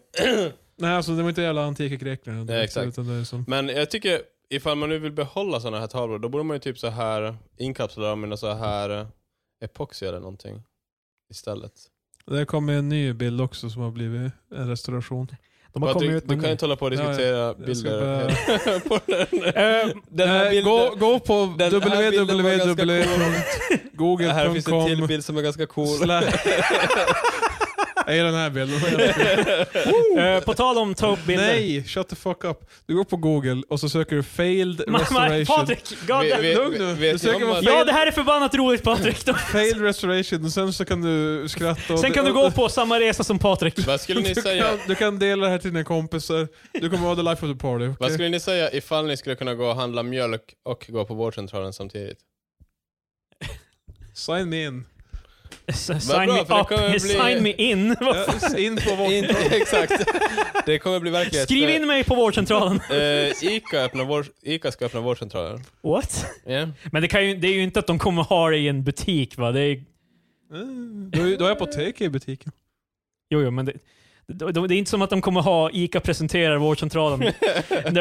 [SPEAKER 1] Nej alltså det var inte jävla antika Grekland.
[SPEAKER 3] Nej, exakt.
[SPEAKER 1] Utan det är som,
[SPEAKER 3] Men jag tycker, ifall man nu vill behålla sådana här tavlor, då borde man ju typ så här inkapsla dem i någon så här epoxy eller någonting istället.
[SPEAKER 1] det kommer en ny bild också som har blivit en restauration.
[SPEAKER 2] De
[SPEAKER 3] För
[SPEAKER 2] har
[SPEAKER 3] att
[SPEAKER 2] kommit
[SPEAKER 3] Du,
[SPEAKER 2] ut med
[SPEAKER 3] du
[SPEAKER 2] en
[SPEAKER 3] kan ju
[SPEAKER 2] ny.
[SPEAKER 3] inte hålla på och
[SPEAKER 1] Ja, ja.
[SPEAKER 3] diskutera
[SPEAKER 1] Jag ska
[SPEAKER 3] bilder.
[SPEAKER 1] börja-
[SPEAKER 3] på den.
[SPEAKER 2] Eh,
[SPEAKER 4] Den här
[SPEAKER 1] Eh,
[SPEAKER 4] bilden,
[SPEAKER 1] gå, gå på
[SPEAKER 4] den här bilden var ganska här finns en till
[SPEAKER 1] www.google.com
[SPEAKER 4] bild som är ganska cool.
[SPEAKER 1] Jag gillar den här bilden.
[SPEAKER 2] eh, på tal om ta upp bilder.
[SPEAKER 1] Nej, shut the fuck up. Du går på google och så söker du failed
[SPEAKER 2] Ma- Ma-
[SPEAKER 1] restoration.
[SPEAKER 2] Patrik! God,
[SPEAKER 3] Vi- vi-
[SPEAKER 1] Lugn nu.
[SPEAKER 3] vet
[SPEAKER 1] Du
[SPEAKER 3] ni
[SPEAKER 1] söker
[SPEAKER 3] om
[SPEAKER 1] vad
[SPEAKER 3] att-
[SPEAKER 1] fel-
[SPEAKER 2] ja, det här är förbannat roligt Patrik. De-
[SPEAKER 1] Failed restoration och sen så kan du skratta. och-
[SPEAKER 2] Sen kan du gå på samma resa som Patrik.
[SPEAKER 3] Vad skulle ni
[SPEAKER 1] Du kan,
[SPEAKER 3] säga?
[SPEAKER 1] du kan dela det här till dina kompisar. Du kommer vara the life of the party.
[SPEAKER 3] Vad
[SPEAKER 1] okej?
[SPEAKER 3] skulle ni säga ifall ni skulle kunna gå och handla mjölk och gå på vårdcentralen samtidigt?
[SPEAKER 1] Sign me in.
[SPEAKER 2] S-
[SPEAKER 3] Vad
[SPEAKER 2] Sign
[SPEAKER 3] bra,
[SPEAKER 2] me
[SPEAKER 3] för det
[SPEAKER 2] up,
[SPEAKER 3] kommer bli-
[SPEAKER 2] sign me in. Vad fan?
[SPEAKER 1] Ja, in på vår...
[SPEAKER 4] Inte-
[SPEAKER 3] Exakt. Det kommer bli verklighet.
[SPEAKER 2] Skriv in mig på vårdcentralen.
[SPEAKER 3] Eh, Ica, öppnar vår, Ica ska öppna vårdcentralen.
[SPEAKER 2] What?
[SPEAKER 3] Yeah.
[SPEAKER 2] Men det, kan ju, det är ju inte att de kommer ha det i en butik va? Det är,
[SPEAKER 1] Mm, Du har ju- du har ju apotek i butiken.
[SPEAKER 2] jo, jo, men det, det, det, det är inte som att de kommer ha ICA presenterar vårdcentralen. där, där,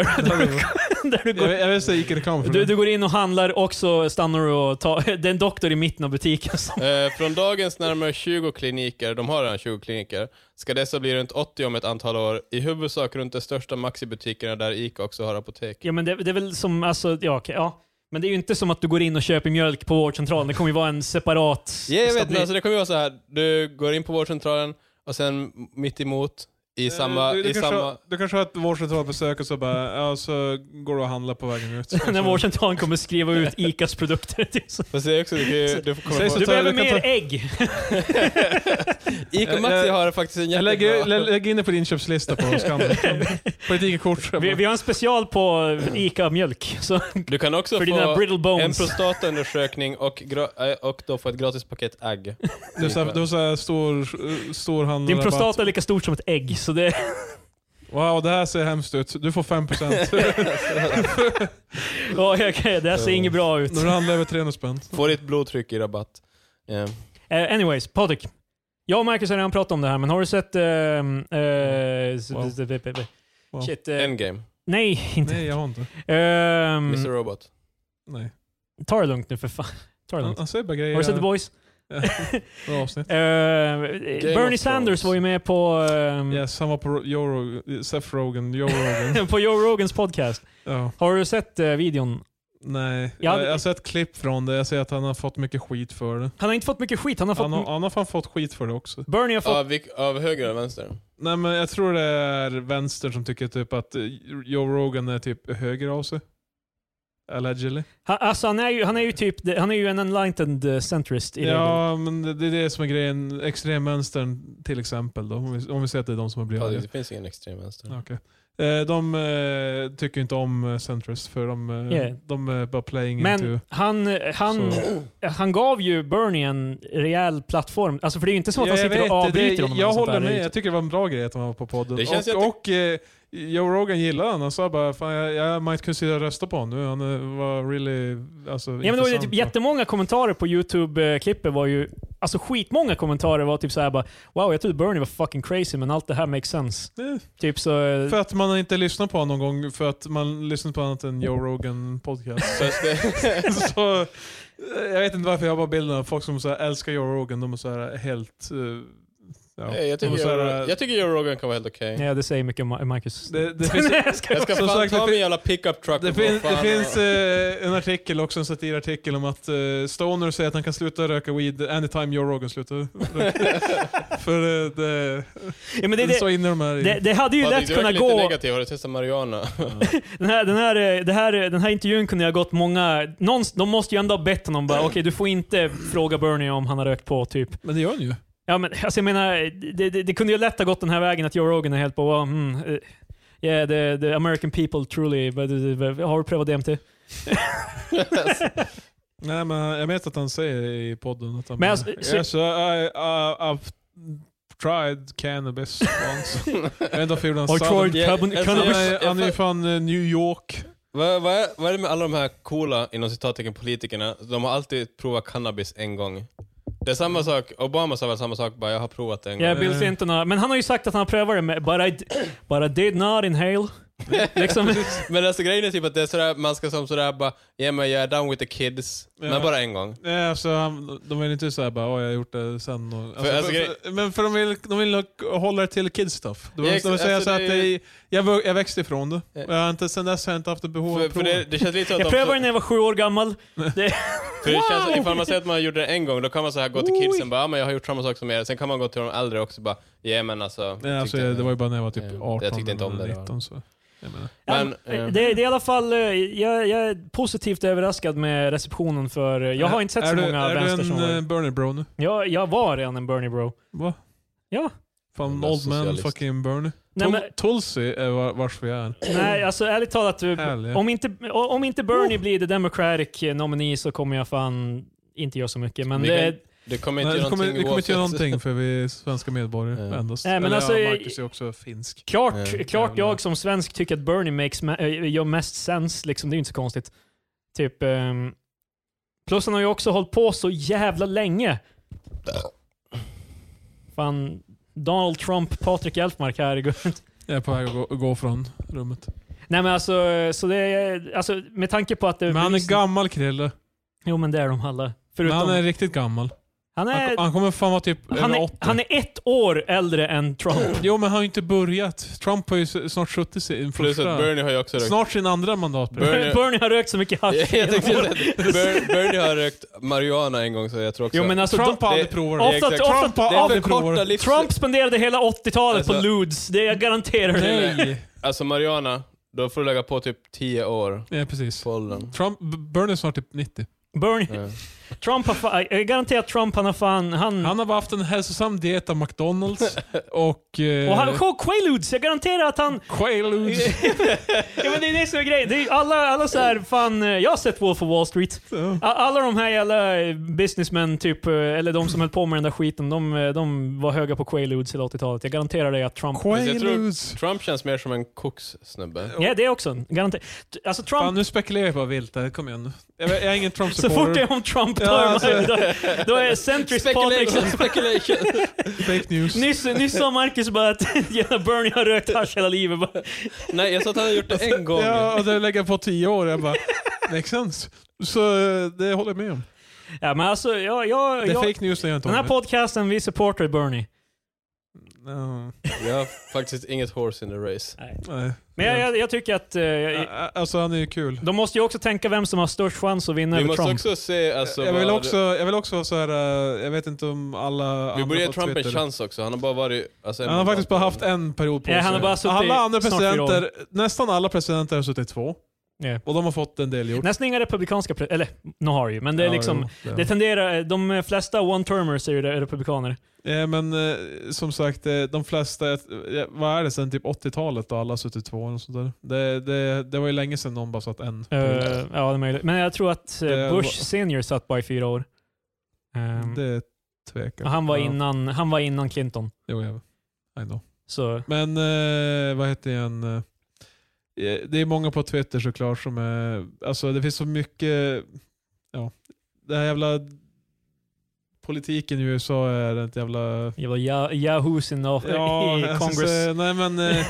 [SPEAKER 2] där du
[SPEAKER 1] Jag,
[SPEAKER 2] går,
[SPEAKER 1] vet- jag vet inte Ica reklam för
[SPEAKER 2] du,
[SPEAKER 1] det.
[SPEAKER 2] du går in och handlar och så stannar du och tar... Det är en doktor i mitten av butiken som...
[SPEAKER 3] Eh, från dagens närmare 20 kliniker, de har redan 20 kliniker, ska dessa bli runt 80 om ett antal år. I huvudsak runt de största Maxi-butikerna där ICA också har apotek.
[SPEAKER 2] Ja, men det, det är väl som... Alltså, ja, okej, ja. Men det är ju inte som att du går in och köper mjölk på vårdcentralen. Det kommer ju vara en separat...
[SPEAKER 3] Ja, jag vet, men
[SPEAKER 2] station.
[SPEAKER 3] alltså det kommer ju vara så här. du går in på vårdcentralen och sen mitt emot i samma...
[SPEAKER 1] Eh, du, du,
[SPEAKER 3] i
[SPEAKER 1] kanske,
[SPEAKER 3] samma...
[SPEAKER 1] har- du kanske har ett vårdcentralbesök och så bara, ja, så går du och handlar på vägen ut.
[SPEAKER 3] alltså-
[SPEAKER 2] När vårdcentralen kommer skriva ut ICAs produkter. Det är så-
[SPEAKER 3] Fast det är också, du, kan ju- du kommer
[SPEAKER 1] Säg
[SPEAKER 3] få-
[SPEAKER 1] så
[SPEAKER 2] Du
[SPEAKER 1] tar-
[SPEAKER 2] behöver
[SPEAKER 1] du kan
[SPEAKER 2] mer
[SPEAKER 1] ta-
[SPEAKER 2] ägg!
[SPEAKER 3] ICA
[SPEAKER 1] Jag-
[SPEAKER 3] Maxi
[SPEAKER 1] jag-
[SPEAKER 3] har faktiskt en
[SPEAKER 1] Eh, Jag
[SPEAKER 3] jättebra...
[SPEAKER 1] lägger, lä- lägg in det på din köpslista på Scandic. på ditt Ica-kort.
[SPEAKER 2] Vi, vi har en special på ICA-mjölk. Så
[SPEAKER 3] Du kan också
[SPEAKER 2] för dina
[SPEAKER 3] få
[SPEAKER 2] brittle
[SPEAKER 3] en
[SPEAKER 2] bones.
[SPEAKER 3] prostataundersökning och, gra- eh, och då få ett gratis paket ägg.
[SPEAKER 1] Du så här- du har såhär stor, stor hand.
[SPEAKER 2] Din prostata är lika stort som ett ägg. Så det,
[SPEAKER 1] Wow, det här ser hemskt ut. Du får 5%.
[SPEAKER 2] ja, okej, det här ser inget bra ut.
[SPEAKER 1] När du handlar över 300 spänn.
[SPEAKER 3] Få ditt blodtryck i rabatt. Yeah.
[SPEAKER 2] Eh, anyways, Patrik. Jag och Marcus har redan pratat om det här, men har du sett... ehm, eh, s-
[SPEAKER 1] Wow.
[SPEAKER 2] s- b- b- b-
[SPEAKER 1] Wow.
[SPEAKER 2] Shit. eh,
[SPEAKER 3] Endgame.
[SPEAKER 2] nej, inte.
[SPEAKER 1] Nej, jag har inte. Mm.
[SPEAKER 2] Ehm,
[SPEAKER 3] Mr Robot.
[SPEAKER 1] Nej.
[SPEAKER 2] ta det lugnt nu för fan. Ta det
[SPEAKER 1] Han,
[SPEAKER 2] lugnt.
[SPEAKER 1] han säger bara grejer.
[SPEAKER 2] Har du sett The Boys?
[SPEAKER 1] Bra avsnitt.
[SPEAKER 2] Ehm, Bernie
[SPEAKER 3] of
[SPEAKER 2] Sanders
[SPEAKER 3] Thrones.
[SPEAKER 2] var ju med på, ehm,
[SPEAKER 1] Yes, han var på Joe Rog- Seth Rogen. Joe Rogan.
[SPEAKER 2] på Joe Rogans podcast.
[SPEAKER 1] ja.
[SPEAKER 2] Har du sett eh, videon?
[SPEAKER 1] Nej,
[SPEAKER 2] Jag
[SPEAKER 1] jag,
[SPEAKER 2] hade-
[SPEAKER 1] jag har sett klipp från det. Jag ser att han har fått mycket skit för det.
[SPEAKER 2] Han har inte fått mycket skit. Han har fått,
[SPEAKER 1] Han har, han har fan fått skit för det också.
[SPEAKER 2] Bernie har fått...
[SPEAKER 3] Av, vilk- av höger eller vänster?
[SPEAKER 1] Nej men jag tror det är vänster som tycker typ att eh, Joe Rogan är typ höger av sig. Allegedly.
[SPEAKER 2] Han, alltså, han, är ju, han är ju typ... Han är ju en enlightened eh, centrist i regel.
[SPEAKER 1] Ja, men det, det är det som är grejen. Extremvänstern till exempel då, om vi, om vi säger att det är de som har blivit
[SPEAKER 3] Ja,
[SPEAKER 1] arga.
[SPEAKER 3] det finns ingen extrem vänster.
[SPEAKER 1] Ja, okej. Eh, De eh, tycker inte om eh, centrist för de, eh,
[SPEAKER 2] Yeah.
[SPEAKER 1] de är bara playing
[SPEAKER 2] Men
[SPEAKER 1] into...
[SPEAKER 2] han, han, han gav ju Bernie en rejäl plattform. Alltså för det är ju inte som att
[SPEAKER 1] Ja,
[SPEAKER 2] han
[SPEAKER 1] jag
[SPEAKER 2] sitter och
[SPEAKER 1] vet, det-
[SPEAKER 2] avbryter
[SPEAKER 1] det-
[SPEAKER 2] honom.
[SPEAKER 1] Jag
[SPEAKER 2] eller sånt
[SPEAKER 1] håller
[SPEAKER 2] där.
[SPEAKER 1] med, jag tycker det var en bra grej att han var på podden.
[SPEAKER 3] Det känns
[SPEAKER 1] och,
[SPEAKER 3] ju att
[SPEAKER 1] och eh, Joe Rogan gillade honom. Han sa bara fan jag, jag might consider rösta på honom nu. Han eh, var really alltså,
[SPEAKER 2] Ja, men det var ju typ
[SPEAKER 1] intressant.
[SPEAKER 2] jättemånga kommentarer på YouTube-klippet var ju... Alltså skitmånga kommentarer var typ såhär bara Wow, jag trodde Bernie var fucking crazy men allt det här makes sense.
[SPEAKER 1] Eh,
[SPEAKER 2] Typ så... eh,
[SPEAKER 1] För att man inte lyssnar på honom någon gång, för att man lyssnar på annat än Joe Rogan podcast.
[SPEAKER 3] Fast det,
[SPEAKER 1] så, eh, jag vet inte varför jag har bara bilden av folk som så här älskar Joe Rogan, de är så här helt... eh, Ja,
[SPEAKER 3] Nej, jag,
[SPEAKER 1] de är
[SPEAKER 3] tycker
[SPEAKER 1] så här,
[SPEAKER 3] Joe, jag tycker Joe Rogan kan vara helt okej.
[SPEAKER 2] Ja, det säger mycket om Ma- Marcus.
[SPEAKER 1] Det, det
[SPEAKER 2] Nej,
[SPEAKER 1] finns,
[SPEAKER 2] jag skojar.
[SPEAKER 3] Jag ska
[SPEAKER 1] Som
[SPEAKER 3] fan
[SPEAKER 1] sagt, det
[SPEAKER 3] ta
[SPEAKER 1] fin-
[SPEAKER 3] min jävla pickup truck
[SPEAKER 1] det
[SPEAKER 3] och
[SPEAKER 1] finns,
[SPEAKER 3] bara,
[SPEAKER 1] det
[SPEAKER 3] fan,
[SPEAKER 1] finns
[SPEAKER 3] och-
[SPEAKER 1] eh, en artikel också, en satirartikel om att eh, Stoner säger att han kan sluta röka weed anytime Joe Rogan slutar röka. För eh, det,
[SPEAKER 2] Ja, men det,
[SPEAKER 1] det,
[SPEAKER 2] det,
[SPEAKER 1] så inne de här i.
[SPEAKER 2] det, det hade ju
[SPEAKER 3] Patrik,
[SPEAKER 2] lätt
[SPEAKER 3] du verkar
[SPEAKER 2] kunnat
[SPEAKER 3] lite
[SPEAKER 2] gå...
[SPEAKER 3] negativ. Har du testat marijuana?
[SPEAKER 2] Den här, den, här, eh, det här, eh, den här intervjun kunde jag gått många... Någon, de måste ju ändå ha bett honom bara, okej du får inte fråga Bernie om han har rökt på typ.
[SPEAKER 1] Men det gör han ju.
[SPEAKER 2] Ja men alltså jag menar, det, det, det kunde ju lätt ha gått den här vägen att Joe Rogan är helt på, wow, mm, eh, yeah the, the American people truly, but, but, but, har du prövat DMT?
[SPEAKER 1] Nej men jag vet att han säger i podden att han
[SPEAKER 2] Men
[SPEAKER 1] bara,
[SPEAKER 2] alltså, så-
[SPEAKER 1] yes, I, I, I've tried cannabis once. jag vet inte varför jag gjorde
[SPEAKER 2] Har
[SPEAKER 1] en
[SPEAKER 2] du
[SPEAKER 1] southern
[SPEAKER 2] tried
[SPEAKER 3] Ja,
[SPEAKER 2] cannab-
[SPEAKER 3] alltså,
[SPEAKER 1] Han
[SPEAKER 2] cannabis?
[SPEAKER 1] är, han är ju fan eh, New York.
[SPEAKER 3] vad, vad, är, vad är det med alla de här coola, inom citattecken, politikerna? De har alltid provat cannabis en gång. Det är samma sak, Obama sa väl samma sak, bara jag har provat det en
[SPEAKER 2] Ja,
[SPEAKER 3] gång.
[SPEAKER 1] Mm.
[SPEAKER 2] Bill Clinton har, men han har ju sagt att han har prövat det med, but I, d- but I did not inhale. liksom,
[SPEAKER 3] Men alltså grejen är typ att det är sådär, man ska som sådär bara, ja men jag är down with the kids,
[SPEAKER 1] Ja.
[SPEAKER 3] men bara en gång.
[SPEAKER 1] Nej, alltså, han, de vill inte säga bara åh jag har gjort det sen. Och, alltså, för,
[SPEAKER 3] alltså, grej-
[SPEAKER 1] för, men för de vill, de vill nog hålla det till kids stuff. De vill,
[SPEAKER 3] Ja, ex-
[SPEAKER 1] de vill säga
[SPEAKER 3] alltså,
[SPEAKER 1] så
[SPEAKER 3] det
[SPEAKER 1] att
[SPEAKER 3] är ju-
[SPEAKER 1] det, jag, vö- jag växte ifrån det.
[SPEAKER 3] Ja.
[SPEAKER 1] Och Jag har inte, sen dess har jag inte haft ett behov av
[SPEAKER 3] För,
[SPEAKER 1] att
[SPEAKER 3] för
[SPEAKER 1] prova.
[SPEAKER 3] det, det känns lite så att
[SPEAKER 2] jag
[SPEAKER 3] de...
[SPEAKER 2] prövade när jag var sju år gammal.
[SPEAKER 3] För det känns,
[SPEAKER 2] Wow!
[SPEAKER 3] ifall man säger att man gjorde det en gång, då kan man så här gå till
[SPEAKER 2] Oj.
[SPEAKER 3] kidsen och bara, ja, men jag har gjort samma sak som er. Sen kan man gå till de äldre också och bara, ja men alltså.
[SPEAKER 1] Nej, alltså,
[SPEAKER 3] tyckte-
[SPEAKER 1] det var ju bara när jag var typ
[SPEAKER 3] Ja,
[SPEAKER 1] 18
[SPEAKER 3] jag tyckte inte om
[SPEAKER 1] eller
[SPEAKER 3] det då.
[SPEAKER 1] 19. Så, jag menar.
[SPEAKER 2] Ja,
[SPEAKER 3] Men,
[SPEAKER 2] men,
[SPEAKER 3] eh,
[SPEAKER 2] det, det är i alla fall, eh, jag, jag är positivt överraskad med receptionen för eh, jag har inte sett
[SPEAKER 1] är
[SPEAKER 2] så
[SPEAKER 1] du,
[SPEAKER 2] många
[SPEAKER 1] är
[SPEAKER 2] vänster
[SPEAKER 1] du
[SPEAKER 2] som
[SPEAKER 1] en eh,
[SPEAKER 2] var.
[SPEAKER 1] burner bro nu?
[SPEAKER 2] Jag, jag var redan en Bernie bro.
[SPEAKER 1] Va?
[SPEAKER 2] Ja.
[SPEAKER 1] Fan,
[SPEAKER 3] Jävla
[SPEAKER 1] old man
[SPEAKER 3] socialist.
[SPEAKER 1] fucking burner.
[SPEAKER 2] Nej,
[SPEAKER 1] Nej,
[SPEAKER 2] men,
[SPEAKER 1] Tulsi är var, vars vi är.
[SPEAKER 2] nej alltså ärligt talat, eh,
[SPEAKER 1] Härligt.
[SPEAKER 2] om inte, om inte Bernie blir the democratic eh, nominee så kommer jag fan inte göra så mycket. Men eh,
[SPEAKER 3] Vi
[SPEAKER 2] det,
[SPEAKER 3] kan- Det kommer inte
[SPEAKER 1] Nej,
[SPEAKER 3] göra
[SPEAKER 1] vi kommer,
[SPEAKER 3] någonting
[SPEAKER 1] vi kommer inte göra
[SPEAKER 3] oavsett.
[SPEAKER 1] någonting för vi är svenska medborgare
[SPEAKER 3] Ja.
[SPEAKER 1] endast.
[SPEAKER 2] Nej, men
[SPEAKER 1] Eller,
[SPEAKER 2] alltså,
[SPEAKER 1] ja,
[SPEAKER 2] jag-
[SPEAKER 1] Marcus är också finsk.
[SPEAKER 2] Klart,
[SPEAKER 3] Ja.
[SPEAKER 2] klart
[SPEAKER 1] Eh, Jävlar.
[SPEAKER 2] jag som svensk tycker att Bernie makes ma- eh, gör mest sens. Liksom. Det är ju inte så konstigt. Typ, ehm, plus han har ju också hållit på så jävla länge. Fan, Donald Trump, Patrik Elfmark här.
[SPEAKER 1] Jag är på väg att gå, gå från rummet.
[SPEAKER 2] Nej men alltså, så det är, alltså med tanke på att det...
[SPEAKER 1] Men han är
[SPEAKER 2] belyser-
[SPEAKER 1] gammal Krille.
[SPEAKER 2] Jo men det är de alla.
[SPEAKER 1] Men
[SPEAKER 2] Förutom...
[SPEAKER 1] han är riktigt gammal.
[SPEAKER 2] han
[SPEAKER 1] Han,
[SPEAKER 2] är,
[SPEAKER 1] ko- han kommer fan vara typ
[SPEAKER 2] han
[SPEAKER 1] över
[SPEAKER 2] är,
[SPEAKER 1] 80.
[SPEAKER 2] han är ett år äldre än Trump.
[SPEAKER 1] Jo men han har ju inte börjat. Trump har ju s- snart suttit sin
[SPEAKER 3] Plus att
[SPEAKER 1] första...
[SPEAKER 3] Bernie har ju också rökt.
[SPEAKER 1] Snart sin andra Alltså, mandatperiod.
[SPEAKER 3] Bernie-
[SPEAKER 2] Bernie har rökt så mycket hasch
[SPEAKER 3] Jag
[SPEAKER 2] genom
[SPEAKER 3] tänkte
[SPEAKER 2] åren.
[SPEAKER 3] Ber- Bernie har rökt marijuana en gång så jag tror också...
[SPEAKER 2] Jo men alltså,
[SPEAKER 1] Trump har
[SPEAKER 2] de,
[SPEAKER 1] aldrig
[SPEAKER 3] det-
[SPEAKER 1] provat det.
[SPEAKER 2] ofta,
[SPEAKER 3] exakt.
[SPEAKER 2] ofta,
[SPEAKER 1] Trump har
[SPEAKER 3] det är
[SPEAKER 1] aldrig
[SPEAKER 3] för korta
[SPEAKER 1] provat det.
[SPEAKER 3] livs...
[SPEAKER 2] Trump spenderade hela 80-talet på
[SPEAKER 3] Alltså-
[SPEAKER 2] lewds, det jag garanterar dig.
[SPEAKER 1] Nej.
[SPEAKER 3] Alltså marijuana, då får du lägga på typ 10 år
[SPEAKER 1] Nej precis.
[SPEAKER 3] på åldern.
[SPEAKER 1] Trump, B- Bernie är snart typ 90.
[SPEAKER 2] Bernie,
[SPEAKER 3] Ja.
[SPEAKER 2] Trump har fan, jag garanterar att Trump han har fan, han...
[SPEAKER 1] Han har bara haft en hälsosam diet av McDonalds och... Eh,
[SPEAKER 2] och han, och Quaaludes, jag garanterar att han...
[SPEAKER 1] Quaaludes.
[SPEAKER 2] Ja, men det är det som är grejen. Det är ju alla, alla så här, fan, eh, jag har sett Wolf of Wall Street.
[SPEAKER 1] Ja.
[SPEAKER 2] A- Alla de här jävla eh, businessmen, typ, eh, eller de som höll på med den där skiten, de, eh, de var höga på Quaaludes hela 80-talet. Jag garanterar dig att Trump...
[SPEAKER 3] jag tror-
[SPEAKER 1] Quaaludes.
[SPEAKER 3] Trump känns mer som en kokssnubbe.
[SPEAKER 2] Ja, det också. Garanter... Alltså Trump...
[SPEAKER 1] Fan, nu spekulerar jag bara vilt här. Kom igen nu. Jag, jag är ingen
[SPEAKER 2] så fort det
[SPEAKER 1] Trump-supporter.
[SPEAKER 2] är om Trump
[SPEAKER 1] Ja,
[SPEAKER 2] tar man-
[SPEAKER 1] alltså.
[SPEAKER 2] då, då är centrist Patrik...
[SPEAKER 4] Speculation, speculation.
[SPEAKER 1] Fake news.
[SPEAKER 2] Nyss, nyss sa Marcus bara att jävla Bernie har rökt hasch hela livet. Bara,
[SPEAKER 4] Nej, jag sa att han har gjort det en gång.
[SPEAKER 1] Alltså, Ja, och det lägger jag på tio år. Jag bara, makes sense. Så eh, det håller jag med om.
[SPEAKER 2] Ja, men alltså, jag, jag,
[SPEAKER 1] Det är
[SPEAKER 2] jag,
[SPEAKER 1] fake news när jag inte
[SPEAKER 2] den här
[SPEAKER 1] håller med.
[SPEAKER 2] podcasten, vi supportar Bernie.
[SPEAKER 1] Ja,
[SPEAKER 3] Jag har faktiskt inget horse in the race.
[SPEAKER 1] nej.
[SPEAKER 2] Men jag, jag, jag tycker att... eh, jag,
[SPEAKER 1] Ä- Alltså han är ju kul.
[SPEAKER 2] De måste ju också tänka vem som har störst chans att vinna
[SPEAKER 3] Vi
[SPEAKER 2] över
[SPEAKER 3] måste
[SPEAKER 2] Trump.
[SPEAKER 3] också se alltså,
[SPEAKER 1] Jag vill
[SPEAKER 3] vad-
[SPEAKER 1] också, jag vill också så här, eh, jag vet inte om alla
[SPEAKER 3] Vi
[SPEAKER 1] andra
[SPEAKER 3] borde ge
[SPEAKER 1] på
[SPEAKER 3] Trump en
[SPEAKER 1] Twitter-
[SPEAKER 3] chans också. Han har bara varit... Alltså, en
[SPEAKER 1] Han har
[SPEAKER 3] mandat.
[SPEAKER 1] faktiskt bara haft en period på sig.
[SPEAKER 2] Ja, han har bara suttit
[SPEAKER 1] alla andra
[SPEAKER 2] snart fyra år.
[SPEAKER 1] presidenter, nästan alla presidenter har suttit två.
[SPEAKER 2] Ja.
[SPEAKER 1] Och de har fått en del gjort.
[SPEAKER 2] Nästan inga republikanska, pre- eller nu har ju, men det är
[SPEAKER 1] Ja,
[SPEAKER 2] liksom,
[SPEAKER 1] jo,
[SPEAKER 2] det tenderar, de flesta one-termers är ju re- republikaner.
[SPEAKER 1] Eh, men eh, som sagt, eh, de flesta, eh, vad är det sen typ 80-talet då alla har suttit två och sånt där. Det, det, det var ju länge sedan någon bara satt en.
[SPEAKER 2] Eh, ja, det är möjligt. Men jag tror att eh,
[SPEAKER 1] Mm. Det var-
[SPEAKER 2] Bush senior satt bara i fyra år. Ehm,
[SPEAKER 1] det tvekar
[SPEAKER 2] och han, var
[SPEAKER 1] Ja.
[SPEAKER 2] innan, han var innan Clinton.
[SPEAKER 1] Jo, jag I know.
[SPEAKER 2] Så,
[SPEAKER 1] Men eh, vad heter han? Eh, Det är många på Twitter såklart som är... Alltså det finns så mycket... Ja, det här jävla... Politiken i USA är ett jävla...
[SPEAKER 2] jävla ja- yahoos in, the-
[SPEAKER 1] Ja, alltså,
[SPEAKER 2] i
[SPEAKER 1] jag ska
[SPEAKER 2] Congress.
[SPEAKER 1] säga- nej men, eh,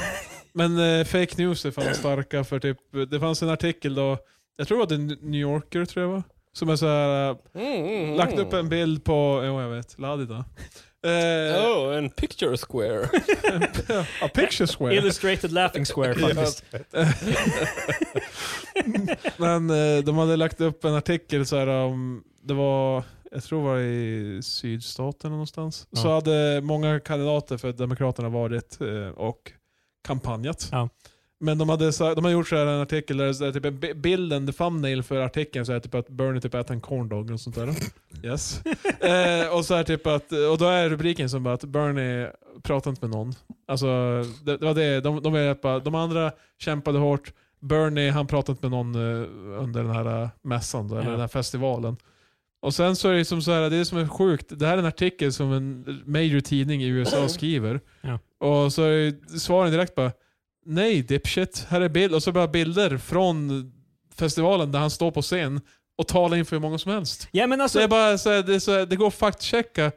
[SPEAKER 1] men eh, fake news är fan starka för typ, det fanns en artikel då, jag tror att det var The New Yorker tror jag va? Som är så här, eh,
[SPEAKER 3] Mm, mm, mm.
[SPEAKER 1] lagt upp en bild på, jo jag vet, Ladida. Eh,
[SPEAKER 3] Oh, en picture square.
[SPEAKER 1] a picture square.
[SPEAKER 2] Illustrated laughing square faktiskt.
[SPEAKER 1] men eh, de hade lagt upp en artikel så här om, det var, jag tror det var i sydstaten någonstans. Så
[SPEAKER 2] Ja.
[SPEAKER 1] hade många kandidater för Demokraterna varit eh, och kampanjat.
[SPEAKER 2] Ja.
[SPEAKER 1] Men de hade, sa- de hade gjort så här en artikel där, där typ en bi- bilden, the thumbnail för artikeln, så här typ att Bernie typ äter en corndog och sånt där. Yes. eh, och, så här typ att, och då är rubriken som bara att Bernie pratar inte med någon. Alltså, det, det var det. De, de, är bara, de andra kämpade hårt. Bernie han pratade inte med någon eh, under den här eh, mässan, då, eller
[SPEAKER 2] Ja.
[SPEAKER 1] den här festivalen. Och sen så är det som så här, det är som är sjukt. Det här är en artikel som en major tidning i USA skriver.
[SPEAKER 2] Ja.
[SPEAKER 1] Och så är svaren direkt bara Nej dipshit, här är bild. Och så bara bilder från festivalen där han står på scen och talar inför hur många som helst.
[SPEAKER 2] Ja, men
[SPEAKER 1] Så det, är
[SPEAKER 2] alltså,
[SPEAKER 1] bara, så här, det, är så här, det går att fact-checka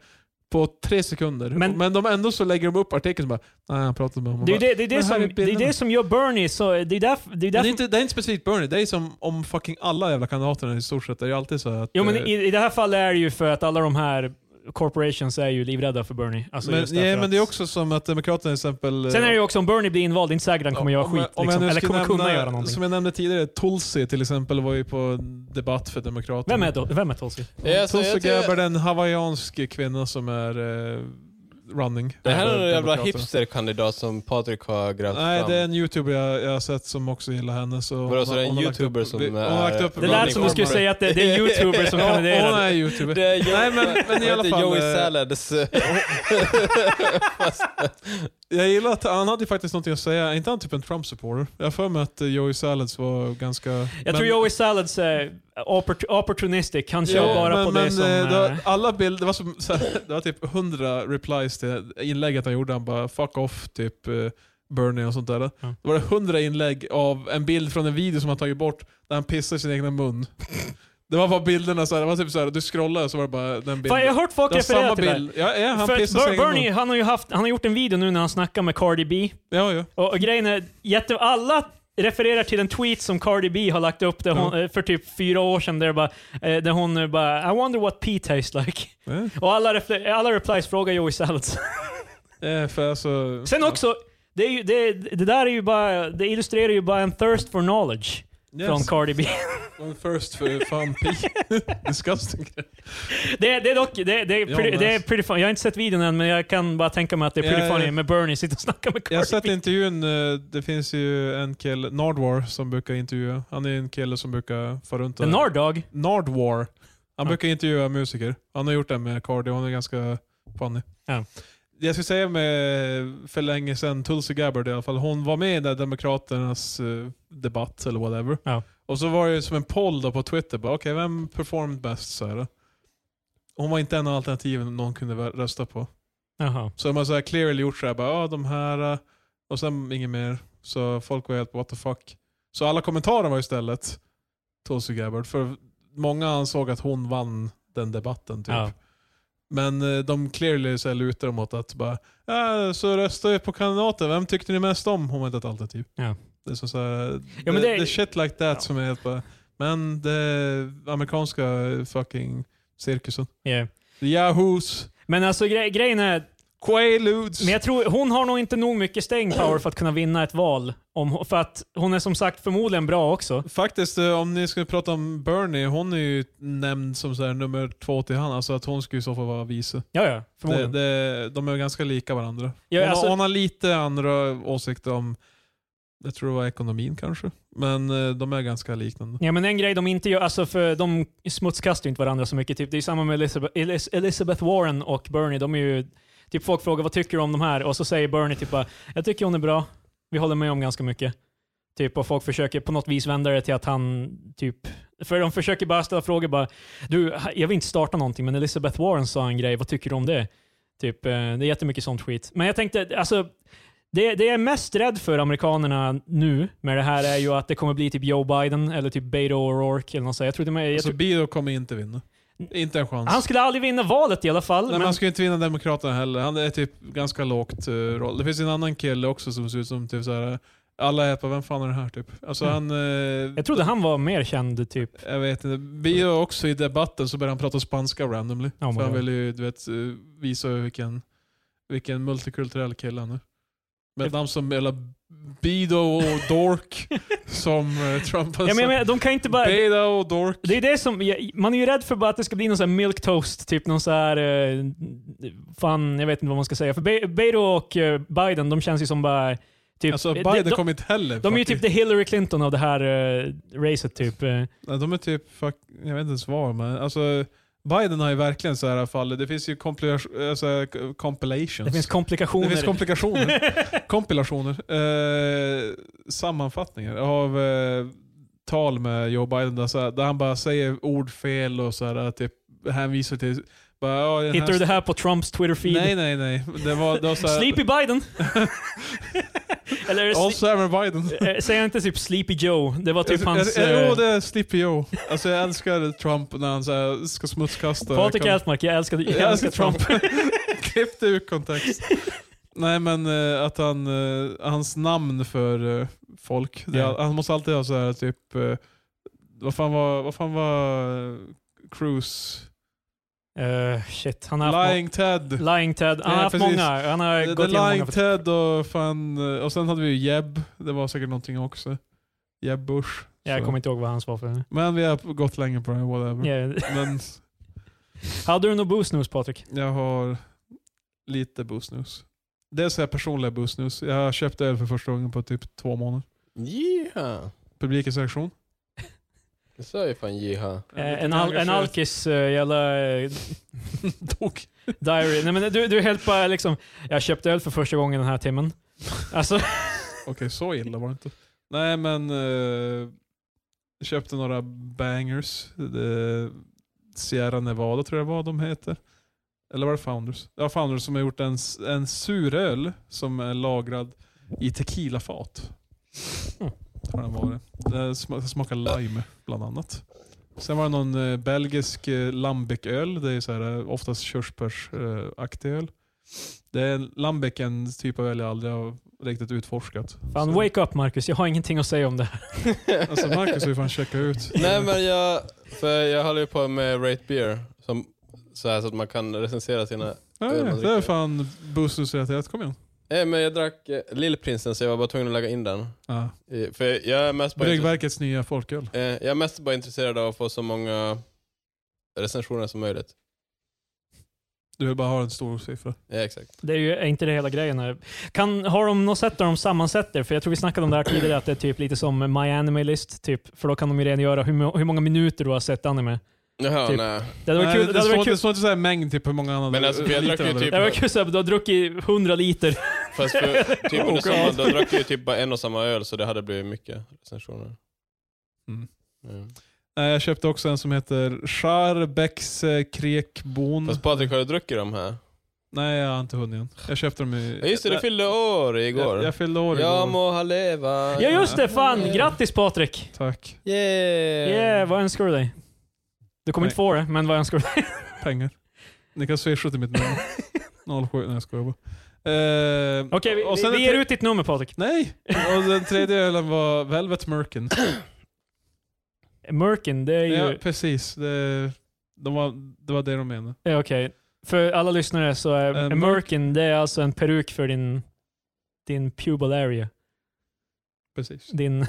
[SPEAKER 1] på tre sekunder.
[SPEAKER 2] Men-
[SPEAKER 1] Men, de ändå så lägger de upp artikeln och bara Nej, han pratade med honom.
[SPEAKER 2] det är
[SPEAKER 1] Bara,
[SPEAKER 2] det, det, är det,
[SPEAKER 1] Men här
[SPEAKER 2] som,
[SPEAKER 1] är
[SPEAKER 2] det, är
[SPEAKER 1] bilderna.
[SPEAKER 2] det som gör Bernie så, det är därför... Det
[SPEAKER 1] Men
[SPEAKER 2] är därför
[SPEAKER 1] det, är inte, det är inte specifikt Bernie, det är som om fucking alla jävla kandidaterna i stort sett. Det är ju alltid så här att...
[SPEAKER 2] Jo men
[SPEAKER 1] eh,
[SPEAKER 2] i, i det här fallet är det ju för att alla de här corporations är ju livrädda för Bernie. Alltså
[SPEAKER 1] men,
[SPEAKER 2] just därför
[SPEAKER 1] ja, men det är
[SPEAKER 2] att-
[SPEAKER 1] också som att Demokraterna till exempel... eh,
[SPEAKER 2] Sen är det ju också om Bernie blir invald, det är inte säkert han kommer göra
[SPEAKER 1] om jag-
[SPEAKER 2] skit.
[SPEAKER 1] om jag
[SPEAKER 2] liksom,
[SPEAKER 1] nu
[SPEAKER 2] eller
[SPEAKER 1] skulle
[SPEAKER 2] kommer kunna
[SPEAKER 1] nämna-
[SPEAKER 2] göra någonting.
[SPEAKER 1] Som jag nämnde tidigare, Tulsi till exempel var ju på en debatt för Demokraterna.
[SPEAKER 2] Vem är, då, vem är Tulsi?
[SPEAKER 3] Ja, alltså,
[SPEAKER 1] Tulsi
[SPEAKER 3] jag tror-
[SPEAKER 1] Gabbard är en hawaiiansk kvinna som är eh, running.
[SPEAKER 3] Det här är
[SPEAKER 1] för
[SPEAKER 3] en jävla
[SPEAKER 1] Demokraterna.
[SPEAKER 3] hipsterkandidat som Patrik har grävt
[SPEAKER 1] Nej,
[SPEAKER 3] fram.
[SPEAKER 1] det är en youtuber jag, jag har sett som också gillar henne. Så hon
[SPEAKER 3] Vadå, så
[SPEAKER 1] har-
[SPEAKER 3] det är en
[SPEAKER 1] hon har lagt
[SPEAKER 3] YouTuber
[SPEAKER 1] upp-
[SPEAKER 3] som eh,
[SPEAKER 1] hon
[SPEAKER 3] är-
[SPEAKER 1] har lät upp...
[SPEAKER 2] Det lät som du skulle säga att det, det är youtubers som
[SPEAKER 1] Ja, hon
[SPEAKER 2] kandiderar.
[SPEAKER 1] är youtuber.
[SPEAKER 3] Det är Joey,
[SPEAKER 1] Nej, men- men i
[SPEAKER 3] vad
[SPEAKER 1] alla
[SPEAKER 3] heter
[SPEAKER 1] fall,
[SPEAKER 3] Joey
[SPEAKER 1] eh,
[SPEAKER 3] Salads.
[SPEAKER 1] Jag gillar att han hade ju faktiskt någonting att säga. Är inte han typ en Trump-supporter? Jag har för mig att eh, Joey Salads var ganska...
[SPEAKER 2] Jag tror Joey Salads är opportu- opportunistic. Han kör
[SPEAKER 3] Ja,
[SPEAKER 2] bara på det som...
[SPEAKER 1] eh, det
[SPEAKER 2] eh,
[SPEAKER 1] var, alla bilder, det var, som, så här, det var typ 100 replies till inlägget han gjorde. Han bara fuck off, typ eh, Bernie och sånt där.
[SPEAKER 2] Ja.
[SPEAKER 1] Då var det 100 inlägg av en bild från en video som han tagit bort där han pissar i sin egna mun. det var bara bilderna, så här, det var typ så här, du scrollade så var det bara den bilden.
[SPEAKER 2] Fan, jag har hört folk
[SPEAKER 1] det var
[SPEAKER 2] referera
[SPEAKER 1] samma
[SPEAKER 2] till det här.
[SPEAKER 1] bild. Ja, ja, han
[SPEAKER 2] För att
[SPEAKER 1] pissar i sin
[SPEAKER 2] Ber-
[SPEAKER 1] egen
[SPEAKER 2] Bernie,
[SPEAKER 1] mun.
[SPEAKER 2] han har ju haft, han har gjort en video nu när han snackar med Cardi B.
[SPEAKER 1] Ja, ja.
[SPEAKER 2] Och, och grejen är, jätte, alla refererar till en tweet som Cardi B har lagt upp där hon, eh, för typ fyra år sedan, där, bara, eh, där hon eh, bara I wonder what pee tastes like.
[SPEAKER 1] Eh,
[SPEAKER 2] Och alla, refle- alla replies frågar Joey Salads.
[SPEAKER 1] Eh, för alltså...
[SPEAKER 2] Sen också, det, är ju, det, det där är ju bara, det illustrerar ju bara en thirst for knowledge
[SPEAKER 1] Yes.
[SPEAKER 2] från Cardi B.
[SPEAKER 1] I'm first för fan pi. Disgusting.
[SPEAKER 2] Det, det är dock, det, det, är
[SPEAKER 1] Ja,
[SPEAKER 2] pretty,
[SPEAKER 1] men
[SPEAKER 2] det är
[SPEAKER 1] alltså.
[SPEAKER 2] pretty funny. Jag har inte sett videon än, men jag kan bara tänka mig att det är pretty
[SPEAKER 1] Ja, ja.
[SPEAKER 2] funny med Bernie sitter och snackar med Cardi
[SPEAKER 1] Jag har sett
[SPEAKER 2] B.
[SPEAKER 1] intervjun, eh, det finns ju en kille, Nardwar, som brukar intervjua. Han är en kille som brukar fara runt
[SPEAKER 2] The Nard Dog?
[SPEAKER 1] Nardwar. Han
[SPEAKER 2] Ja.
[SPEAKER 1] brukar intervjua musiker. Han har gjort det med Cardi, hon är ganska funny.
[SPEAKER 2] Ja.
[SPEAKER 1] Jag skulle säga med, för länge sedan, Tulsi Gabbard i alla fall, hon var med i den där Demokraternas eh, debatt eller whatever.
[SPEAKER 2] Ja.
[SPEAKER 1] Och så var det ju som en poll då på Twitter, bara, okej vem performed bäst? Så här. Hon var inte en av alternativen någon kunde vä- rösta på.
[SPEAKER 2] Jaha.
[SPEAKER 1] Så de har så här clearly gjort så här, bara, ah, de här, eh", och sen inget mer. Så folk var helt what the fuck. Så alla kommentarer var istället Tulsi Gabbard, för många ansåg att hon vann den debatten. Typ.
[SPEAKER 2] Ja.
[SPEAKER 1] Men eh, de clearly så här lutar dem åt att bara, ah, så röstar vi på kandidaten, vem tyckte ni mest om? Hon var inte ett alternativ.
[SPEAKER 2] Ja.
[SPEAKER 1] Det är så, så här,
[SPEAKER 2] Ja, men
[SPEAKER 1] det,
[SPEAKER 2] det
[SPEAKER 1] det,
[SPEAKER 2] är-
[SPEAKER 1] är shit like that
[SPEAKER 2] Ja.
[SPEAKER 1] som är helt bara, men det amerikanska fucking cirkusen.
[SPEAKER 2] Yeah.
[SPEAKER 1] The Yahoos,
[SPEAKER 2] Men alltså gre- grejen är,
[SPEAKER 1] Quaaludes.
[SPEAKER 2] Men jag tror, hon har nog inte nog mycket staying power för att kunna vinna ett val. Om, för att hon är som sagt förmodligen bra också.
[SPEAKER 1] Faktiskt, eh, om ni skulle prata om Bernie, hon är ju nämnd som så här nummer två till han. Alltså att hon skulle i så fall vara vice.
[SPEAKER 2] Ja, ja.
[SPEAKER 1] Det,
[SPEAKER 2] Förmodligen.
[SPEAKER 1] det, de är ganska lika varandra.
[SPEAKER 2] Ja,
[SPEAKER 1] hon,
[SPEAKER 2] alltså-
[SPEAKER 1] har, hon har lite andra åsikter om, jag tror det var ekonomin kanske. Men eh, de är ganska liknande.
[SPEAKER 2] Ja, men en grej de inte gör, alltså för de smutskastar ju inte varandra så mycket. Typ. Det är ju samma med Elizabeth, Elis- Elizabeth Warren och Bernie. De är ju, typ folk frågar vad tycker du om de här? Och så säger Bernie typ bara, jag tycker hon är bra. Vi håller med om ganska mycket. Typ, och folk försöker på något vis vända det till att han typ... För de försöker bara ställa frågor bara, du, jag vill inte starta någonting, men Elizabeth Warren sa en grej, vad tycker du om det? Typ, eh, det är jättemycket sånt skit. Men jag tänkte, alltså, det, det jag är mest rädd för amerikanerna nu med det här är ju att det kommer bli typ Joe Biden eller typ Beto O'Rourke eller något sånt. Jag tror, det med, jag
[SPEAKER 1] Så
[SPEAKER 2] tror,
[SPEAKER 1] Biden Alltså, kommer inte vinna. Inte en chans.
[SPEAKER 2] han skulle aldrig vinna valet i alla fall.
[SPEAKER 1] Nej, men
[SPEAKER 2] men,
[SPEAKER 1] han skulle inte vinna Demokraterna heller. Han är typ ganska lågt eh, roll. Det finns en annan kille också som ser ut som typ så här. alla är på vem fan är det här typ? Alltså
[SPEAKER 2] Mm.
[SPEAKER 1] han... eh,
[SPEAKER 2] jag trodde han var mer känd typ.
[SPEAKER 1] Jag vet inte. Vi är också i debatten så började han prata spanska randomly.
[SPEAKER 2] Ja, men
[SPEAKER 1] för han
[SPEAKER 2] ja.
[SPEAKER 1] ville ju du vet, eh, visa vilken, vilken multikulturell kille han är. Med ett namn som eller Bido och Dork som eh, Trump har
[SPEAKER 2] Ja, men,
[SPEAKER 1] sagt.
[SPEAKER 2] jag menar, de kan inte bara... Typ,
[SPEAKER 1] Bido och Dork.
[SPEAKER 2] Det är det som, jag- man är ju rädd för bara att det ska bli någon sån här milk toast, typ någon sån här, eh, fan jag vet inte vad man ska säga. För Be- Beto och eh, Biden, de känns ju som bara, typ,
[SPEAKER 1] Alltså
[SPEAKER 2] de,
[SPEAKER 1] Biden
[SPEAKER 2] de,
[SPEAKER 1] kommer inte heller.
[SPEAKER 2] de är ju typ
[SPEAKER 1] fucking-
[SPEAKER 2] the Hillary Clinton av det här eh, racet typ. Eh,
[SPEAKER 1] Nej, de är typ, fuck, jag vet inte ens vad de är. Alltså, Biden har ju verkligen så här fall. Det finns ju kompila- alltså, compilations.
[SPEAKER 2] Det finns komplikationer.
[SPEAKER 1] Det finns komplikationer. Kompilationer. Eh, sammanfattningar av eh, tal med Joe Biden där, så här, där han bara säger ord fel och så här, typ, hänvisar till... Bara, ja, den här-
[SPEAKER 2] Hittar du det här på Trumps Twitter-feed?
[SPEAKER 1] Nej, nej, nej. Det var, det var så här,
[SPEAKER 2] Sleepy Biden! Eller är det
[SPEAKER 1] Also Aaron Alltså, Biden.
[SPEAKER 2] sli- eh, säger han inte typ Sleepy Joe? Det var typ hans...
[SPEAKER 1] Alltså, jag, jag,
[SPEAKER 2] eh,
[SPEAKER 1] jo, det är Slippy Joe. Alltså, jag älskar Trump när han så här, ska smutskasta.
[SPEAKER 2] Patrik
[SPEAKER 1] Kan-
[SPEAKER 2] Altmark, jag älskar,
[SPEAKER 1] Jag älskar Trump. Klipp det ur kontext. Nej men eh, att han, eh, hans namn för eh, folk. Det,
[SPEAKER 2] Ja.
[SPEAKER 1] Han måste alltid ha så här typ, eh, vad fan var, vad fan var eh, Cruise?
[SPEAKER 2] Eh, shit, han har haft
[SPEAKER 1] Lying Ted.
[SPEAKER 2] må- Lying Ted. Han har
[SPEAKER 1] Ja,
[SPEAKER 2] haft
[SPEAKER 1] precis.
[SPEAKER 2] många. Han har
[SPEAKER 1] The,
[SPEAKER 2] gått
[SPEAKER 1] the
[SPEAKER 2] igenom många.
[SPEAKER 1] Lying Ted och fan, eh, och sen hade vi ju Jeb. Det var säkert någonting också. Jeb Bush.
[SPEAKER 2] Jag
[SPEAKER 1] Så.
[SPEAKER 2] kommer inte ihåg vad hans var för.
[SPEAKER 1] Men vi har gått länge på det här, whatever.
[SPEAKER 2] Yeah.
[SPEAKER 1] Men
[SPEAKER 2] Hade du något boosnus Patrik?
[SPEAKER 1] jag har lite busnus. Det är så här personliga busnus. Jag köpte öl för första gången på typ två månader.
[SPEAKER 3] Jiha!
[SPEAKER 1] Publikens reaktion?
[SPEAKER 3] Du sa ju fan jiha.
[SPEAKER 2] Eh, en, al en alkis uh, jävla eh,
[SPEAKER 1] Dog.
[SPEAKER 2] diary. Nej, men du, du är helt bara liksom, jag köpte öl för första gången den här timmen. Alltså,
[SPEAKER 1] Okej, så illa var det inte. Nej men, eh, köpte några bangers. Det, Sierra Nevada tror jag var de heter. Eller var det Founders? Ja, Founders som har gjort en, s- en suröl som är lagrad i tequilafat.
[SPEAKER 2] Mm.
[SPEAKER 1] Har den varit. Den sma- smakar lime bland annat. Sen var det någon eh, belgisk eh, lambiköl. Det är så här, eh, oftast körsbärsaktig öl. Det är, lambic är en typ av öl jag aldrig har riktigt utforskat.
[SPEAKER 2] Fan,
[SPEAKER 1] så,
[SPEAKER 2] wake up Marcus, jag har ingenting att säga om det här.
[SPEAKER 1] alltså Marcus har ju fan checkat ut.
[SPEAKER 3] Nej men jag, för jag håller ju på med Rate Beer, som, så, här, så att man kan recensera sina...
[SPEAKER 1] Nej,
[SPEAKER 3] det är man
[SPEAKER 1] det är
[SPEAKER 3] riktigt.
[SPEAKER 1] fan bussrelaterat. Kom igen.
[SPEAKER 3] Nej men jag drack eh, Lillprinsen så jag var bara tvungen att lägga in den.
[SPEAKER 1] Ja.
[SPEAKER 3] I- För jag är mest bara, intresse-
[SPEAKER 1] Bryggverkets nya folköl.
[SPEAKER 3] eh, jag är mest bara intresserad av att få så många recensioner som möjligt.
[SPEAKER 1] Du vill bara ha en stor siffra.
[SPEAKER 3] Ja, exakt.
[SPEAKER 2] Det är ju är inte det hela grejen. Här. Kan, har de något sätt där de sammansätter? För jag tror vi snackade om det här tidigare, att det är typ lite som My Anime List, typ. för då kan de ju rengöra hur, mo- hur många minuter du har sett anime.
[SPEAKER 3] Jaha,
[SPEAKER 2] Typ.
[SPEAKER 3] nej.
[SPEAKER 2] Det hade varit
[SPEAKER 1] Nej,
[SPEAKER 2] kul.
[SPEAKER 1] det,
[SPEAKER 2] Det hade
[SPEAKER 1] står,
[SPEAKER 2] varit kul.
[SPEAKER 1] det står inte så här mängd typ hur många andra
[SPEAKER 3] Men alltså, för jag
[SPEAKER 1] liter
[SPEAKER 3] drack ju
[SPEAKER 1] eller-
[SPEAKER 3] typ-
[SPEAKER 2] Det hade varit kul så här, du har druckit 100 liter.
[SPEAKER 3] Fast för, typ under
[SPEAKER 2] Oh,
[SPEAKER 3] sommaren, då
[SPEAKER 2] God.
[SPEAKER 3] drack jag ju typ bara en och samma öl så det hade blivit mycket recensioner.
[SPEAKER 1] Mm.
[SPEAKER 3] Ja.
[SPEAKER 1] Nej, jag köpte också en som heter Scharbecks Krekbon.
[SPEAKER 3] Fast Patrik, har du druckit de här?
[SPEAKER 1] Nej, jag har inte hunnit än. Jag köpte dem i...
[SPEAKER 3] Ja, just det, du fyllde år igår.
[SPEAKER 1] Jag, jag fyllde år igår.
[SPEAKER 3] Jag må ha leva.
[SPEAKER 2] Ja Eh. just det, fan. Grattis Patrik!
[SPEAKER 1] Tack.
[SPEAKER 3] Yeah.
[SPEAKER 2] Yeah, vad önskar du dig? Du kommer
[SPEAKER 1] Nej.
[SPEAKER 2] inte få det, men vad önskar du dig?
[SPEAKER 1] Pengar. Ni kan swisha till mitt nummer. 07. Nej, jag skojar bara. Eh,
[SPEAKER 2] Okej, vi,
[SPEAKER 1] och
[SPEAKER 2] vi,
[SPEAKER 1] sen
[SPEAKER 2] vi
[SPEAKER 1] den
[SPEAKER 2] ger
[SPEAKER 1] tre-
[SPEAKER 2] ut ditt nummer Patrik.
[SPEAKER 1] Nej! Och den tredje ölen var Velvet Merkin.
[SPEAKER 2] Merkin, det är ju...
[SPEAKER 1] Ja, precis. Det, de var, det var det de menade.
[SPEAKER 2] Ja, eh, Okej. För alla lyssnare så är
[SPEAKER 1] Eh,
[SPEAKER 2] en merkin, det är alltså en peruk för din, din pubal area.
[SPEAKER 1] Precis. Eh,
[SPEAKER 2] Din,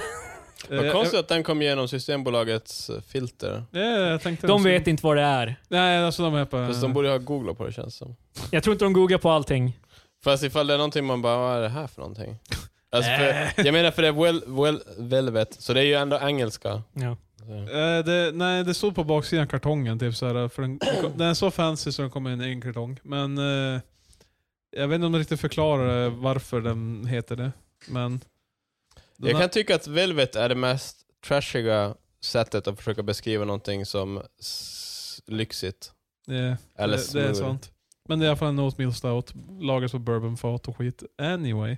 [SPEAKER 3] Vad konstigt att den kom igenom Systembolagets eh, filter.
[SPEAKER 1] Ja, jag tänkte
[SPEAKER 2] de
[SPEAKER 1] också-
[SPEAKER 2] vet inte vad det är.
[SPEAKER 1] Nej, alltså de är på...
[SPEAKER 3] Fast de borde ha googlat på det känns som.
[SPEAKER 2] Jag tror inte de googlar på allting.
[SPEAKER 3] Fast ifall det är någonting man bara, vad är det här för någonting? Alltså för, jag menar för det är well, well, velvet, så det är ju ändå engelska.
[SPEAKER 2] Ja.
[SPEAKER 3] Så.
[SPEAKER 1] Eh, det, nej, det stod på baksidan av kartongen. Typ, såhär, för den, den är så fancy så den kommer i en egen kartong. Men eh, jag vet inte om de riktigt förklarar eh, varför den heter det. Men den
[SPEAKER 3] Jag
[SPEAKER 1] har-
[SPEAKER 3] kan tycka att velvet är det mest trashiga sättet att försöka beskriva någonting som s- lyxigt.
[SPEAKER 1] eh,
[SPEAKER 3] Eller
[SPEAKER 1] det, det är
[SPEAKER 3] smooth.
[SPEAKER 1] sant. Men det är i alla fall en oatmeal stout. Lagas på bourbonfat och skit. Anyway.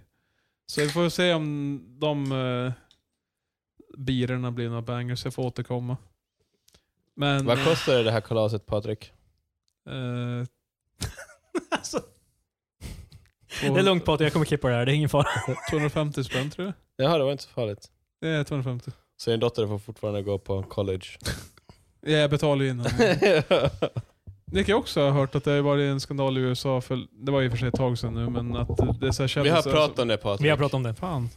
[SPEAKER 1] Så vi får se om de uh, birerna blir några bangers. Jag får återkomma. Men...
[SPEAKER 3] Vad kostade det här kalaset Patrik?
[SPEAKER 1] eh,
[SPEAKER 2] Alltså,
[SPEAKER 1] två-
[SPEAKER 2] det är lugnt Patrik, jag kommer klippa det här. Det är ingen fara.
[SPEAKER 1] 250 spänn tror jag.
[SPEAKER 3] Jaha, det var inte så farligt.
[SPEAKER 1] Det är 250.
[SPEAKER 3] Så din dotter får fortfarande gå på college.
[SPEAKER 1] Ja, jag betalar ju innan. Ni kan också ha hört att det har varit en skandal i USA, för det var i och för sig ett tag sedan nu, men att det är så här
[SPEAKER 3] Vi har
[SPEAKER 1] kändisar
[SPEAKER 3] pratat om det Patrik.
[SPEAKER 2] Vi har pratat om det.
[SPEAKER 1] som- Fan.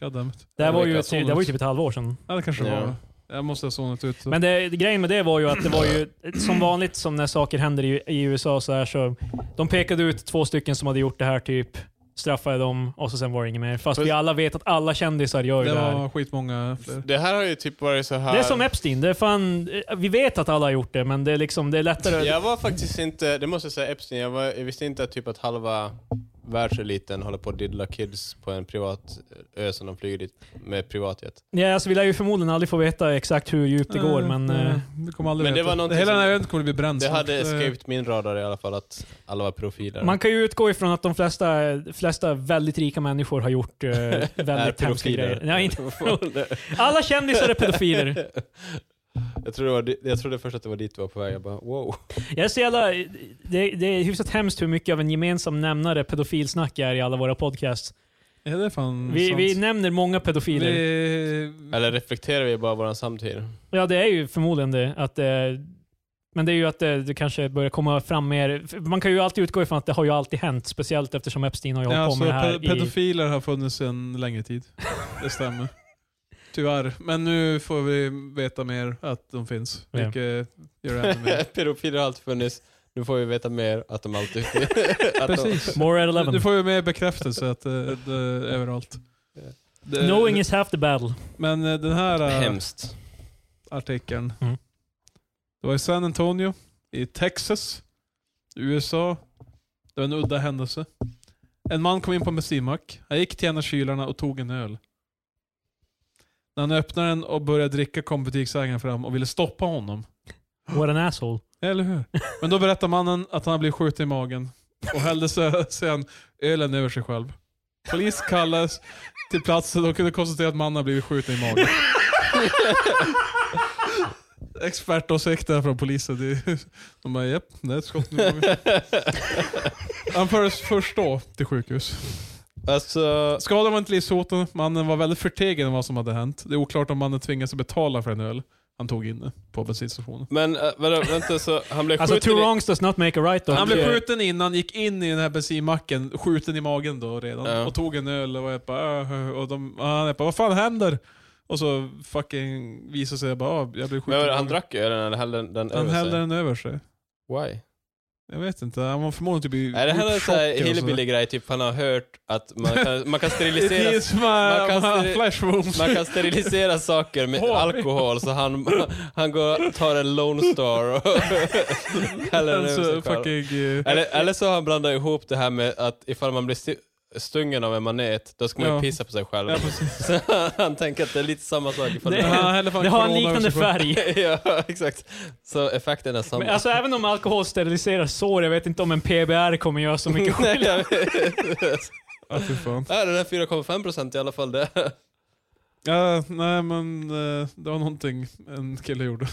[SPEAKER 1] Goddammit.
[SPEAKER 2] Det här var ju,
[SPEAKER 3] Veckans
[SPEAKER 2] ett, det var ju typ ett halvår sedan.
[SPEAKER 1] Ja, det kanske
[SPEAKER 3] Ja.
[SPEAKER 1] var. Jag måste ha zonat ut.
[SPEAKER 2] Men det, grejen med det var ju att det var ju som vanligt som när saker händer i, i USA så här så de pekade ut två stycken som hade gjort det här typ, straffade dem och så sen var det inget mer. Fast vi alla vet att alla kändisar gör ju
[SPEAKER 1] det
[SPEAKER 2] det här.
[SPEAKER 1] var skitmånga fler.
[SPEAKER 3] Det här har ju typ varit så här...
[SPEAKER 2] Det är som Epstein. Det är fan, vi vet att alla har gjort det, men det är, liksom, det är lättare.
[SPEAKER 3] Jag var faktiskt inte, det måste jag säga Epstein, jag, var, jag visste inte att typ att halva världseliten håller på att diddla kids på en privat ö som de flyger dit med privatjet.
[SPEAKER 2] Ja, alltså, vi lär ju förmodligen aldrig få veta exakt hur djupt det går, men eh,
[SPEAKER 1] Vi kommer aldrig
[SPEAKER 3] Men det
[SPEAKER 1] veta.
[SPEAKER 3] var någonting
[SPEAKER 1] Hela
[SPEAKER 3] som-
[SPEAKER 1] den här ön kommer bli bränd
[SPEAKER 3] Det
[SPEAKER 1] snart. Eh,
[SPEAKER 3] hade escaped min radar i alla fall att alla var profiler.
[SPEAKER 2] eh, man kan ju utgå ifrån att de flesta, flesta väldigt rika människor har gjort eh, väldigt hemska grejer. Nej, inte. Alla kändisar är pedofiler.
[SPEAKER 3] jag, trodde det var, di- jag trodde först att det var dit du var på väg, jag bara wow.
[SPEAKER 2] Jag ser alla, det, det är hyfsat hemskt hur mycket av en gemensam nämnare pedofilsnack är i alla våra podcasts.
[SPEAKER 1] Ja, det är fan
[SPEAKER 2] Vi,
[SPEAKER 1] Mm, sant.
[SPEAKER 2] vi nämner många pedofiler.
[SPEAKER 1] vi...
[SPEAKER 3] Eller reflekterar vi bara våran samtid?
[SPEAKER 2] Ja, det är ju förmodligen det. Att, eh, men det är ju att eh, det, det kanske börjar komma fram mer. för Man kan ju alltid utgå ifrån att det har ju alltid hänt, speciellt eftersom Epstein har ju hållit
[SPEAKER 1] Ja,
[SPEAKER 2] på
[SPEAKER 1] så
[SPEAKER 2] med det här.
[SPEAKER 1] pe-
[SPEAKER 2] I,
[SPEAKER 1] pedofiler har funnits en längre tid. Det stämmer. Tyvärr. Men nu får vi veta mer att de finns.
[SPEAKER 2] Ja.
[SPEAKER 1] Vilket gör det ännu mer.
[SPEAKER 3] Pedofiler har alltid funnits, nu får vi veta mer att de alltid finns. Att de-
[SPEAKER 1] Precis.
[SPEAKER 2] more at
[SPEAKER 1] Du
[SPEAKER 2] 11.
[SPEAKER 1] får ju mer bekräftelse att eh, det är överallt. Det-
[SPEAKER 2] Knowing is half the battle.
[SPEAKER 1] Men eh, den här eh,
[SPEAKER 3] Hemskt.
[SPEAKER 1] artikeln.
[SPEAKER 2] Mm.
[SPEAKER 1] Det var i San Antonio, i Texas, USA. Det var en udda händelse. En man kom in på en bensinmack. Han gick till en av kylarna och tog en öl. När han öppnade den och började dricka kom butiksägaren fram och ville stoppa honom.
[SPEAKER 2] What an asshole.
[SPEAKER 1] Eller hur? Men då berättar mannen att han har blivit skjuten i magen och hällde se- sedan ölen över sig själv. Polis kallades till platsen och kunde konstatera att mannen har blivit skjuten i magen. Expertåsikter från polisen. Det är- De bara japp, det är ett skott i magen. Han fördes först då till sjukhus.
[SPEAKER 3] Alltså,
[SPEAKER 1] Skadan var inte livshotande, mannen var väldigt förtegen om vad som hade hänt. Det är oklart om mannen tvingades att betala för en öl han tog inne på bensinstationen.
[SPEAKER 3] men äh, vadå, vänta så han blev
[SPEAKER 2] Alltså,
[SPEAKER 3] skjuten
[SPEAKER 2] two
[SPEAKER 3] i-
[SPEAKER 2] wrongs does not make a right. Då.
[SPEAKER 1] Han
[SPEAKER 3] Okej.
[SPEAKER 1] blev skjuten innan, gick in i den här bensinmacken, skjuten i magen då redan.
[SPEAKER 3] Ja.
[SPEAKER 1] Och tog en öl och jag bara, "Äh", och de, och han bara vad fan händer? Och så fucking visade sig jag bara, "Ah, jag blev skjuten.
[SPEAKER 3] Men
[SPEAKER 1] i
[SPEAKER 3] vadå, han
[SPEAKER 1] magen."
[SPEAKER 3] drack ju ölen eller hällde den den
[SPEAKER 1] han
[SPEAKER 3] över
[SPEAKER 1] hällde
[SPEAKER 3] sig?
[SPEAKER 1] den över sig.
[SPEAKER 3] Why?
[SPEAKER 1] Jag vet inte, han var förmodligen typ i
[SPEAKER 3] Är det här en sån här
[SPEAKER 1] chocken och sådär.
[SPEAKER 3] hillbilly-grej, typ han har hört att man kan, man kan
[SPEAKER 1] It
[SPEAKER 3] sterilisera
[SPEAKER 1] is my, man
[SPEAKER 3] kan
[SPEAKER 1] my
[SPEAKER 3] se-
[SPEAKER 1] flash wounds.
[SPEAKER 3] Man kan sterilisera saker med
[SPEAKER 1] Hål.
[SPEAKER 3] alkohol så han, han går, tar en Lone Star och häller den över
[SPEAKER 1] alltså,
[SPEAKER 3] sig själv.
[SPEAKER 1] fucking, eh,
[SPEAKER 3] Eller, eller så har han blandat ihop det här med att ifall man blir sti- stungen av en manet, då ska man ju
[SPEAKER 1] Ja.
[SPEAKER 3] pissa på sig själv.
[SPEAKER 1] Ja,
[SPEAKER 3] så han tänker att det är lite samma sak ifall
[SPEAKER 2] Det-
[SPEAKER 3] man...
[SPEAKER 1] han hällde fan
[SPEAKER 2] det har en
[SPEAKER 1] corona över
[SPEAKER 2] liknande
[SPEAKER 1] sig själv.
[SPEAKER 2] färg.
[SPEAKER 3] ja, exakt. Så effekten är samma.
[SPEAKER 2] Men alltså även om alkohol steriliserar sår, jag vet inte om en PBR kommer göra så mycket skillnad.
[SPEAKER 1] Ja, Ah, fy fan.
[SPEAKER 3] Ja, den här 4,5% i alla fall. Det.
[SPEAKER 1] Ja, nej men eh, det var någonting en kille gjorde.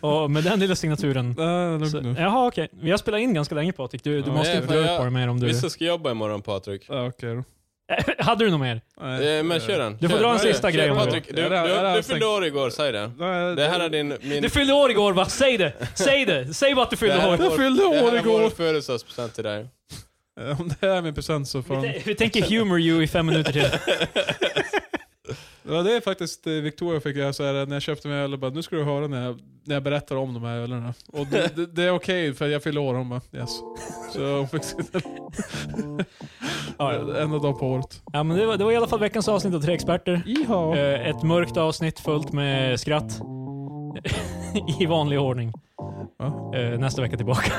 [SPEAKER 2] Och med den lilla signaturen.
[SPEAKER 1] Nej,
[SPEAKER 2] Så,
[SPEAKER 1] lugn nu.
[SPEAKER 2] jaha okej, vi har spelat in ganska länge Patrik. Du, du
[SPEAKER 1] Ja,
[SPEAKER 2] måste ju
[SPEAKER 1] men
[SPEAKER 2] fundera
[SPEAKER 3] jag-
[SPEAKER 2] på det mer om du...
[SPEAKER 3] Vissa ska jobba imorgon Patrik.
[SPEAKER 1] Ja, okej då.
[SPEAKER 2] Hade du något mer?
[SPEAKER 1] Nej,
[SPEAKER 3] Eh, Men
[SPEAKER 1] eh,
[SPEAKER 3] kör den.
[SPEAKER 2] Du får
[SPEAKER 3] Kör.
[SPEAKER 2] dra en
[SPEAKER 3] Vad är det?
[SPEAKER 2] sista
[SPEAKER 3] Kör,
[SPEAKER 2] grej om det.
[SPEAKER 3] Patrik, du,
[SPEAKER 1] Ja, det här- det här
[SPEAKER 3] du,
[SPEAKER 1] har
[SPEAKER 3] du
[SPEAKER 1] jag
[SPEAKER 3] fyllde år igår, säg det.
[SPEAKER 1] nej,
[SPEAKER 3] Det här är din... Min,
[SPEAKER 2] Du fyllde år igår va? Säg det! Säg det! Säg bara att du
[SPEAKER 3] det
[SPEAKER 2] fyllde
[SPEAKER 3] här är
[SPEAKER 2] år.
[SPEAKER 1] Jag
[SPEAKER 3] vår-
[SPEAKER 1] fyllde
[SPEAKER 3] det här
[SPEAKER 1] år
[SPEAKER 3] är
[SPEAKER 1] igår.
[SPEAKER 3] vår födelsedagspresent till dig.
[SPEAKER 1] Eh, Om det här är min present så fan.
[SPEAKER 2] Vi, vi tänker humor you i fem minuter till.
[SPEAKER 1] Det var det faktiskt eh, Victoria fick jag så här, när jag köpte mig öl och bara nu ska du höra när jag, när jag berättar om de här ölerna. Och det, det, det är okej för jag fyller år. Hon bara yes. Så hon fick sitta
[SPEAKER 2] Ja, ja.
[SPEAKER 1] en dag på året.
[SPEAKER 2] Ja, men det, var, det var i alla fall veckans avsnitt av Tre Experter.
[SPEAKER 1] Iha.
[SPEAKER 2] Eh, Ett mörkt avsnitt fullt med skratt. I vanlig ordning.
[SPEAKER 1] Ja.
[SPEAKER 2] Eh, Nästa vecka tillbaka.